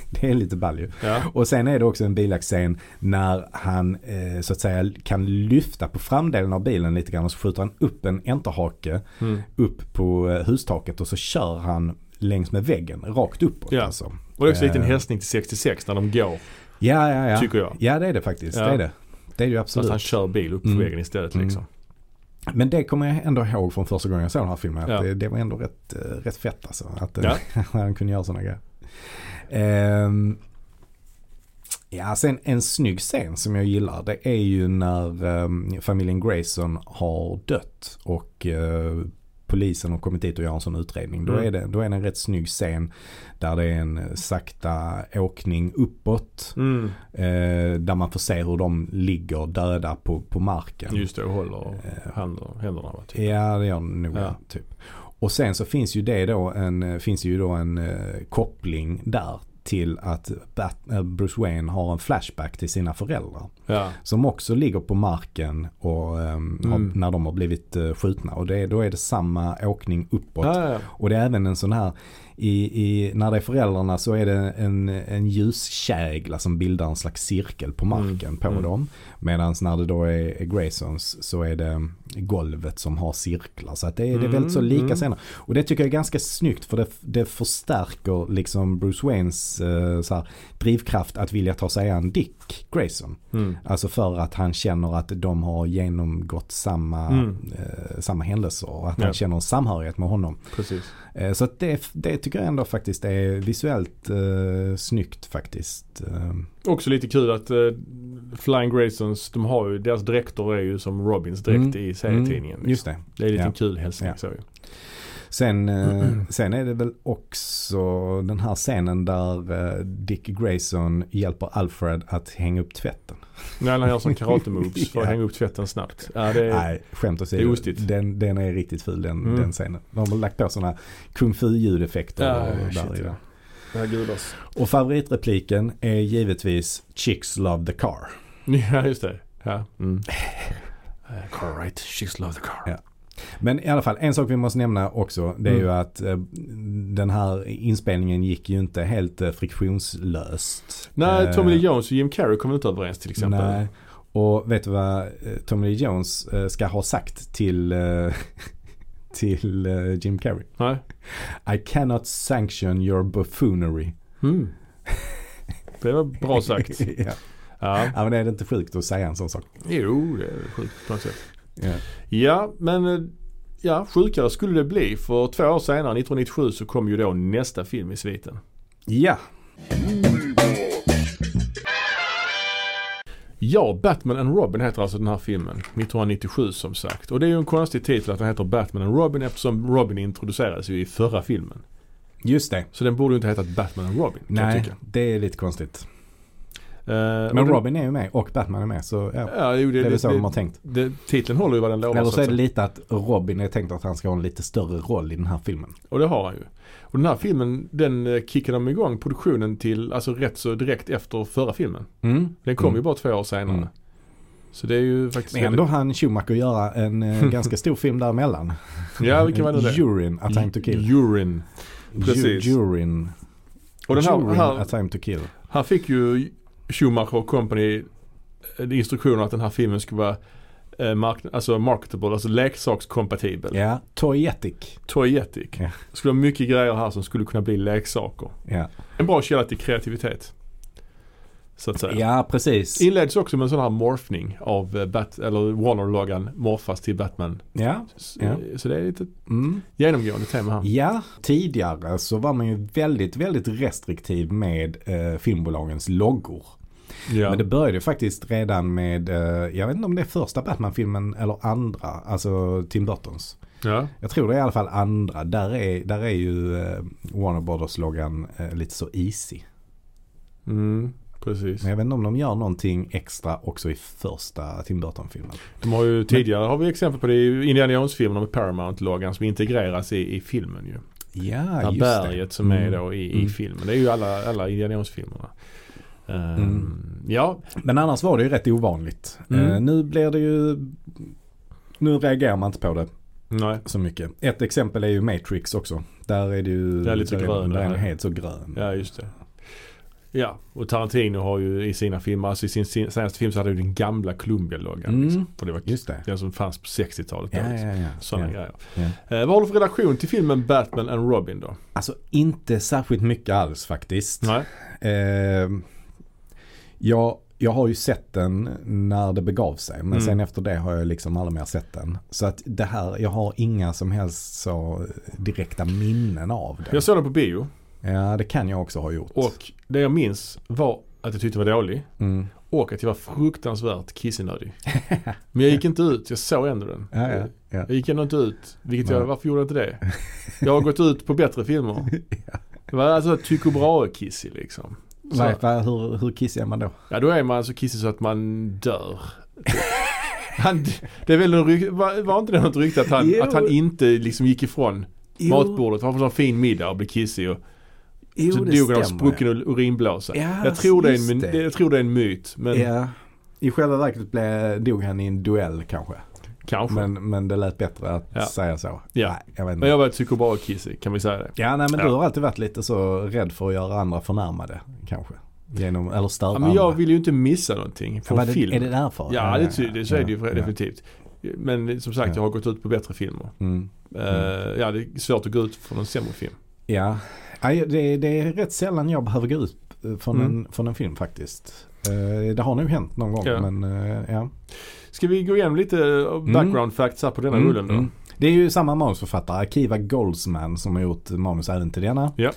S1: [laughs] det är lite ball ju.
S2: Ja.
S1: Och sen är det också en bilaxscen när han eh, så att säga kan lyfta på framdelen av bilen lite grann och så skjuter han upp en enterhake
S2: Mm.
S1: upp på eh, hustaket och så kör han längs med väggen rakt uppåt.
S2: Ja.
S1: Alltså.
S2: Och det är också lite en
S1: Eh.
S2: hälsning till 66 när de går.
S1: Ja, ja, ja.
S2: Tycker jag.
S1: Ja, det är det faktiskt.
S2: Ja.
S1: Det är det. Det är det ju
S2: Så att han
S1: absolut.
S2: kör bil upp på
S1: Mm.
S2: vägen istället
S1: Mm.
S2: liksom.
S1: Men det kommer jag ändå ihåg från första gången jag såg den här filmen. Att
S2: Ja.
S1: det, det var ändå rätt, eh, rätt fett alltså. Att eh,
S2: Ja.
S1: [laughs] han kunde göra sådana grejer. Ehm, ja, sen en snygg scen som jag gillar. Det är ju när ehm, familjen Grayson har dött. Och eh, polisen har kommit dit och gör en sån utredning. Då,
S2: Mm.
S1: är det, då är det en rätt snygg scen. Där det är en eh, sakta åkning uppåt.
S2: Mm.
S1: Eh, där man får se hur de ligger döda på, på marken.
S2: Mm. Just det, och håller
S1: Eh.
S2: händer, händerna. va, Typ.
S1: Ja, det gör den nog.
S2: Ja.
S1: Ja. Typ. Och sen så finns ju det då en, finns ju då en eh, koppling där till att Bat- eh, Bruce Wayne har en flashback till sina föräldrar.
S2: Ja.
S1: Som också ligger på marken och, ehm, har,
S2: Mm.
S1: när de har blivit eh, skjutna. Och det, då är det samma åkning uppåt.
S2: Ja, ja,
S1: Och det är även en sån här, i, i, när det är föräldrarna så är det en, en ljuskägla som bildar en slags cirkel på marken
S2: Mm,
S1: på
S2: mm.
S1: dem. Medan när det då är, är Graysons så är det golvet som har cirklar. Så att det, är, det är väldigt så
S2: Mm,
S1: lika
S2: mm.
S1: scener. Och det tycker jag är ganska snyggt för det, det förstärker liksom Bruce Waynes eh, så här, drivkraft att vilja ta sig an Dick Grayson.
S2: ja. Mm.
S1: Alltså för att han känner att de har genomgått samma,
S2: Mm.
S1: eh, samma händelser och att han
S2: Ja.
S1: känner en samhörighet med honom.
S2: Precis.
S1: Eh, Så att det, det tycker jag ändå faktiskt är visuellt eh, snyggt faktiskt. Eh,
S2: Också lite kul att eh, Flying Graysons, de har ju, deras dräkter är ju som Robins dräkt
S1: Mm.
S2: i serietidningen. liksom.
S1: Just det.
S2: Det är en liten
S1: Ja.
S2: kul hälsning
S1: Ja.
S2: så ju.
S1: Sen, eh, sen är det väl också den här scenen där eh, Dick Grayson hjälper Alfred att hänga upp tvätten.
S2: När han gör sån
S1: [laughs]
S2: karate-moves för att
S1: Ja.
S2: hänga upp tvätten snabbt. Ja, det är,
S1: Nej, skämt
S2: Eh, det är
S1: åsido.
S2: ostigt.
S1: Den, den är riktigt ful den,
S2: Mm.
S1: den scenen. De har lagt på sådana kung fu ljudeffekter.
S2: Ja,
S1: och-
S2: Ah, shit,
S1: där i
S2: ja. alltså.
S1: den.
S2: det är gudas.
S1: Och favoritrepliken är givetvis Chicks love the car.
S2: [laughs] Ja, just det. Ja. Mm. [laughs] Eh, Car right, she's love the car.
S1: Ja. Men i alla fall, en sak vi måste nämna också det är
S2: Mm.
S1: ju att eh, den här inspelningen gick ju inte helt eh, friktionslöst.
S2: Nej, Tommy Lee
S1: Eh,
S2: Jones och Jim Carrey kommer inte överens till exempel.
S1: Nej. Och vet du vad eh, Tommy Lee Jones eh, ska ha sagt till, eh, [laughs] till eh, Jim Carrey?
S2: Nej.
S1: I cannot sanction your buffoonery.
S2: Mm. Det var
S1: [laughs]
S2: bra sagt.
S1: ja.
S2: [laughs] Ja.
S1: ja, men är det inte sjukt att säga en sån sak?
S2: Jo, det är sjukt på något sätt.
S1: Ja.
S2: Ja, men eh, ja, sjukare skulle det bli. För två år senare, 1997, så kom ju då nästa film i sviten.
S1: ja.
S2: Ja, Batman and Robin heter alltså den här filmen. 1997 som sagt. Och det är ju en konstig titel att den heter Batman and Robin eftersom Robin introducerades ju i förra filmen.
S1: Just det.
S2: Så den borde ju inte hetat Batman and Robin kan jag
S1: Nej,
S2: tycka.
S1: det är lite konstigt.
S2: Eh,
S1: Men
S2: och den-
S1: Robin är ju med och Batman är med så ja.
S2: Ja, jo, det,
S1: Det är
S2: det,
S1: väl så de
S2: det,
S1: har tänkt.
S2: det, titeln håller ju vad den lovar.
S1: Eller
S2: så
S1: så är
S2: att
S1: det
S2: säga.
S1: lite att Robin är tänkt att han ska ha en lite större roll i den här filmen.
S2: Och det har han ju. Och den här filmen, den eh, kickade de igång produktionen till, alltså rätt så direkt efter förra filmen. Den kom
S1: Mm.
S2: ju bara två år senare.
S1: Mm.
S2: Så det är ju faktiskt...
S1: Men ändå han Schumacher göra en
S2: [laughs]
S1: eh, ganska stor film däremellan.
S2: Ja, vilken var det
S1: [laughs]
S2: det?
S1: Urine, A Time To Kill.
S2: Urine. precis.
S1: Ju- Urine.
S2: Och den här,
S1: Urine, A
S2: här,
S1: Time To Kill.
S2: här fick ju Schumacher Company eh, instruktioner att den här filmen skulle vara eh, mark alltså marketable, alltså leksakskompatibel.
S1: Ja, Toyetic.
S2: Toyetic.
S1: Ja.
S2: Det skulle vara mycket grejer här som skulle kunna bli leksaker.
S1: Ja.
S2: En bra källa till kreativitet. Så att säga.
S1: ja, precis.
S2: Inleds också med en sån här morfning av eh, Bat- eller Warner-loggan morfas till Batman.
S1: Ja.
S2: Så,
S1: Ja.
S2: så det är lite
S1: Mm.
S2: genomgående tema här.
S1: ja, tidigare så var man ju väldigt, väldigt restriktiv med eh, filmbolagens loggor.
S2: Ja.
S1: Men det började ju faktiskt redan med, eh, jag vet inte om det är första Batman-filmen eller andra, alltså Tim Burtons.
S2: ja.
S1: Jag tror det är i alla fall andra. Där är, där är ju eh, Warner Brothers-loggan eh, lite så easy.
S2: Mm, precis.
S1: Men jag vet inte om de gör någonting extra också i första Tim Burton-filmen.
S2: De har ju tidigare har vi exempel på det i Indiana Jones-filmerna med Paramount-loggan som integreras i, i filmen ju.
S1: Ja,
S2: det här
S1: just
S2: berget
S1: det.
S2: som är
S1: Mm.
S2: då i, i
S1: Mm.
S2: filmen. Det är ju alla, alla Indiana Jones-filmerna. Ehm,
S1: Mm.
S2: Ja,
S1: Men annars var det ju rätt ovanligt.
S2: Mm.
S1: Eh, nu blir det ju... Nu reagerar man inte på det
S2: nej.
S1: så mycket. Ett exempel är ju Matrix också. Där är det ju...
S2: Det är lite
S1: där
S2: grön,
S1: Där är den
S2: eller?
S1: helt så grön.
S2: Ja, just det. Ja, och Tarantino har ju i sina filmer, alltså i sin sin- senaste film så hade han ju den gamla Columbia-loggan.
S1: Mm.
S2: Liksom. För det var
S1: Just det.
S2: den som fanns på 60-talet. då,
S1: Ja,
S2: liksom.
S1: ja, ja.
S2: Sådana
S1: ja.
S2: grejer.
S1: Ja.
S2: Eh, vad har du för relation till filmen Batman and Robin då?
S1: Alltså inte särskilt mycket alls faktiskt.
S2: Nej.
S1: Eh, jag, jag har ju sett den när det begav sig. Men
S2: Mm.
S1: sen efter det har jag liksom aldrig mer sett den. Så att det här, jag har inga som helst så direkta minnen av den.
S2: Jag såg den på bio
S1: Ja, det kan jag också ha gjort.
S2: och det jag minns var att jag tyckte den var dålig
S1: Mm.
S2: och att jag var
S1: [laughs]
S2: fruktansvärt kissnödig. Men jag gick inte ut, jag såg ändå den.
S1: Ja, ja, ja.
S2: Jag gick ändå inte ut, vilket jag,
S1: Nej.
S2: varför gjorde jag inte det? Jag har gått ut på
S1: [laughs]
S2: bättre filmer. Det var alltså Tycho Brahe-kissig liksom. Så-
S1: Vad- vad- hur, hur kissig är man då?
S2: Ja då är man så kissig så att man dör. Han, det är väl en ryk, var, var inte det något rykte att han,
S1: Jo.
S2: att han inte liksom gick ifrån matbordet? Han var på en fin middag och blev kissig och
S1: Jo,
S2: så
S1: det
S2: dog han av
S1: stämmer,
S2: sprucken
S1: ja.
S2: ur- urinblåsa.
S1: Ja,
S2: jag, tror det är en,
S1: just
S2: men-
S1: det.
S2: jag tror det är en myt men
S1: Ja. I själva verket blev, dog han i en duell kanske.
S2: kanske. Men,
S1: Men, men det lät bättre att
S2: Ja.
S1: säga så.
S2: Ja.
S1: Nej, jag vet inte.
S2: jag var psykobar-kissig, kan vi säga det?
S1: Ja, nej, men du
S2: Ja.
S1: har alltid varit lite så rädd för att göra andra förnärmade kanske. Genom, eller störa
S2: Ja, men jag
S1: andra.
S2: vill ju inte missa någonting
S1: Ja,
S2: från
S1: vad är det-
S2: film.
S1: Är det därför?
S2: Ja, det, ty- det, så är det ju
S1: ja.
S2: definitivt. Men som sagt,
S1: Ja.
S2: jag har gått ut på bättre filmer.
S1: Mm.
S2: Eh, ja, det är svårt att gå ut från en sämre film.
S1: Ja, Nej, det, det är rätt sällan jag behöver gå ut eh, från,
S2: Mm.
S1: en, från en film faktiskt. Eh, Det har nog hänt någon gång,
S2: Ja.
S1: men eh, ja.
S2: Ska vi gå igenom lite uh, background facts här på denna rullen då?
S1: mm. Det är ju samma manusförfattare, Akiva Goldsman, som har gjort manus även till denna.
S2: Ja.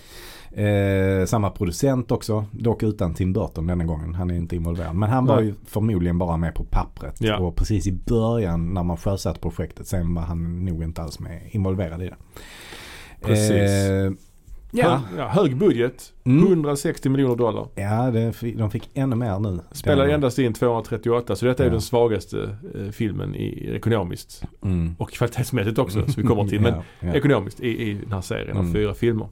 S1: Eh, samma producent också, dock utan Tim Burton denna gången. Han är inte involverad. Men han var
S2: Nej.
S1: ju förmodligen bara med på pappret.
S2: Ja.
S1: Och precis i början när man sjösatte projektet, sen var han nog inte alls med involverad i det.
S2: Precis.
S1: Eh, ja.
S2: Hö- ja, hög budget,
S1: Mm.
S2: 160 miljoner dollar.
S1: Ja, det, fick- de fick ännu mer nu.
S2: Spelar
S1: Denna-
S2: endast in 238 så detta är
S1: Ja.
S2: den svagaste eh, filmen i, ekonomiskt.
S1: Mm.
S2: Och kvalitetsmässigt också som vi kommer till.
S1: [laughs]
S2: Men
S1: Ja, ja.
S2: ekonomiskt i, i den här serien av
S1: Mm.
S2: fyra filmer.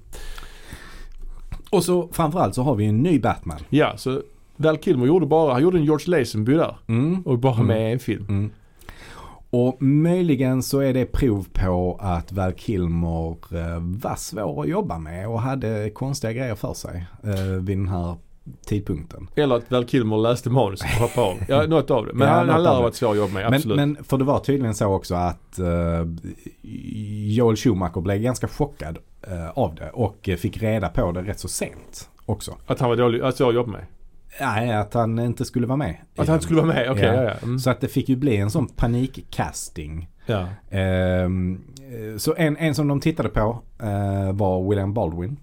S1: Och så framförallt så har vi en ny Batman.
S2: Ja, så Val Kilmer gjorde bara, han gjorde en George Lazenby där.
S1: Mm.
S2: Och bara
S1: Mm.
S2: med en film.
S1: Mm. Och möjligen så är det prov på att Val Kilmer eh, var svår att jobba med och hade konstiga grejer för sig eh, vid den här tidpunkten.
S2: Eller att Val Kilmer läste manus och hoppade av. Ja, något av det.
S1: Mm.
S2: Men
S1: Ja,
S2: han,
S1: något
S2: han
S1: av
S2: lär ha
S1: det.
S2: varit svår att jobba med,
S1: Men,
S2: absolut.
S1: men för det var tydligen så också att eh, Joel Schumacher blev ganska chockad eh, av det och eh, fick reda på det rätt så sent också.
S2: Att han var dålig, att svår att jobba med.
S1: Nej, att han inte skulle vara med. i
S2: Att han
S1: den.
S2: skulle vara med, okej.
S1: Ja.
S2: ja. Ja, mm.
S1: Så att det fick ju bli en sån panikcasting.
S2: ja.
S1: Ehm, eh, så en, en som de tittade på eh, var William Baldwin.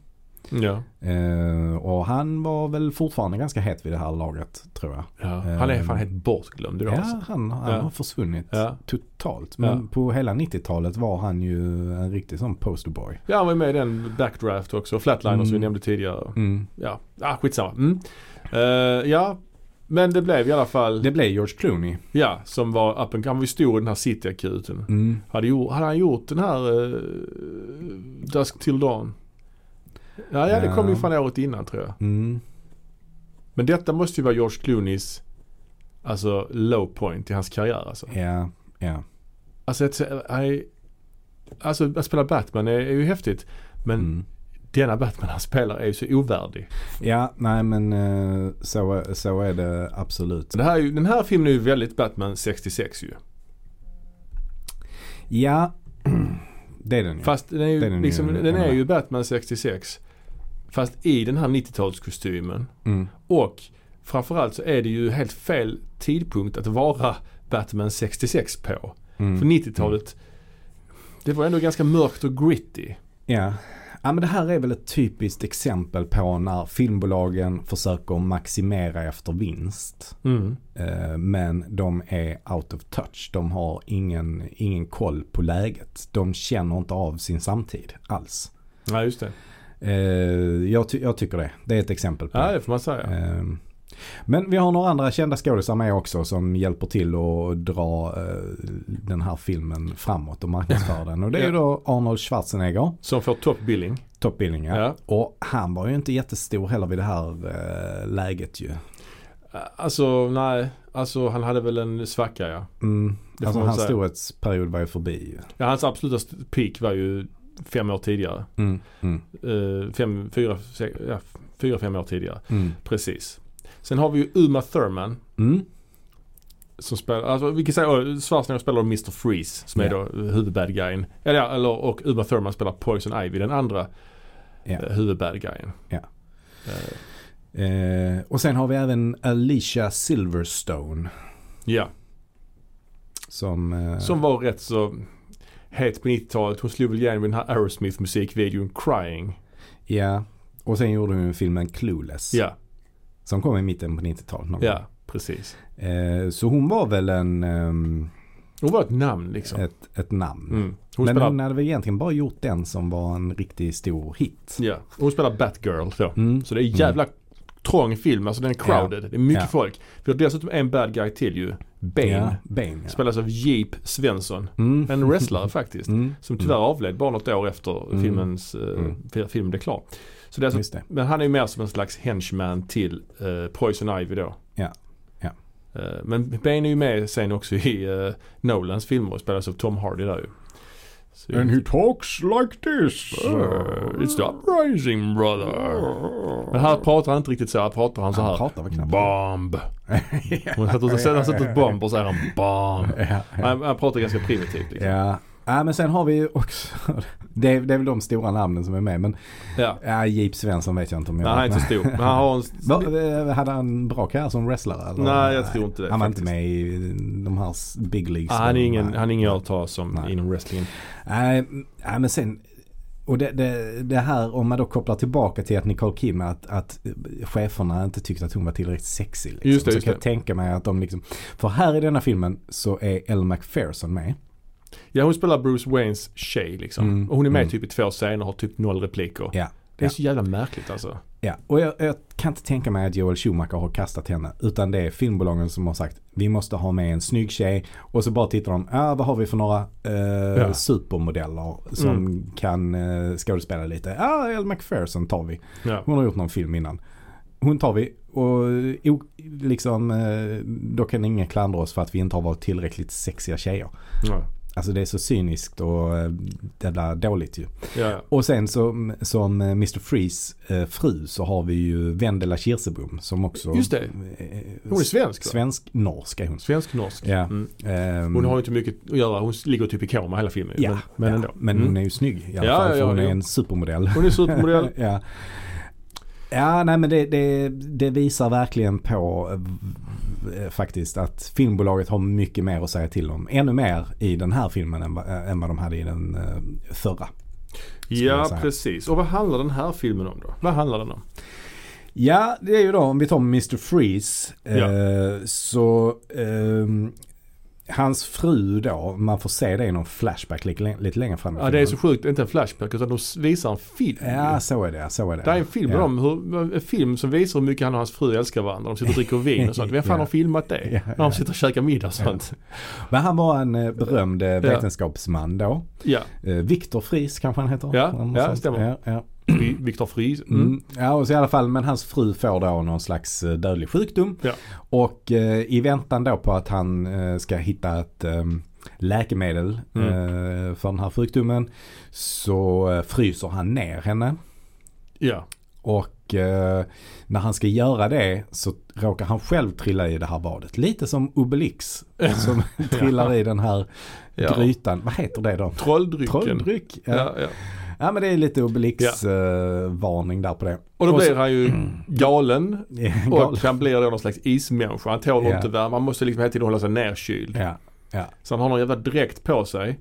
S2: ja.
S1: Eh, och han var väl fortfarande ganska het vid det här laget tror jag.
S2: Ja, han är
S1: Ehm,
S2: fan helt bortglömd idag.
S1: Ja,
S2: alltså.
S1: han, han
S2: Ja.
S1: har försvunnit
S2: Ja.
S1: totalt. Men
S2: Ja.
S1: på hela 90-talet var han ju en riktig sån posterboy.
S2: ja, han var ju med i den Backdraft också. Flatliner som vi
S1: Mm.
S2: nämnde tidigare.
S1: Mm.
S2: Ja, ah, skitsamma. Mm. Eh, ja, men det blev i alla fall,
S1: Det blev George Clooney.
S2: ja, som var up and, Han var ju stor i den här City-akuten.
S1: Mm.
S2: Hade, gjort, hade han gjort den här eh, Dusk till Dawn? Ja, ja, det kom ju
S1: Ja.
S2: från året innan tror jag.
S1: Mm.
S2: Men detta måste ju vara George Clooneys Alltså low point i hans karriär alltså.
S1: Ja, ja.
S2: Alltså, att, I, alltså att spela Batman är, är ju häftigt. Men
S1: Mm.
S2: denna Batman han spelar är ju så ovärdig.
S1: Ja, nej men eh, så, så är det absolut.
S2: Så det här är ju, den här filmen är ju väldigt Batman 66 ju.
S1: Ja, [clears throat] det är den ju.
S2: Fast den är ju,
S1: Det är den
S2: liksom,
S1: ju,
S2: den
S1: jag
S2: är ju
S1: med.
S2: Batman 66. Fast i den här 90-talskostymen.
S1: Mm.
S2: Och framförallt så är det ju helt fel tidpunkt att vara Batman 66 på.
S1: Mm.
S2: För 90-talet, det var ändå ganska mörkt och gritty.
S1: Ja. ja, men det här är väl ett typiskt exempel på när filmbolagen försöker maximera efter vinst. Eh, Men de är out of touch. De har ingen, ingen koll på läget. De känner inte av sin samtid alls.
S2: Ja just det.
S1: Eh, Jag, ty- jag tycker det. Det är ett exempel på
S2: Ja
S1: det.
S2: det får man säga.
S1: Eh, Men vi har några andra kända skådisar med också som hjälper till att dra eh, den här filmen framåt och marknadsföra den. Och det är ju då Arnold Schwarzenegger,
S2: Som får top billing.
S1: Top Billing, ja.
S2: Ja.
S1: Och han var ju inte jättestor heller vid det här eh, läget ju.
S2: Alltså nej, alltså han hade väl en svacka ja.
S1: Mm.
S2: Det får
S1: Alltså
S2: man
S1: hans
S2: säga.
S1: storhetsperiod var ju förbi ju.
S2: Ja, hans absoluta st- peak var ju fem år tidigare.
S1: Mm. Mm.
S2: Eh, fem, fyra, sex, ja, f- Fyra, fem år tidigare.
S1: Mm.
S2: Precis. Sen har vi ju Uma Thurman.
S1: Mm.
S2: Som spelar, alltså, vi kan säga att Schwarzenegger spelar Mr. Freeze som är
S1: Ja.
S2: då huvudbad guyen. Eller, ja, eller, och Uma Thurman spelar Poison Ivy, den andra
S1: Ja.
S2: eh, huvudbad guyen.
S1: Ja.
S2: Eh,
S1: Eh, och sen har vi även Alicia Silverstone.
S2: ja,
S1: Som, eh,
S2: som var rätt så het på 90-talet. Hon slog väl igenom i den här Aerosmith musikvideon Crying.
S1: Ja. Och sen gjorde hon filmen Clueless.
S2: Ja,
S1: Som kom i mitten på 90-talet. någon
S2: ja, precis.
S1: gång. Eh, så hon var väl en, ehm,
S2: Hon var ett namn liksom.
S1: ett, ett namn.
S2: Mm. Hon
S1: Eh, Men
S2: spelar
S1: hon hade väl egentligen bara gjort den som var en riktigt stor hit.
S2: Ja, och hon spelar Batgirl då.
S1: Mm.
S2: Så det är en jävla trång film, alltså den är crowded. Det är mycket
S1: Ja.
S2: folk. Vi har dessutom en bad guy till ju. Bane.
S1: Ja, Bane ja.
S2: Spelas av Jeep Svensson.
S1: Mm. [laughs]
S2: En wrestlare faktiskt.
S1: Mm.
S2: Som tyvärr avled bara något år efter
S1: Mm.
S2: filmens eh,
S1: Mm.
S2: fi- film blev klar. Så det är alltså,
S1: Just det.
S2: men han är ju mer som en slags henchman till eh, Poison Ivy då.
S1: Ja. Ja.
S2: Eh, men Bane är ju med sen också i eh, Nolans filmer och spelas av Tom Hardy där ju. Så-
S1: talks like this. Ah.
S2: Uh, It's the uprising brother. Men här pratar han inte riktigt så. Här pratar han så
S1: Han
S2: här.
S1: pratar väl knappt. [laughs]
S2: Bomb. Hon sätter, sätter, han sätter ett bomb och så säger han bomb.
S1: Ja, ja.
S2: Han, han pratar ganska primitivt liksom.
S1: Ja. ja, men sen har vi ju också, [laughs] det är, det är väl de stora namnen som är med. Men
S2: Ja.
S1: ja, Jeep Svensson vet jag inte om jag
S2: Nej, han är inte så stor. Men han har en...
S1: Va, eh, hade han bra karriär som wrestler? Eller?
S2: Nej, jag tror inte det,
S1: Han var
S2: faktiskt.
S1: inte med i de här s- big leagues.
S2: Ah, han är ingen,
S1: Nej.
S2: han är ingen jag tar som
S1: Nej.
S2: inom wrestlingen.
S1: Nej, m- nej, men sen. Och det, det, det här om man då kopplar tillbaka till att Nicole Kidman att, att cheferna inte tyckte att hon var tillräckligt sexig. Liksom.
S2: Just det,
S1: så
S2: just
S1: kan
S2: det.
S1: jag tänka mig att de liksom. För här i denna filmen så är Elle Macpherson med.
S2: Ja, hon spelar Bruce Waynes tjej liksom.
S1: Mm.
S2: Och hon är med
S1: Mm.
S2: typ i två scener och har typ noll repliker.
S1: Ja.
S2: Det är
S1: Ja.
S2: så jävla märkligt alltså.
S1: Ja, och jag, jag kan inte tänka mig att Joel Schumacher har kastat henne. Utan det är filmbolagen som har sagt vi måste ha med en snygg tjej. Och så bara tittar de, ah, vad har vi för några eh,
S2: Ja. Mm.
S1: supermodeller som kan eh, skådespela lite. Ja, ah, Elle Macpherson tar vi.
S2: Ja.
S1: Hon har gjort någon film innan. Hon tar vi och eh, o- liksom eh, då kan ingen klandra oss för att vi inte har varit tillräckligt sexiga tjejer.
S2: Ja.
S1: Alltså det är så cyniskt och eh, jävla dåligt ju.
S2: Ja.
S1: Och sen som, som eh, Mr. Freeze eh, fru så har vi ju Vendela Kirsebom som också
S2: Just det.
S1: eh,
S2: Hon är svensk va?
S1: svensk-norsk är hon.
S2: Svensk-norsk.
S1: Ja.
S2: Mm.
S1: Ehm,
S2: Hon har ju inte mycket att göra. Hon ligger typ i koma hela filmen.
S1: ja,
S2: men, men
S1: Ehm, ja,
S2: ändå.
S1: men
S2: Mm.
S1: hon är ju snygg i alla
S2: Ja,
S1: fall
S2: ja,
S1: för hon
S2: ja.
S1: är en supermodell.
S2: Hon
S1: [laughs]
S2: är supermodell.
S1: ja. ja, nej men det, det, det visar verkligen på eh, eh, faktiskt att filmbolaget har mycket mer att säga till om. Ännu mer i den här filmen än, vad- eh, än vad de hade i den eh, förra. jag
S2: Ja,
S1: säga.
S2: precis. Och vad handlar den här filmen om då? Vad handlar den om?
S1: Ja, det är ju då om vi tar Mr. Freeze.
S2: Ja.
S1: Eh, så ehm, hans fru då, man får se det i någon flashback lite, lite längre fram i
S2: Ja, det är så
S1: filmen.
S2: sjukt. Inte en flashback utan de visar en film.
S1: Ja, så är det. Så är det.
S2: Det här är en film,
S1: ja.
S2: om hur, en film som visar hur mycket han och hans fru älskar
S1: [laughs]
S2: varandra. De sitter och dricker vin och sånt. Vem fan
S1: Ja.
S2: har filmat det?
S1: Ja,
S2: När de sitter och käkar middag och sånt.
S1: Men han var en eh, berömd eh, vetenskapsman då.
S2: Ja,
S1: Eh, Viktor Fries kanske han heter.
S2: Ja,
S1: Eller något
S2: ja,
S1: sånt.
S2: stämmer.
S1: Ja, ja.
S2: Fri- Viktor Friis. Mm.
S1: Mm. Ja, och så i alla fall, men hans fru får då någon slags eh, dödlig sjukdom.
S2: Ja.
S1: Och eh, i väntan då på att han eh, ska hitta ett eh, läkemedel
S2: Mm.
S1: eh, för den här sjukdomen så eh, fryser han ner henne.
S2: Ja,
S1: Och eh, när han ska göra det så råkar han själv trilla i det här badet. Lite som
S2: [laughs]
S1: Obelix som trillar i den här
S2: Ja.
S1: grytan. Vad heter det då?
S2: trolldrycken.
S1: Trolldryck. Ja. Ja.
S2: Ja, ja.
S1: men det är lite Obelix-varning där på det. [laughs]
S2: Och då
S1: Och så- Mm.
S2: blir han ju galen. Och
S1: Galet.
S2: han blir då någon slags ismänniska. Han tål
S1: Ja.
S2: inte värme. Han måste liksom hela tiden hålla sig nerkyld.
S1: Ja, ja.
S2: Så han har någon jävla dräkt på sig.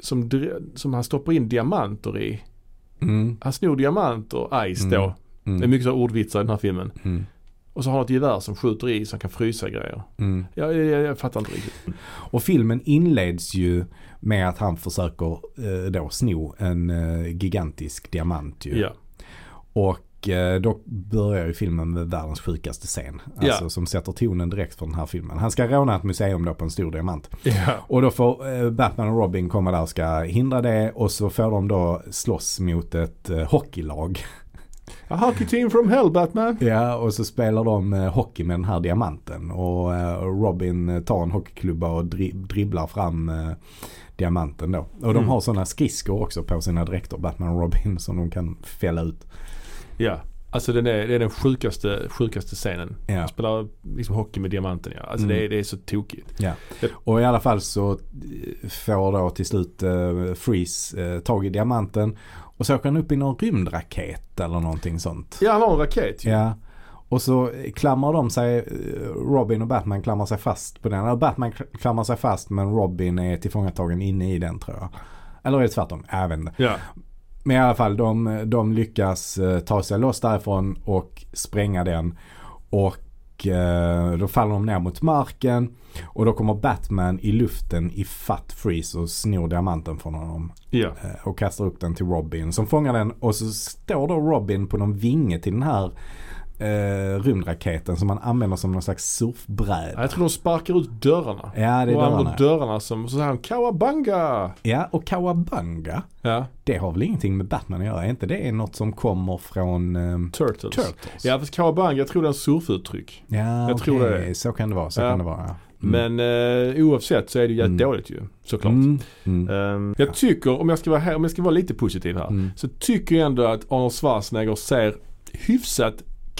S2: Som, dre- som han stoppar in diamanter i.
S1: Mm,
S2: Han snor diamanter, Ice då.
S1: Mm.
S2: Det är
S1: mm,
S2: mycket så här ordvitsar i den här filmen.
S1: mm,
S2: Och så har han ett gevär som skjuter i så han kan frysa grejer.
S1: mm.
S2: Jag, jag, jag fattar inte riktigt.
S1: Och filmen inleds ju med att han försöker eh, då sno en eh, gigantisk diamant ju.
S2: Ja.
S1: Och eh, då börjar ju filmen med världens sjukaste scen.
S2: Ja.
S1: Alltså som sätter tonen direkt för den här filmen. Han ska råna ett museum då på en stor diamant.
S2: Ja.
S1: Och då får eh, Batman och Robin komma där och ska hindra det. Och så får de då slåss mot ett eh, hockeylag.
S2: A hockey team from hell Batman.
S1: Ja, och så spelar de eh, hockey med den här diamanten. Och eh, Robin eh, tar en hockeyklubba och dri- dribblar fram eh, diamanten då. Och de [laughs]
S2: Mm.
S1: har sådana skridskor också på sina dräkter, Batman och Robin, som de kan fälla ut.
S2: Ja. Alltså den är, det är den sjukaste, sjukaste scenen.
S1: Ja.
S2: Han spelar liksom hockey med diamanten ja. Alltså
S1: Mm.
S2: det, är, det är så tokigt.
S1: Och i alla fall så eh, får då till slut eh, Freeze eh, tag i diamanten. Och så åker han upp i någon rymdraket eller någonting sånt.
S2: Ja han har en raket ju.
S1: Ja. Och så klamrar de sig, eh, Robin och Batman klamrar sig fast på den. Eller Batman k- klamrar sig fast men Robin är tillfångatagen inne i den tror jag. Eller är det tvärtom? Jag vet inte.
S2: Ja.
S1: Men i alla fall de, de lyckas eh, ta sig loss därifrån och spränga den. Och eh, då faller de ner mot marken. Och då kommer Batman i luften i fatt Freeze och snor diamanten från honom.
S2: ja.
S1: Eh, och kastar upp den till Robin som fångar den och så står då Robin på någon vinge till den här eh, rymdraketen som man använder som någon slags surfbräda.
S2: Jag tror de sparkar ut dörrarna.
S1: Ja, det är
S2: och
S1: dörrarna.
S2: använder dörrarna som, så säger han kawabanga.
S1: Ja, och Kawabanga,
S2: Ja,
S1: det har väl ingenting med Batman att göra? Är inte det något som kommer från eh,
S2: turtles.
S1: Turtles?
S2: Ja fast kawabanga, jag tror det är en surfuttryck.
S1: ja
S2: jag tror
S1: okej.
S2: det är.
S1: Så kan det vara, så
S2: Ja.
S1: kan det vara. ja. Mm.
S2: Men eh, oavsett så är det ju jävligt
S1: Mm.
S2: dåligt ju. Såklart.
S1: Mm. Mm.
S2: Ehm, jag tycker, om jag, ska vara här, om jag ska vara lite positiv här,
S1: Mm.
S2: så tycker jag ändå att Arnold Schwarzenegger ser hyfsat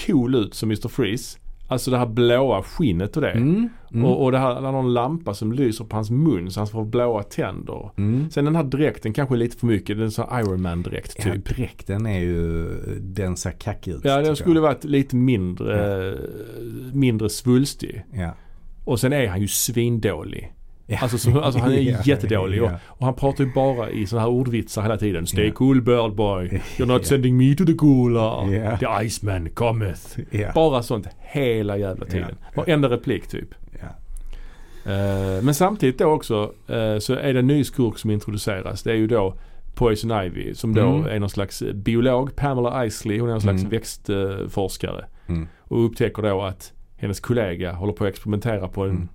S2: cool ut som Mr. Freeze. Alltså det här blåa skinnet och det.
S1: Mm. Mm.
S2: Och, och det här, han har en lampa som lyser på hans mun så han får blåa tänder.
S1: Mm.
S2: Sen den här dräkten kanske är lite för mycket. Den är en sån här Iron Man-dräkt
S1: Ja,
S2: typ.
S1: dräkten är ju, den ser kackig ut.
S2: Ja,
S1: tycker
S2: den
S1: jag.
S2: skulle varit lite mindre, eh, mindre svulstig.
S1: Ja.
S2: Och sen är han ju svindålig.
S1: Ja.
S2: [laughs] Alltså, så, alltså han är
S1: Ja,
S2: jättedålig. Och,
S1: ja.
S2: och han pratar ju bara i sådana här ordvitsar hela tiden. Stay cool
S1: [laughs]
S2: bird boy. You're not
S1: Ja.
S2: sending me to the gulag.
S1: Ja.
S2: The Iceman cometh.
S1: Ja.
S2: Bara sånt hela jävla tiden.
S1: Ja.
S2: Varenda replik typ.
S1: Ja.
S2: Eh, men samtidigt då också eh, så är det en ny skurk som introduceras. Det är ju då Poison Ivy som då
S1: Mm.
S2: är någon slags eh, biolog. Pamela Isley. Hon är någon slags
S1: Mm.
S2: växtforskare.
S1: Mm.
S2: Och upptäcker då att hennes kollega håller på att experimentera på en,
S1: Mm.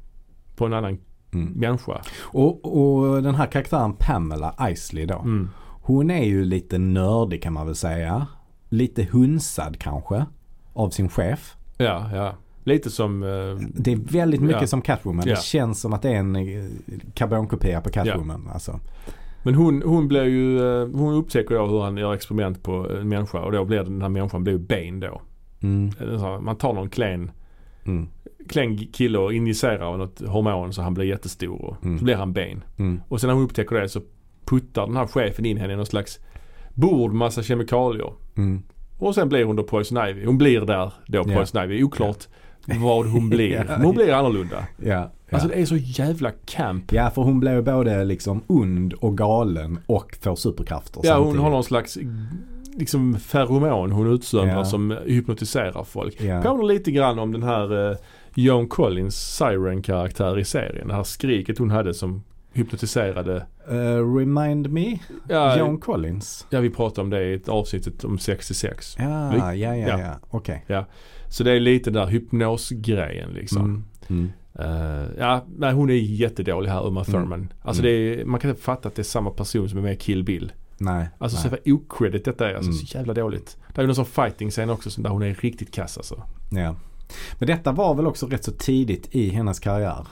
S2: på en annan
S1: Mm.
S2: människa.
S1: Och, och den här karaktären Pamela Isley då.
S2: Mm.
S1: Hon är ju lite nördig kan man väl säga. Lite hunsad kanske. Av sin chef.
S2: Ja, ja. Lite som... eh,
S1: Det är väldigt mycket
S2: Ja.
S1: som Catwoman.
S2: Ja.
S1: Det känns som att det är en eh, karbonkopia på Catwoman. Alltså.
S2: men hon, hon blir ju... eh, Hon upptäcker då hur han gör experiment på eh, en människa och då blir den här människan blir ju Bane då.
S1: Mm,
S2: En sån här- Man tar någon klen,
S1: mm,
S2: klen kille och injicerar något hormon så han blir jättestor och
S1: Mm.
S2: så blir han Bane.
S1: mm,
S2: Och sen när hon upptäcker det så puttar den här chefen in henne i någon slags bord, massa kemikalier.
S1: mm.
S2: Och sen blir hon då Poison Ivy. Hon blir där då
S1: Ja.
S2: Poison Ivy. Oklart vad hon blir.
S1: [laughs] Ja.
S2: Men hon blir annorlunda.
S1: Ja, ja.
S2: Alltså det är så jävla camp.
S1: ja, för hon blev både liksom ond och galen och får superkrafter
S2: Ja, hon
S1: samtidigt.
S2: har någon slags liksom feromon hon utsöndrar
S1: Ja.
S2: som hypnotiserar folk.
S1: Ja.
S2: Påminner lite grann om den här eh, Joan Collins Siren-karaktär i serien. Det här skriket hon hade som hypnotiserade.
S1: Eh, remind me,
S2: Ja,
S1: Joan Collins.
S2: ja vi pratade om det i ett avsnittet om 66.
S1: Ja, ja, Ah, ja, ja,
S2: Ja.
S1: okej.
S2: Så det är lite den där hypnosgrejen liksom.
S1: Mm, mm,
S2: Eh, ja, nej, hon är jättedålig här, Uma Thurman. Alltså
S1: Mm.
S2: det är, man kan inte fatta att det är samma person som är med i Kill Bill.
S1: nej.
S2: Alltså
S1: nej.
S2: så jävla okredit detta är. Alltså
S1: Mm.
S2: så jävla dåligt. Det är ju någon sån fighting-scen också som där hon är riktigt kass alltså.
S1: Ja. Men detta var väl också rätt så tidigt i hennes karriär?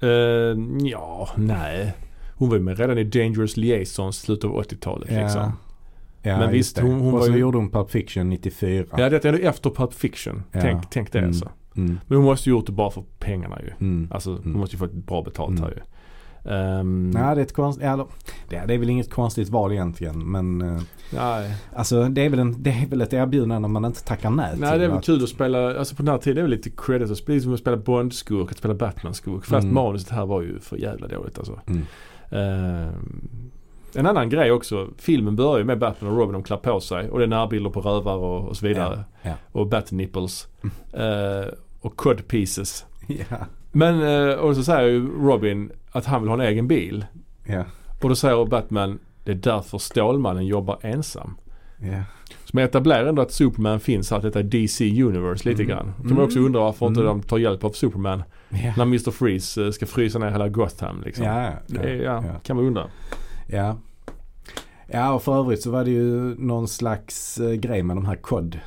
S2: Eh, ja, nej. Hon var ju med redan i Dangerous Liaisons slutet av 80-talet liksom.
S1: Ja,
S2: Men
S1: just
S2: visst,
S1: det.
S2: hon- hon
S1: Och
S2: var
S1: så
S2: ju-
S1: gjorde hon Pulp Fiction 94.
S2: Ja, detta är ju efter Pulp Fiction.
S1: Ja.
S2: Tänk, tänk det
S1: Mm.
S2: alltså.
S1: Mm.
S2: Men hon måste ju gjort det bara för pengarna ju.
S1: Mm.
S2: Alltså
S1: Mm.
S2: hon måste ju fått bra betalt
S1: Mm.
S2: här ju. Ehm,
S1: Nej, det är, ett konst... ja, då- det det är väl inget konstigt val egentligen. Men eh,
S2: nej.
S1: alltså, det, är väl en, det är väl ett erbjudande man inte tackar nej,
S2: Nej
S1: till.
S2: det är väl
S1: att-
S2: kul att spela, alltså på den här tiden är det väl lite credit att spela, som att spela Bond-skurk, att spela Batman-skurk. Fast
S1: Mm.
S2: manuset här var ju för jävla dåligt alltså.
S1: Mm.
S2: Ehm, en annan grej också, filmen börjar ju med Batman och Robin, de klär på sig och det är närbilder på rövar och, och så vidare.
S1: Ja,
S2: Och bat-nipples. Ehm, och cod pieces.
S1: [laughs] Ja,
S2: Men, eh, och så säger ju Robin att han vill ha en egen bil.
S1: ja,
S2: Och då säger Batman, det är därför Stålmannen jobbar ensam.
S1: ja.
S2: Så man etablerar ändå att Superman finns här, att detta är DC Universe lite
S1: Mm.
S2: grann. Kan man också undra varför inte
S1: Mm.
S2: de tar hjälp av Superman
S1: Ja.
S2: när Mr. Freeze eh, ska frysa ner hela Gotham liksom.
S1: Ja, ja,
S2: Det är, ja,
S1: ja.
S2: kan man undra.
S1: ja. Ja, och för övrigt så var det ju någon slags eh, grej med de här cod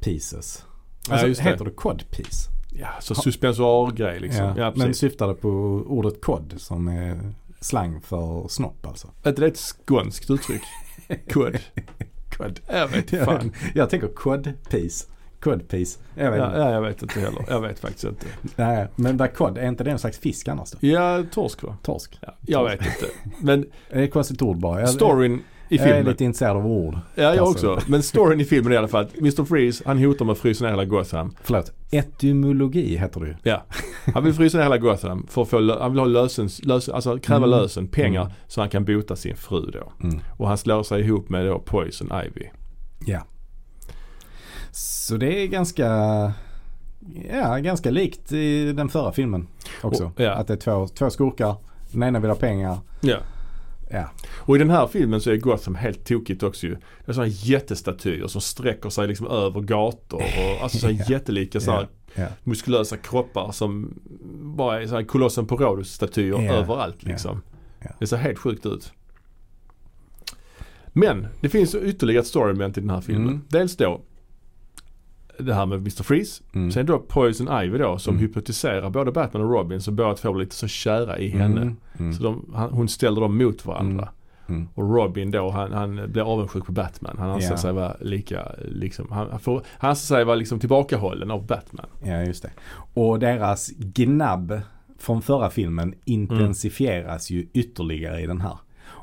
S1: pieces.
S2: Ja,
S1: Alltså,
S2: just det.
S1: heter det cod piece?
S2: Ja, så suspensoar-grej liksom. Ja,
S1: Ja, men
S2: precis.
S1: syftade på ordet kod som är slang för snopp alltså. [laughs]
S2: Men, det är ett skånskt uttryck. Kod. Cod. Jag vet inte
S1: Jag,
S2: fan.
S1: [laughs] jag tänker cod piece. Cod piece. Jag vet
S2: Ja,
S1: inte.
S2: ja, jag vet inte heller. Jag vet faktiskt inte.
S1: Nej, men vad cod, är inte det en slags fisk annars då?
S2: Ja, torsk va?
S1: Torsk.
S2: Ja, jag vet inte.
S1: [laughs]
S2: Men
S1: Det är ett konstigt ord bara. Jag,
S2: storyn i
S1: jag är
S2: filmen.
S1: lite intresserad av ord.
S2: Ja, jag
S1: Alltså.
S2: också. Men storyn i filmen i alla fall. att Mr Freeze, han hotar med att frysa ner hela Gotham.
S1: Förlåt. Etymologi heter det ju.
S2: Ja, han vill frysa ner hela Gotham för att få, lö- han vill ha lösens, lös, alltså kräva
S1: Mm.
S2: lösen, pengar,
S1: Mm.
S2: så han kan bota sin fru då.
S1: Mm.
S2: Och han slår sig ihop med då Poison Ivy.
S1: Så det är ganska, ja, ganska likt i den förra filmen också.
S2: Och- ja.
S1: Att det är två, två skurkar, den ena vill ha pengar.
S2: Ja.
S1: Ja.
S2: Och i den här filmen så är Gotham helt tokigt också ju. Det är sådana jättestatyer som sträcker sig liksom över gator och alltså så här
S1: [laughs] Ja.
S2: jättelika så här
S1: Ja.
S2: muskulösa kroppar som bara är så här kolossen på Rhodos-statyer
S1: Ja.
S2: överallt
S1: Ja.
S2: liksom.
S1: Ja.
S2: Det ser helt sjukt ut. Men det finns ytterligare ett storyment i den här filmen.
S1: Mm.
S2: Dels då det här med Mr. Freeze.
S1: Mm.
S2: Sen då Poison Ivy då som
S1: Mm.
S2: hypnotiserar både Batman och Robin så båda två blir lite så kära i henne.
S1: Mm. Mm.
S2: Så de, han, hon ställer dem mot varandra.
S1: Mm.
S2: Och Robin då, han, han blir avundsjuk på Batman. Han anser
S1: Ja.
S2: sig vara lika, liksom, han, han, får, han anser sig vara liksom tillbakahållen av Batman.
S1: Ja, just det. Och deras gnabb från förra filmen intensifieras ju ytterligare i den här.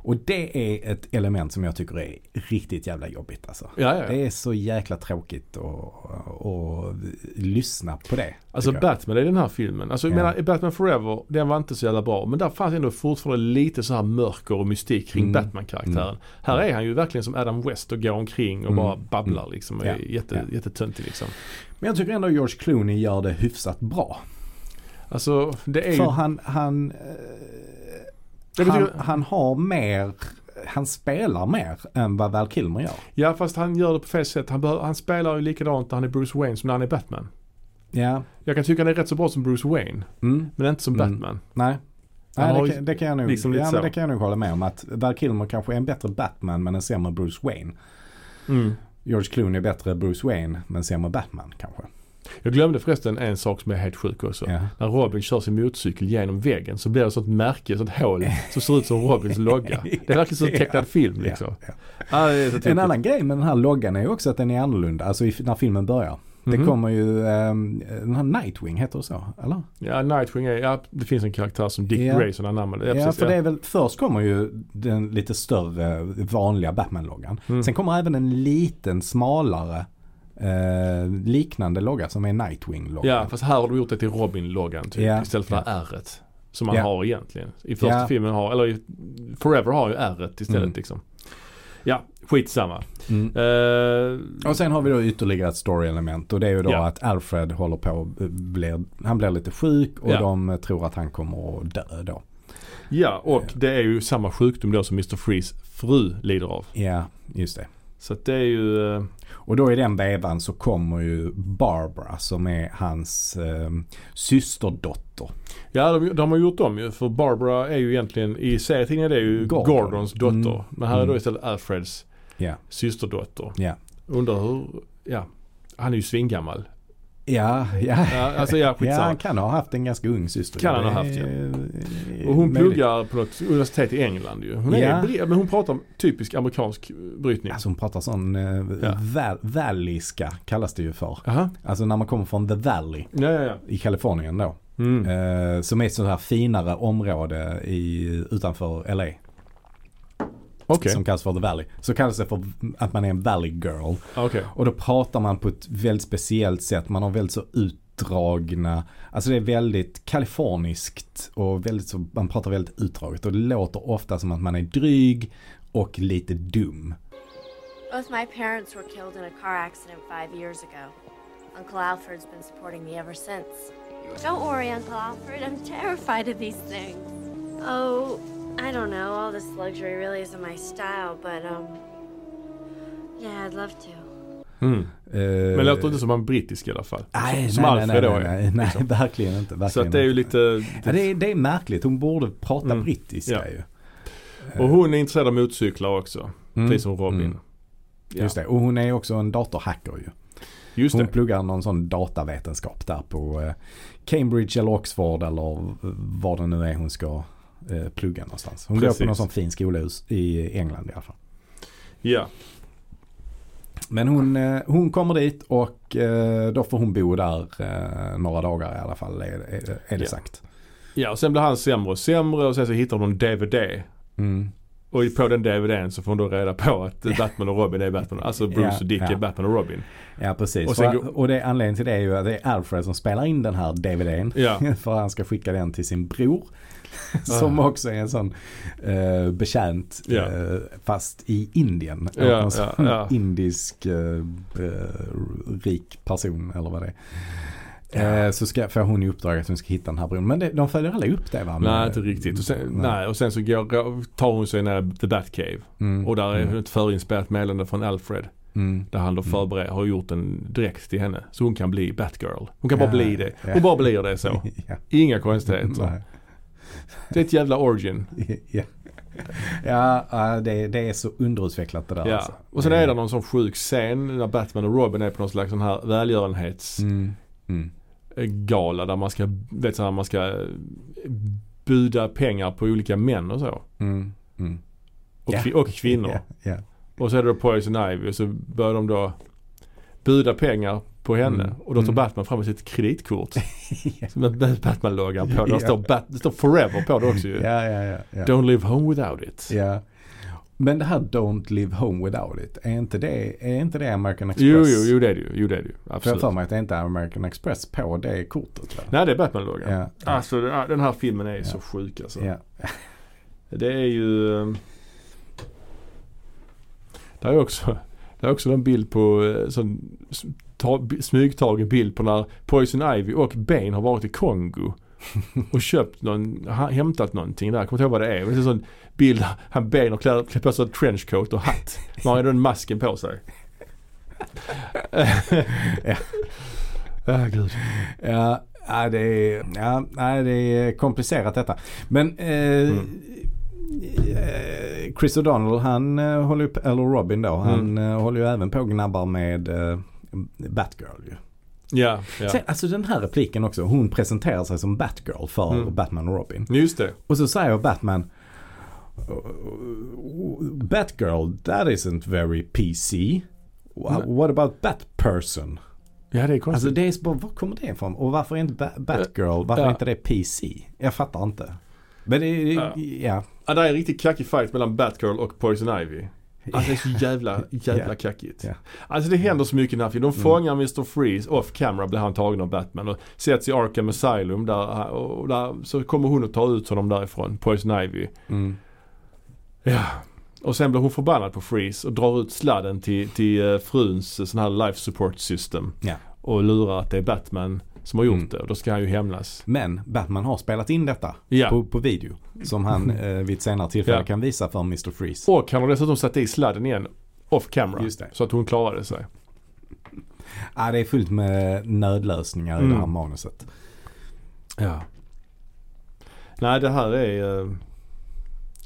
S1: Och det är ett element som jag tycker är riktigt jävla jobbigt alltså.
S2: Ja, ja, ja.
S1: Det är så jäkla tråkigt att att lyssna på det.
S2: Alltså
S1: tycker jag.
S2: Batman i den här filmen. Alltså jag
S1: Ja.
S2: menar, i Batman Forever, den var inte så jävla bra. Men där fanns ändå fortfarande lite så här mörker och mystik kring
S1: Mm.
S2: Batman-karaktären. Här är han ju verkligen som Adam West och går omkring och
S1: Mm.
S2: bara babblar liksom. Och är
S1: Ja.
S2: jätte,
S1: Ja.
S2: jättetöntig liksom.
S1: Men jag tycker ändå George Clooney gör det hyfsat bra.
S2: Alltså det är ju...
S1: För han, han, eh,
S2: Jag
S1: han,
S2: tycker-
S1: han har mer, han spelar mer än vad Val Kilmer gör.
S2: Ja fast han gör det på fel sätt. Han, behöver, han spelar ju likadant när han är Bruce Wayne som när han är Batman.
S1: Ja,
S2: Jag kan tycka han är rätt så bra som Bruce Wayne.
S1: mm,
S2: Men inte som
S1: Mm.
S2: Batman.
S1: nej.
S2: Han
S1: Nej,
S2: har
S1: det,
S2: ju
S1: kan, det, kan jag nog,
S2: liksom lite
S1: ja, men
S2: så.
S1: det kan jag nog hålla med om att Val Kilmer kanske är en bättre Batman men en sämre Bruce Wayne. Mm. George Clooney är bättre Bruce Wayne men sämre Batman kanske.
S2: Typ. Jag glömde förresten en sak som är helt sjuk också.
S1: Ja.
S2: När Robin kör sin motorcykel genom väggen så blir det ett sånt märke, ett sånt hål som ser ut som Robins logga.
S1: [laughs]
S2: Det är verkligen som en tecknad film liksom.
S1: Ja,
S2: Ja, det är så
S1: En
S2: tokigt.
S1: annan grej med den här loggan är ju också att den är annorlunda, alltså i, när filmen börjar. Det
S2: Mhm.
S1: kommer ju, ehm, den här Nightwing heter det så, eller?
S2: Ja, Nightwing är, ja, det finns en karaktär som Dick
S1: Ja.
S2: Grayson anammade.
S1: Ja,
S2: precis,
S1: för det är väl, först kommer ju den lite större vanliga Batman-loggan.
S2: Mm.
S1: Sen kommer även en liten smalare eh, liknande logga som är Nightwing-loggan.
S2: ja, fast här har de gjort det till Robin-loggan typ,
S1: Ja.
S2: istället för det här ärret. Som man
S1: Ja.
S2: har egentligen. I första
S1: Ja.
S2: filmen har, eller i Forever har ju ärret istället
S1: Mm.
S2: liksom. Ja, skitsamma.
S1: Mm.
S2: Uh,
S1: Och sen har vi då ytterligare ett story-element och det är ju då
S2: Ja.
S1: att Alfred håller på, och blir, han blir lite sjuk och
S2: Ja.
S1: de eh, tror att han kommer att dö då.
S2: ja, och det är ju samma sjukdom då som Mr. Freeze fru lider av.
S1: Ja, just det.
S2: Så att det är ju... eh,
S1: Och då i den vevan så kommer ju Barbara som är hans eh, systerdotter.
S2: Ja, de, de har gjort om ju. För Barbara är ju egentligen, i serietidningen är det ju
S1: Gordon.
S2: Gordons dotter.
S1: Mm.
S2: Men här är då
S1: Mm.
S2: istället Alfreds
S1: Ja.
S2: systerdotter.
S1: Ja.
S2: Undrar hur, ja. Han är ju svingammal.
S1: Ja, ja.
S2: Ja, alltså
S1: [laughs]
S2: ja,
S1: Ja,
S2: skitsamma.
S1: han kan ha haft en ganska ung syster.
S2: Kan han ha haft, ja.
S1: ja.
S2: och hon pluggar på något universitet i England ju. Hon är
S1: Ja.
S2: bre- men hon pratar om typisk amerikansk eh, brytning.
S1: Alltså hon pratar sån eh,
S2: Ja.
S1: val- valleyska kallas det ju för.
S2: Aha.
S1: Alltså när man kommer från the valley
S2: Ja, ja, ja.
S1: i Kalifornien då.
S2: Mm.
S1: Eh, som är ett sånt här finare område i, utanför LA.
S2: Okej.
S1: Som kallas för the valley. Så kallas det för att man är en valley girl.
S2: Okej.
S1: Och då pratar man på ett väldigt speciellt sätt. Man har väldigt så utdragna, alltså det är väldigt kaliforniskt och väldigt så, man pratar väldigt utdraget och det låter ofta som att man är dryg och lite dum.
S3: Both my parents were killed in a car accident five years ago. Uncle Alfred's been supporting me ever since. Don't worry, Uncle Alfred. I'm terrified of these things. Oh, I don't know. All this luxury really isn't my style, but, um. Yeah, I'd love to.
S2: Mm.
S1: Eh,
S2: Men låter inte som en brittisk i alla fall.
S1: nej,
S2: som
S1: nej,
S2: Alfred
S1: nej,
S2: då
S1: nej, nej,
S2: är,
S1: nej, verkligen inte. Verkligen
S2: Så att det är ju
S1: inte.
S2: lite...
S1: Ja, det, är, det är märkligt, hon borde prata
S2: Mm.
S1: brittiska
S2: Ja.
S1: ju.
S2: Och hon är intresserad av motorcyklar också.
S1: Eh. Mm.
S2: Precis som Robin.
S1: Mm.
S2: Ja.
S1: Just det, och hon är också en datorhacker ju.
S2: Just
S1: Hon
S2: det.
S1: pluggar någon sån datavetenskap där på eh, Cambridge eller Oxford eller eh, vad det nu är hon ska eh, plugga någonstans. Hon går på
S2: Precis.
S1: någon sån fin skola i- i England i alla fall.
S2: Ja.
S1: Men hon, eh, hon kommer dit och eh, då får hon bo där eh, några dagar i alla fall är, är, är det
S2: Ja.
S1: sagt.
S2: Ja, och sen blir han sämre och sämre och sen så hittar de en DVD.
S1: Mm.
S2: Och på den DVDn så får hon då reda på att Batman och Robin är Batman. Alltså Bruce
S1: Ja,
S2: och Dick
S1: ja.
S2: är Batman och Robin.
S1: Ja precis.
S2: Och
S1: Och,
S2: sen
S1: för,
S2: går-
S1: och det, anledningen till det är ju att det är Alfred som spelar in den här DVDn.
S2: Ja.
S1: [laughs] För han ska skicka den till sin bror. [laughs] Som också är en sån eh, betjänt.
S2: Ah. Ja.
S1: Eh, fast i Indien.
S2: Ja,
S1: Eller
S2: ja,
S1: någon sån
S2: ja.
S1: [laughs] indisk eh, eh, rik person eller vad det är. Eh, så ska, får hon i uppdrag att hon ska hitta den här bron. Men det, de följer aldrig upp det va? Men-
S2: Nej, inte riktigt. Och sen, nej, och sen så går, tar hon sig ner The Batcave.
S1: Mm.
S2: Och där är
S1: Mm.
S2: ett förinspelat meddelande från Alfred.
S1: Mm.
S2: Där han då
S1: Mm.
S2: förbereder, har gjort en direkt till henne. Så hon kan bli Batgirl. Hon kan bara
S1: Ja,
S2: bli det.
S1: ja.
S2: Hon bara blir det så.
S1: [laughs] ja.
S2: Inga konstigheter.
S1: Nej.
S2: Det är ett jävla origin.
S1: ja. [laughs] Ja, ja, det, det är så underutvecklat det där.
S2: Ja.
S1: Alltså.
S2: Och sen är det någon sån sjuk scen när Batman och Robin är på någon slags sån här välgörenhets...
S1: Mm. Mm.
S2: gala där man ska, vet så här, man ska buda pengar på olika män och så.
S1: Mm. Mm.
S2: Och,
S1: Ja.
S2: kvi- och kvinnor.
S1: Ja, ja.
S2: Och så är det då Poison Ivy och så börjar de då buda pengar på henne.
S1: Mm.
S2: Och då tar
S1: Mm.
S2: Batman fram sitt kreditkort.
S1: [laughs] Ja.
S2: Med med Batman-loggan på. Där
S1: Ja.
S2: står, Bat- det står Forever på det också ju.
S1: Ja, ja, ja, ja.
S2: Don't live home without it.
S1: ja. Men det här Don't Live Home Without It, är inte det, är inte det American
S2: Jo,
S1: Express?
S2: jo, jo det är det ju. Jo, det är det ju.
S1: För jag har
S2: Absolut.
S1: för mig att det inte är American Express på det kortet. Va?
S2: Nej, det är Batman-loggan.
S1: Ja, ja,
S2: Alltså den här- den här filmen är ju så
S1: Ja.
S2: sjuk alltså.
S1: ja.
S2: Det är ju... eh, Det är också, det är också en bild på, eh, sån s- ta, b- smygtagen bild på när Poison Ivy och Bane har varit i [laughs] Kongo. Och köpt någon, ha- hämtat någonting där. Jag kommer inte ihåg vad det är. Men det är en sån bild, där han Bane har klär, klär på sig en trenchcoat och [laughs] hatt. Men han har den masken på sig.
S1: Ja.
S2: Ah, gud.
S1: ja, ja, det, är, ja nej, det är komplicerat detta. Men eh,
S2: Mm.
S1: eh, Chris O'Donnell, han eh, håller upp, eller Robin då,
S2: Mm.
S1: han eh, håller ju även på och gnabbar med eh, Batgirl ju.
S2: Ja, ja.
S1: Sen, alltså den här repliken också. Hon presenterar sig som Batgirl för
S2: Mm.
S1: Batman och Robin.
S2: Just det.
S1: Och så säger Batman Batgirl, that isn't very PC. Wha-
S2: Nej.
S1: What about Batperson?
S2: Ja, det är konstigt.
S1: Alltså det är så bara, var kommer det ifrån? Och varför är inte ba- Batgirl, varför är
S2: Ja.
S1: inte det PC? Jag fattar inte. Men det är,
S2: Ja.
S1: ja.
S2: Ja, det är en riktigt kackig fight mellan Batgirl och Poison Ivy. Alltså
S1: [laughs]
S2: det är så jävla, jävla
S1: Ja.
S2: kackigt.
S1: Ja.
S2: Alltså det händer så mycket i den här filmen. De
S1: Mm.
S2: fångar Mr. Freeze off camera blir han tagen av Batman och sätts i Arkham Asylum där, och där så kommer hon att ta ut honom därifrån, Poison Ivy.
S1: Mm.
S2: Ja. Och sen blir hon förbannad på Freeze och drar ut sladden till, till eh, fruns eh, sån här life support system.
S1: Ja.
S2: Och lurar att det är Batman som har gjort
S1: Mm.
S2: det och då ska han ju hämnas.
S1: Men Batman har spelat in detta
S2: Ja.
S1: på, på video. Som
S2: [laughs]
S1: han eh, vid ett senare tillfälle
S2: Ja.
S1: kan visa för Mr. Freeze.
S2: Och han har dessutom satt i sladden igen off camera.
S1: Just det.
S2: Så att hon klarade sig.
S1: Ja, det är fullt med nödlösningar i
S2: Mm.
S1: det här manuset.
S2: Ja. Nej det här är eh,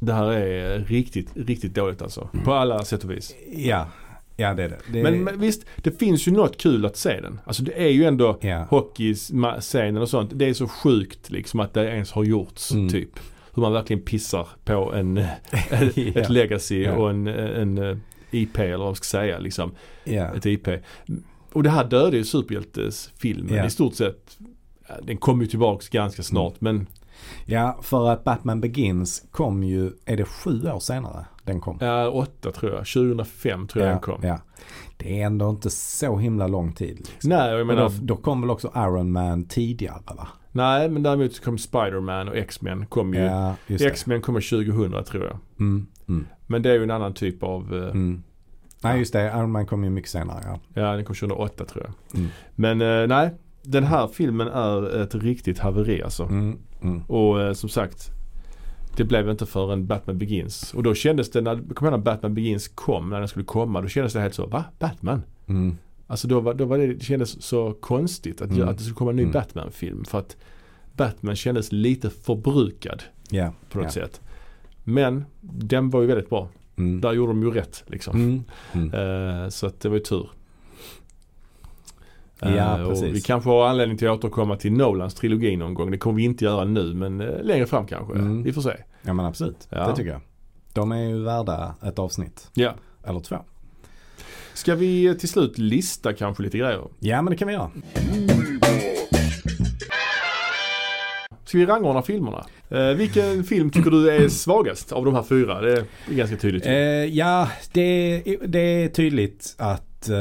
S2: Det här är riktigt, riktigt dåligt alltså.
S1: Mm.
S2: På alla sätt och vis.
S1: Ja, ja det är det. det
S2: Men, men visst, det finns ju något kul att se den. Alltså det är ju ändå
S1: ja.
S2: hockeyscenen och sånt. Det är så sjukt liksom att det ens har gjorts
S1: Mm.
S2: typ. Hur man verkligen pissar på en, [laughs] [laughs] ett
S1: Ja.
S2: legacy
S1: Ja.
S2: och en, en eh, IP eller vad man ska säga liksom.
S1: Ja.
S2: Ett IP. Och det här dödade ju superhjältesfilmen
S1: Ja.
S2: i stort sett. Den kom ju tillbaks ganska snart
S1: Mm.
S2: men
S1: ja, för att Batman Begins kom ju, är det sju år senare den kom?
S2: Ja, åtta tror jag. 2005 tror jag den kom.
S1: ja. Det är ändå inte så himla lång tid. Liksom.
S2: Nej, jag
S1: Och
S2: menar,
S1: då, då kom väl också Iron Man tidigare va?
S2: nej, men däremot så kom Spider-Man och X-Men kom ju.
S1: Ja, just det.
S2: X-Men kom 2000 tror jag.
S1: Mm, mm,
S2: Men det är ju en annan typ av, eh,
S1: mm. Nej just det, Iron Man kom ju mycket senare. Ja.
S2: ja den kom 2008 tror jag.
S1: Mm.
S2: Men eh, nej, den här filmen är ett riktigt haveri alltså.
S1: Mm, mm.
S2: Och eh, som sagt, det blev inte förrän Batman Begins. Och då kändes det, när, kommer jag ihåg när Batman Begins kom, när den skulle komma, då kändes det helt så, va? Batman?
S1: Mm.
S2: Alltså då var, då var det, det kändes så konstigt att,
S1: Mm.
S2: att det skulle komma en ny
S1: Mm.
S2: Batman-film. För att Batman kändes lite förbrukad
S1: Ja.
S2: på något
S1: ja.
S2: sätt. Men den var ju väldigt bra.
S1: Mm.
S2: Där gjorde de ju rätt liksom.
S1: Mm. Mm.
S2: Eh, så att det var ju tur.
S1: Ja,
S2: Eh, och
S1: precis.
S2: vi kanske har anledning till att återkomma till Nolans trilogi någon gång. Det kommer vi inte göra nu men eh, längre fram kanske.
S1: Mm.
S2: Vi får se.
S1: Ja men absolut,
S2: Ja.
S1: det tycker jag. De är ju värda ett avsnitt.
S2: Ja.
S1: Eller två.
S2: Ska vi eh, till slut lista kanske lite grejer?
S1: Ja, men det kan vi göra.
S2: Ska vi rangordna filmerna? Eh, vilken film tycker du är svagast av de här fyra? Det är ganska tydligt.
S1: Eh, ja, det, det är tydligt att eh,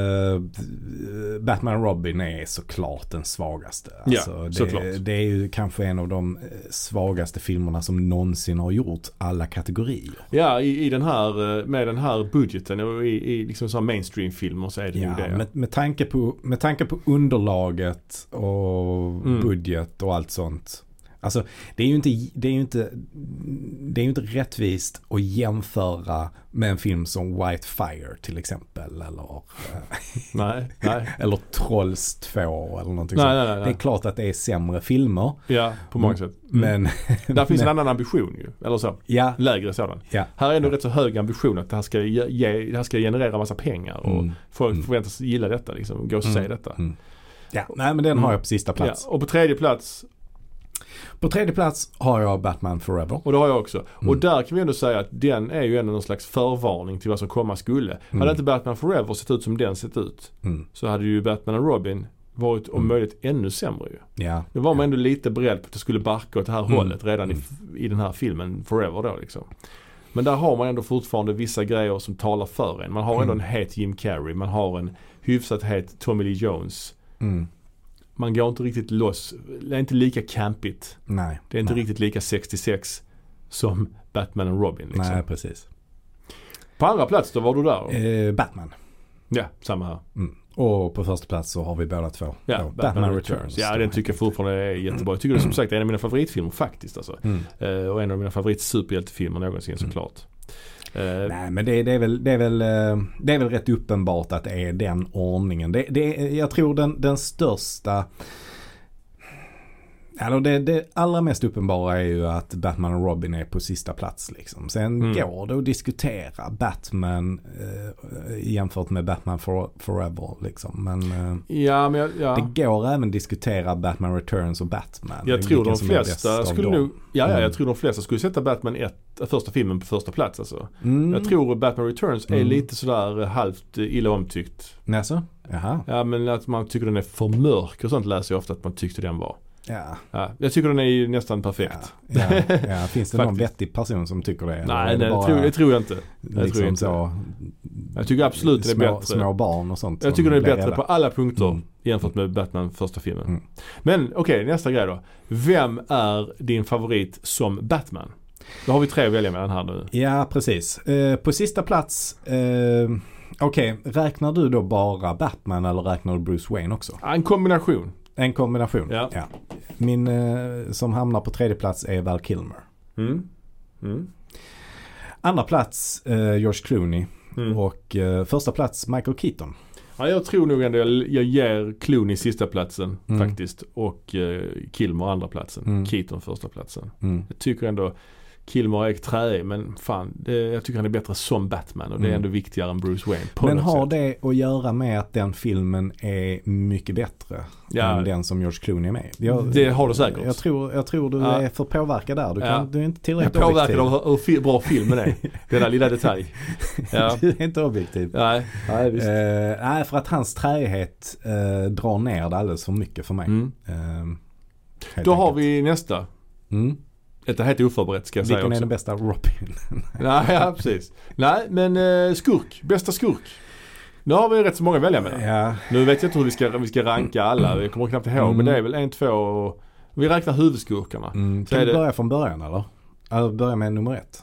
S1: Batman och Robin är såklart den svagaste. Alltså,
S2: Ja,
S1: det,
S2: såklart.
S1: det är ju kanske en av de eh, svagaste filmerna som någonsin har gjort alla kategorier.
S2: Ja, i, i den här, eh, med den här budgeten och i, i liksom så här mainstream-filmer så är det
S1: Ja,
S2: ju det.
S1: med, med, tanke på, med tanke på underlaget och
S2: Mm.
S1: budget och allt sånt. Alltså det är ju inte, det är ju inte, det är ju inte rättvist att jämföra med en film som White Fire till exempel. Eller,
S2: Nej, nej,
S1: eller Trolls 2 eller någonting
S2: nej,
S1: sånt.
S2: nej, nej,
S1: Det är
S2: nej.
S1: klart att det är sämre filmer.
S2: Ja, på många sätt.
S1: Men,
S2: Mm.
S1: [laughs]
S2: Där finns en annan ambition ju. Eller så.
S1: ja,
S2: Lägre sådan.
S1: Ja.
S2: Här är nog rätt så hög ambition att det här ska, ge, ge, det här ska generera massa pengar och
S1: Mm.
S2: folk
S1: Mm.
S2: förväntas gilla detta liksom. och Gå och se detta.
S1: Mm. ja, nej men den har jag på sista
S2: Mm. Ja,
S1: plats.
S2: och på tredje plats,
S1: På tredje plats har jag Batman Forever.
S2: och det har jag också. Och där kan vi ändå säga att den är ju ändå någon slags förvarning till vad som komma skulle. Hade inte Batman Forever sett ut som den sett ut
S1: Mm.
S2: så hade ju Batman och Robin varit om möjligt ännu sämre ju.
S1: Ja,
S2: Då var man ändå lite beredd på att det skulle barka åt det här hållet redan i, i den här filmen Forever då liksom. Men där har man ändå fortfarande vissa grejer som talar för en. Man har ändå en het Jim Carrey, man har en hyfsat het Tommy Lee Jones.
S1: mm.
S2: Man går inte riktigt loss, det är inte lika campigt.
S1: nej.
S2: Det är inte
S1: nej.
S2: riktigt lika 66 som Batman och Robin liksom.
S1: Nej, precis.
S2: På andra plats då, var du där?
S1: Eh, Batman.
S2: Ja, samma här.
S1: Mm. Och på första plats så har vi båda två.
S2: Ja,
S1: Då,
S2: Batman, Returns. Ja, den tycker jag fortfarande är jättebra. Jag tycker det är som sagt en av mina favoritfilmer faktiskt alltså.
S1: Mm.
S2: Eh, och en av mina favoritsuperhjältefilmer någonsin såklart. Eh,
S1: Nej men det, det, är väl, det, är väl, eh, det är väl rätt uppenbart att det är den ordningen. Det, det, är- jag tror den, den största Alltså det, det allra mest uppenbara är ju att Batman och Robin är på sista plats. Liksom. Sen
S2: Mm.
S1: går det att diskutera Batman eh, jämfört med Batman for, Forever. Liksom. Men eh,
S2: ja, men jag, ja.
S1: det går även att diskutera Batman Returns och Batman.
S2: jag tror
S1: Vilken
S2: de
S1: som är bäst
S2: flesta
S1: av
S2: skulle
S1: dem.
S2: nog, ja, ja,
S1: Mm.
S2: jag tror de flesta skulle sätta Batman 1, första filmen på första plats alltså.
S1: Mm.
S2: Jag tror Batman Returns är
S1: Mm.
S2: lite sådär eh, halvt eh, illa omtyckt.
S1: Näså? Jaha.
S2: Ja men att man tycker den är för mörk och sånt läser jag ofta att man tyckte den var.
S1: Ja.
S2: Ja, jag tycker den är ju nästan
S1: Ja,
S2: perfekt.
S1: ja,
S2: [laughs]
S1: ja. Finns det någon
S2: Faktiskt.
S1: vettig person som tycker det? Eller
S2: Nej,
S1: är det
S2: nej
S1: bara
S2: det, tror, det tror jag inte. tror
S1: liksom
S2: jag inte.
S1: så,
S2: Jag tycker absolut det är
S1: små,
S2: bättre.
S1: små barn och sånt.
S2: Jag
S1: som
S2: tycker den är
S1: blir
S2: bättre
S1: rädda.
S2: på alla punkter
S1: Mm.
S2: jämfört med Batman första filmen.
S1: Mm.
S2: Men okej, nästa grej då. Vem är din favorit som Batman? Då har vi tre att välja mellan här nu.
S1: Ja, precis. Eh, på sista plats, eh, okej, räknar du då bara Batman eller räknar du Bruce Wayne också?
S2: En kombination.
S1: En kombination.
S2: Ja.
S1: Min eh, som hamnar på tredje plats är Val Kilmer.
S2: Mm. Mm.
S1: Andra plats eh, George Clooney
S2: Mm.
S1: och eh, första plats Michael Keaton.
S2: Ja, jag tror nog ändå jag, jag ger Clooney sista platsen
S1: Mm.
S2: faktiskt. Och eh, Kilmer andra platsen.
S1: Mm.
S2: Keaton första platsen.
S1: Mm.
S2: Jag tycker ändå Kilmer är träig men fan, det, jag tycker han är bättre som Batman och det är
S1: Mm.
S2: ändå viktigare än Bruce Wayne. På
S1: Men
S2: något
S1: har
S2: sätt.
S1: det att göra med att den filmen är mycket bättre
S2: Ja.
S1: än den som George Clooney är med i? Jag,
S2: Det har det säkert.
S1: jag, tror, jag tror du
S2: Ja.
S1: är för påverkad där. Du, kan,
S2: Ja.
S1: du är inte
S2: Jag
S1: tillräckligt
S2: påverkad
S1: objektiv.
S2: av hur, hur fi- bra
S1: [laughs]
S2: filmen är. Denna lilla detalj. Ja.
S1: du är [laughs] inte objektiv.
S2: Nej. Nej,
S1: Eh, nej, för att hans träighet eh, drar ner det alldeles för mycket för mig.
S2: Mm.
S1: Eh, helt
S2: Då har
S1: enkelt.
S2: vi nästa.
S1: Mm.
S2: Detta är helt oförberett ska jag
S1: Vilken är
S2: säga
S1: den
S2: också.
S1: bästa Robin?
S2: [laughs] Nej, ja, precis. Nej, men eh, skurk. Bästa skurk. Nu har vi rätt så många att välja mellan.
S1: ja,
S2: Nu vet jag inte hur vi ska, vi ska ranka alla. Jag kommer knappt ihåg.
S1: Mm.
S2: Men det är väl en, två och... Vi räknar huvudskurkarna.
S1: mm.
S2: Så
S1: Kan
S2: är
S1: vi
S2: det-
S1: börja från början eller? Eller börja med nummer ett?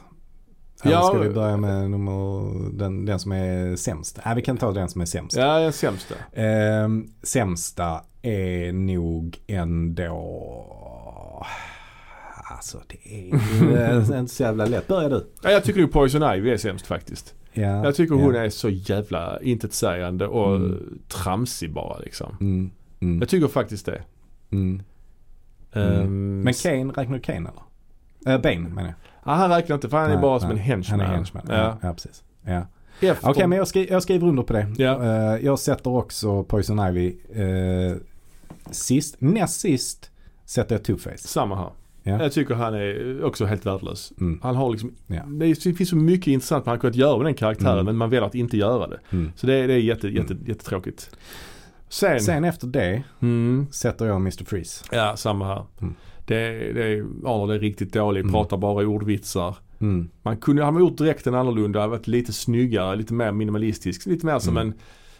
S1: Eller
S2: Ja,
S1: ska vi börja med nummer, den, den som är sämst? Nej, vi kan ta den som är sämst.
S2: Ja, den sämsta.
S1: Ehm, sämsta är nog ändå... Alltså det är
S2: [laughs]
S1: ju eh, inte så jävla lätt. Börja du.
S2: Ja, jag tycker nog Poison Ivy är sämst faktiskt.
S1: Ja,
S2: Jag tycker hon
S1: ja.
S2: är så jävla intetsägande och
S1: Mm.
S2: tramsig bara liksom.
S1: Mm, mm,
S2: Jag tycker faktiskt det.
S1: mm. Mm.
S2: Ehm,
S1: Men Kane, räknar du Kane eller? Äh, Bane menar jag.
S2: Ja, han räknar inte för han är
S1: Nej,
S2: bara som
S1: nej.
S2: en henchman.
S1: Han är henchman. Ja,
S2: Ja.
S1: ja precis. Ja.
S2: Efter,
S1: Okej, men jag, skri jag skriver under på det.
S2: Ja.
S1: Eh, jag sätter också Poison Ivy eh, sist. Näst sist sätter jag Two-Face.
S2: Samma här.
S1: Ja.
S2: Jag tycker han är också helt värdelös.
S1: Mm.
S2: Han har liksom,
S1: Ja.
S2: det, är, det finns så mycket intressant man hade kunnat göra med den karaktären
S1: Mm.
S2: men man väljer att inte göra det.
S1: Mm.
S2: Så det, är- det är jätte, jätte, jättetråkigt. Sen,
S1: Sen efter det
S2: Mm,
S1: sätter jag Mr. Freeze.
S2: ja samma här.
S1: Mm.
S2: Det, det är, Arnold är riktigt dålig,
S1: Mm.
S2: pratar bara i ordvitsar.
S1: Mm.
S2: Man kunde ha gjort dräkten annorlunda, varit lite snyggare, lite mer minimalistisk. Lite mer som
S1: Mm.
S2: en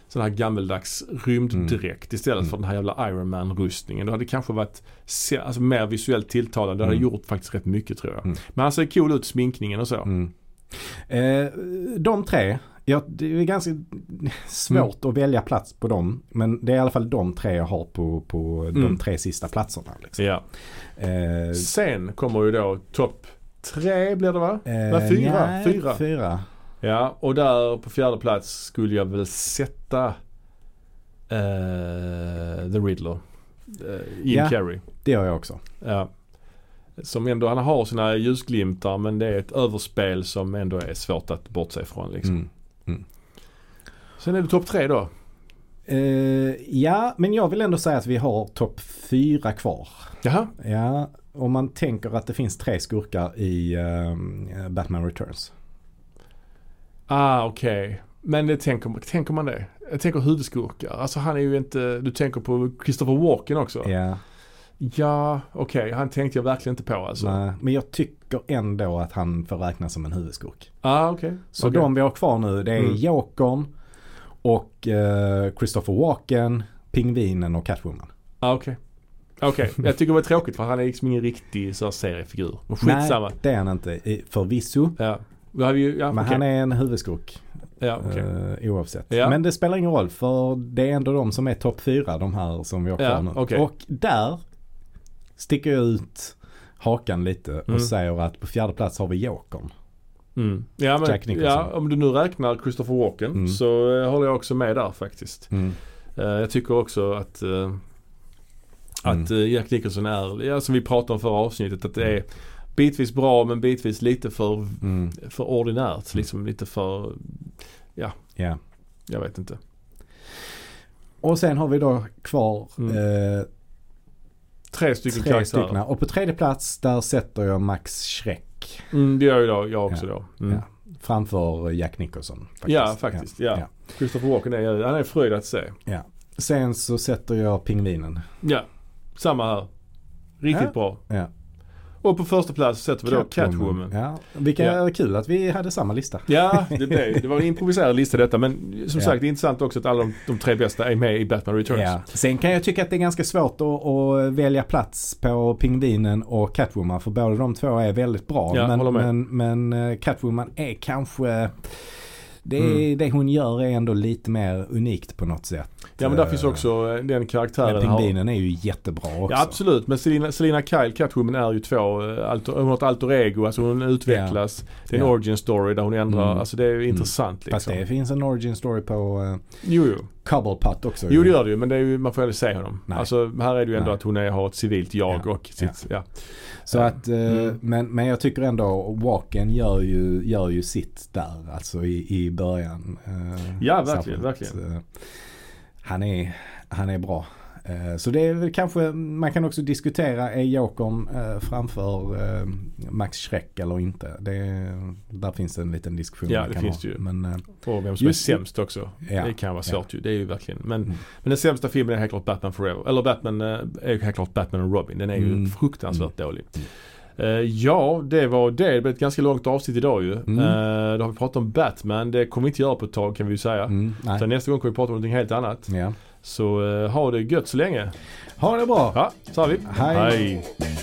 S2: sån här gammeldags rymddräkt istället
S1: Mm.
S2: för den här jävla Iron Man-rustningen. Då hade det kanske varit se- alltså, mer visuellt tilltalande. Det hade
S1: Mm.
S2: gjort faktiskt rätt mycket tror jag.
S1: Mm.
S2: Men han ser cool ut, sminkningen och så.
S1: Mm. Eh, de tre, ja, det är ganska svårt att välja plats på dem. Men det är i alla fall de tre jag har på, på de
S2: Mm.
S1: tre sista platserna. Liksom.
S2: Ja.
S1: Eh,
S2: Sen kommer ju då topp tre blir det va?
S1: eh,
S2: Vad, fyra?
S1: nej,
S2: Fyra?
S1: fyra.
S2: Ja, och där på fjärde plats skulle jag väl sätta eh, The Riddler. Eh, Jim
S1: Ja.
S2: Carrey.
S1: Det gör jag också.
S2: Ja. Som ändå, han har sina ljusglimtar men det är ett överspel som ändå är svårt att bortse ifrån. Liksom.
S1: Mm.
S2: Sen är det topp tre då.
S1: Eh, ja, men jag vill ändå säga att vi har topp fyra kvar.
S2: Jaha,
S1: Ja, om man tänker att det finns tre skurkar i eh, Batman Returns.
S2: ah okej. Men det tänker, tänker man det? Jag tänker huvudskurkar. Alltså han är ju inte, du tänker på Christopher Walken också?
S1: Ja,
S2: Ja, okej. Han tänkte jag verkligen inte på alltså.
S1: nej, eh, men jag tycker ändå att han får räknas som en huvudskurk.
S2: Ah, okej.
S1: Så
S2: Okej.
S1: de vi har kvar nu det är
S2: Mm.
S1: Jokern och eh, Christopher Walken, Pingvinen och Catwoman.
S2: Ah, okej.
S1: [laughs]
S2: Okej, jag tycker det var tråkigt för han är liksom ingen riktig så här, seriefigur. Men skitsamma.
S1: Nej, det är han inte i- förvisso.
S2: Ja. Då har vi ju, ja,
S1: Men
S2: okej.
S1: han är en huvudskurk
S2: ja, okej.
S1: eh, oavsett.
S2: Ja.
S1: Men det spelar ingen roll för det är ändå de som är topp fyra de här som vi har kvar
S2: Ja,
S1: nu.
S2: okej.
S1: Och där sticker jag ut hakan lite och
S2: Mm.
S1: säger att på fjärde plats har vi Jokern.
S2: Mm. Ja, men,
S1: Jack Nicholson.
S2: ja, om du nu räknar Christopher Walken
S1: Mm.
S2: så eh, håller jag också med där faktiskt.
S1: Mm.
S2: Eh, jag tycker också att, eh, att
S1: Mm.
S2: eh, Jack Nicholson är, ja, som vi pratade om förra avsnittet, att det är bitvis bra men bitvis lite för,
S1: Mm.
S2: för ordinärt. Liksom lite för,
S1: Ja.
S2: jag vet inte.
S1: Och sen har vi då kvar
S2: Mm.
S1: eh,
S2: Tre stycken
S1: tre
S2: karaktärer.
S1: stycken. Och på tredje plats där sätter jag Max Schreck
S2: Mm, det gör ju då, jag också då. Mm.
S1: Ja, framför Jack Nicholson. Faktiskt.
S2: Ja, faktiskt. Ja. Christopher Walken är, han är fröjd att se.
S1: Sen så sätter jag Pingvinen.
S2: Ja, samma här. Riktigt
S1: Ja.
S2: bra.
S1: Ja.
S2: Och på första plats sätter vi då Catwoman.
S1: Ja. Vilka
S2: Ja.
S1: kul att vi hade samma lista.
S2: Ja, det, blev, det var en improviserad lista detta men som
S1: Typ. Ja.
S2: sagt det är intressant också att alla de, de tre bästa är med i Batman Returns.
S1: Ja. Sen kan jag tycka att det är ganska svårt att, att välja plats på Pingvinen och Catwoman för båda de två är väldigt bra.
S2: Ja,
S1: men,
S2: håller med.
S1: men, men eh, Catwoman är kanske det,
S2: Mm.
S1: det hon gör är ändå lite mer unikt på något sätt.
S2: Ja, men där
S1: Eh,
S2: finns också eh, den
S1: Men
S2: karaktären. har-
S1: Pingvinen är ju jättebra också.
S2: Ja absolut men Selina, Selina Kyle, Catwoman är ju två, eh, alter, hon har ett alter ego, alltså hon utvecklas. Det är en
S1: Ja.
S2: origin story där hon ändrar,
S1: Mm.
S2: alltså det är ju intressant
S1: Fast
S2: liksom.
S1: det finns en origin story på eh,
S2: Jo, jo.
S1: Cobblepot också.
S2: jo det gör det ju men det är ju, man får aldrig se honom.
S1: Nej.
S2: Alltså här är det ju ändå
S1: Nej.
S2: att hon är, har ett civilt jag
S1: Ja.
S2: och sitt, ja.
S1: Så att, eh,
S2: Mm.
S1: men, men jag tycker ändå Walken gör ju, gör ju sitt där alltså i, i början. eh,
S2: Ja, verkligen, verkligen.
S1: eh, han, är, han är bra. Eh, så det är väl kanske, man kan också diskutera är Jokern eh, framför eh, Max Schreck eller inte. Det, där finns det en liten diskussion
S2: Ja,
S1: man
S2: det
S1: kan
S2: finns
S1: ha.
S2: det ju.
S1: Men, eh,
S2: Och vem som
S1: Just-
S2: är sämst också.
S1: Ja,
S2: Det kan vara
S1: ja.
S2: svårt ju. Det är ju verkligen. Men,
S1: Mm.
S2: men den sämsta filmen är helt klart Batman Forever. Eller Batman eh, är ju helt klart Batman och Robin. Den är ju
S1: Mm.
S2: fruktansvärt dålig. Eh, ja, det var det. Det blev ett ganska långt avsnitt idag ju.
S1: Mm.
S2: Eh, då har vi pratat om Batman. Det kommer vi inte göra på ett tag kan vi ju säga.
S1: mm, nej.
S2: Utan nästa gång kommer vi prata om någonting helt annat.
S1: Ja.
S2: Så eh, ha det gött så länge.
S1: Ha det bra!
S2: Ja, så har vi.
S1: Hej.
S2: Hej.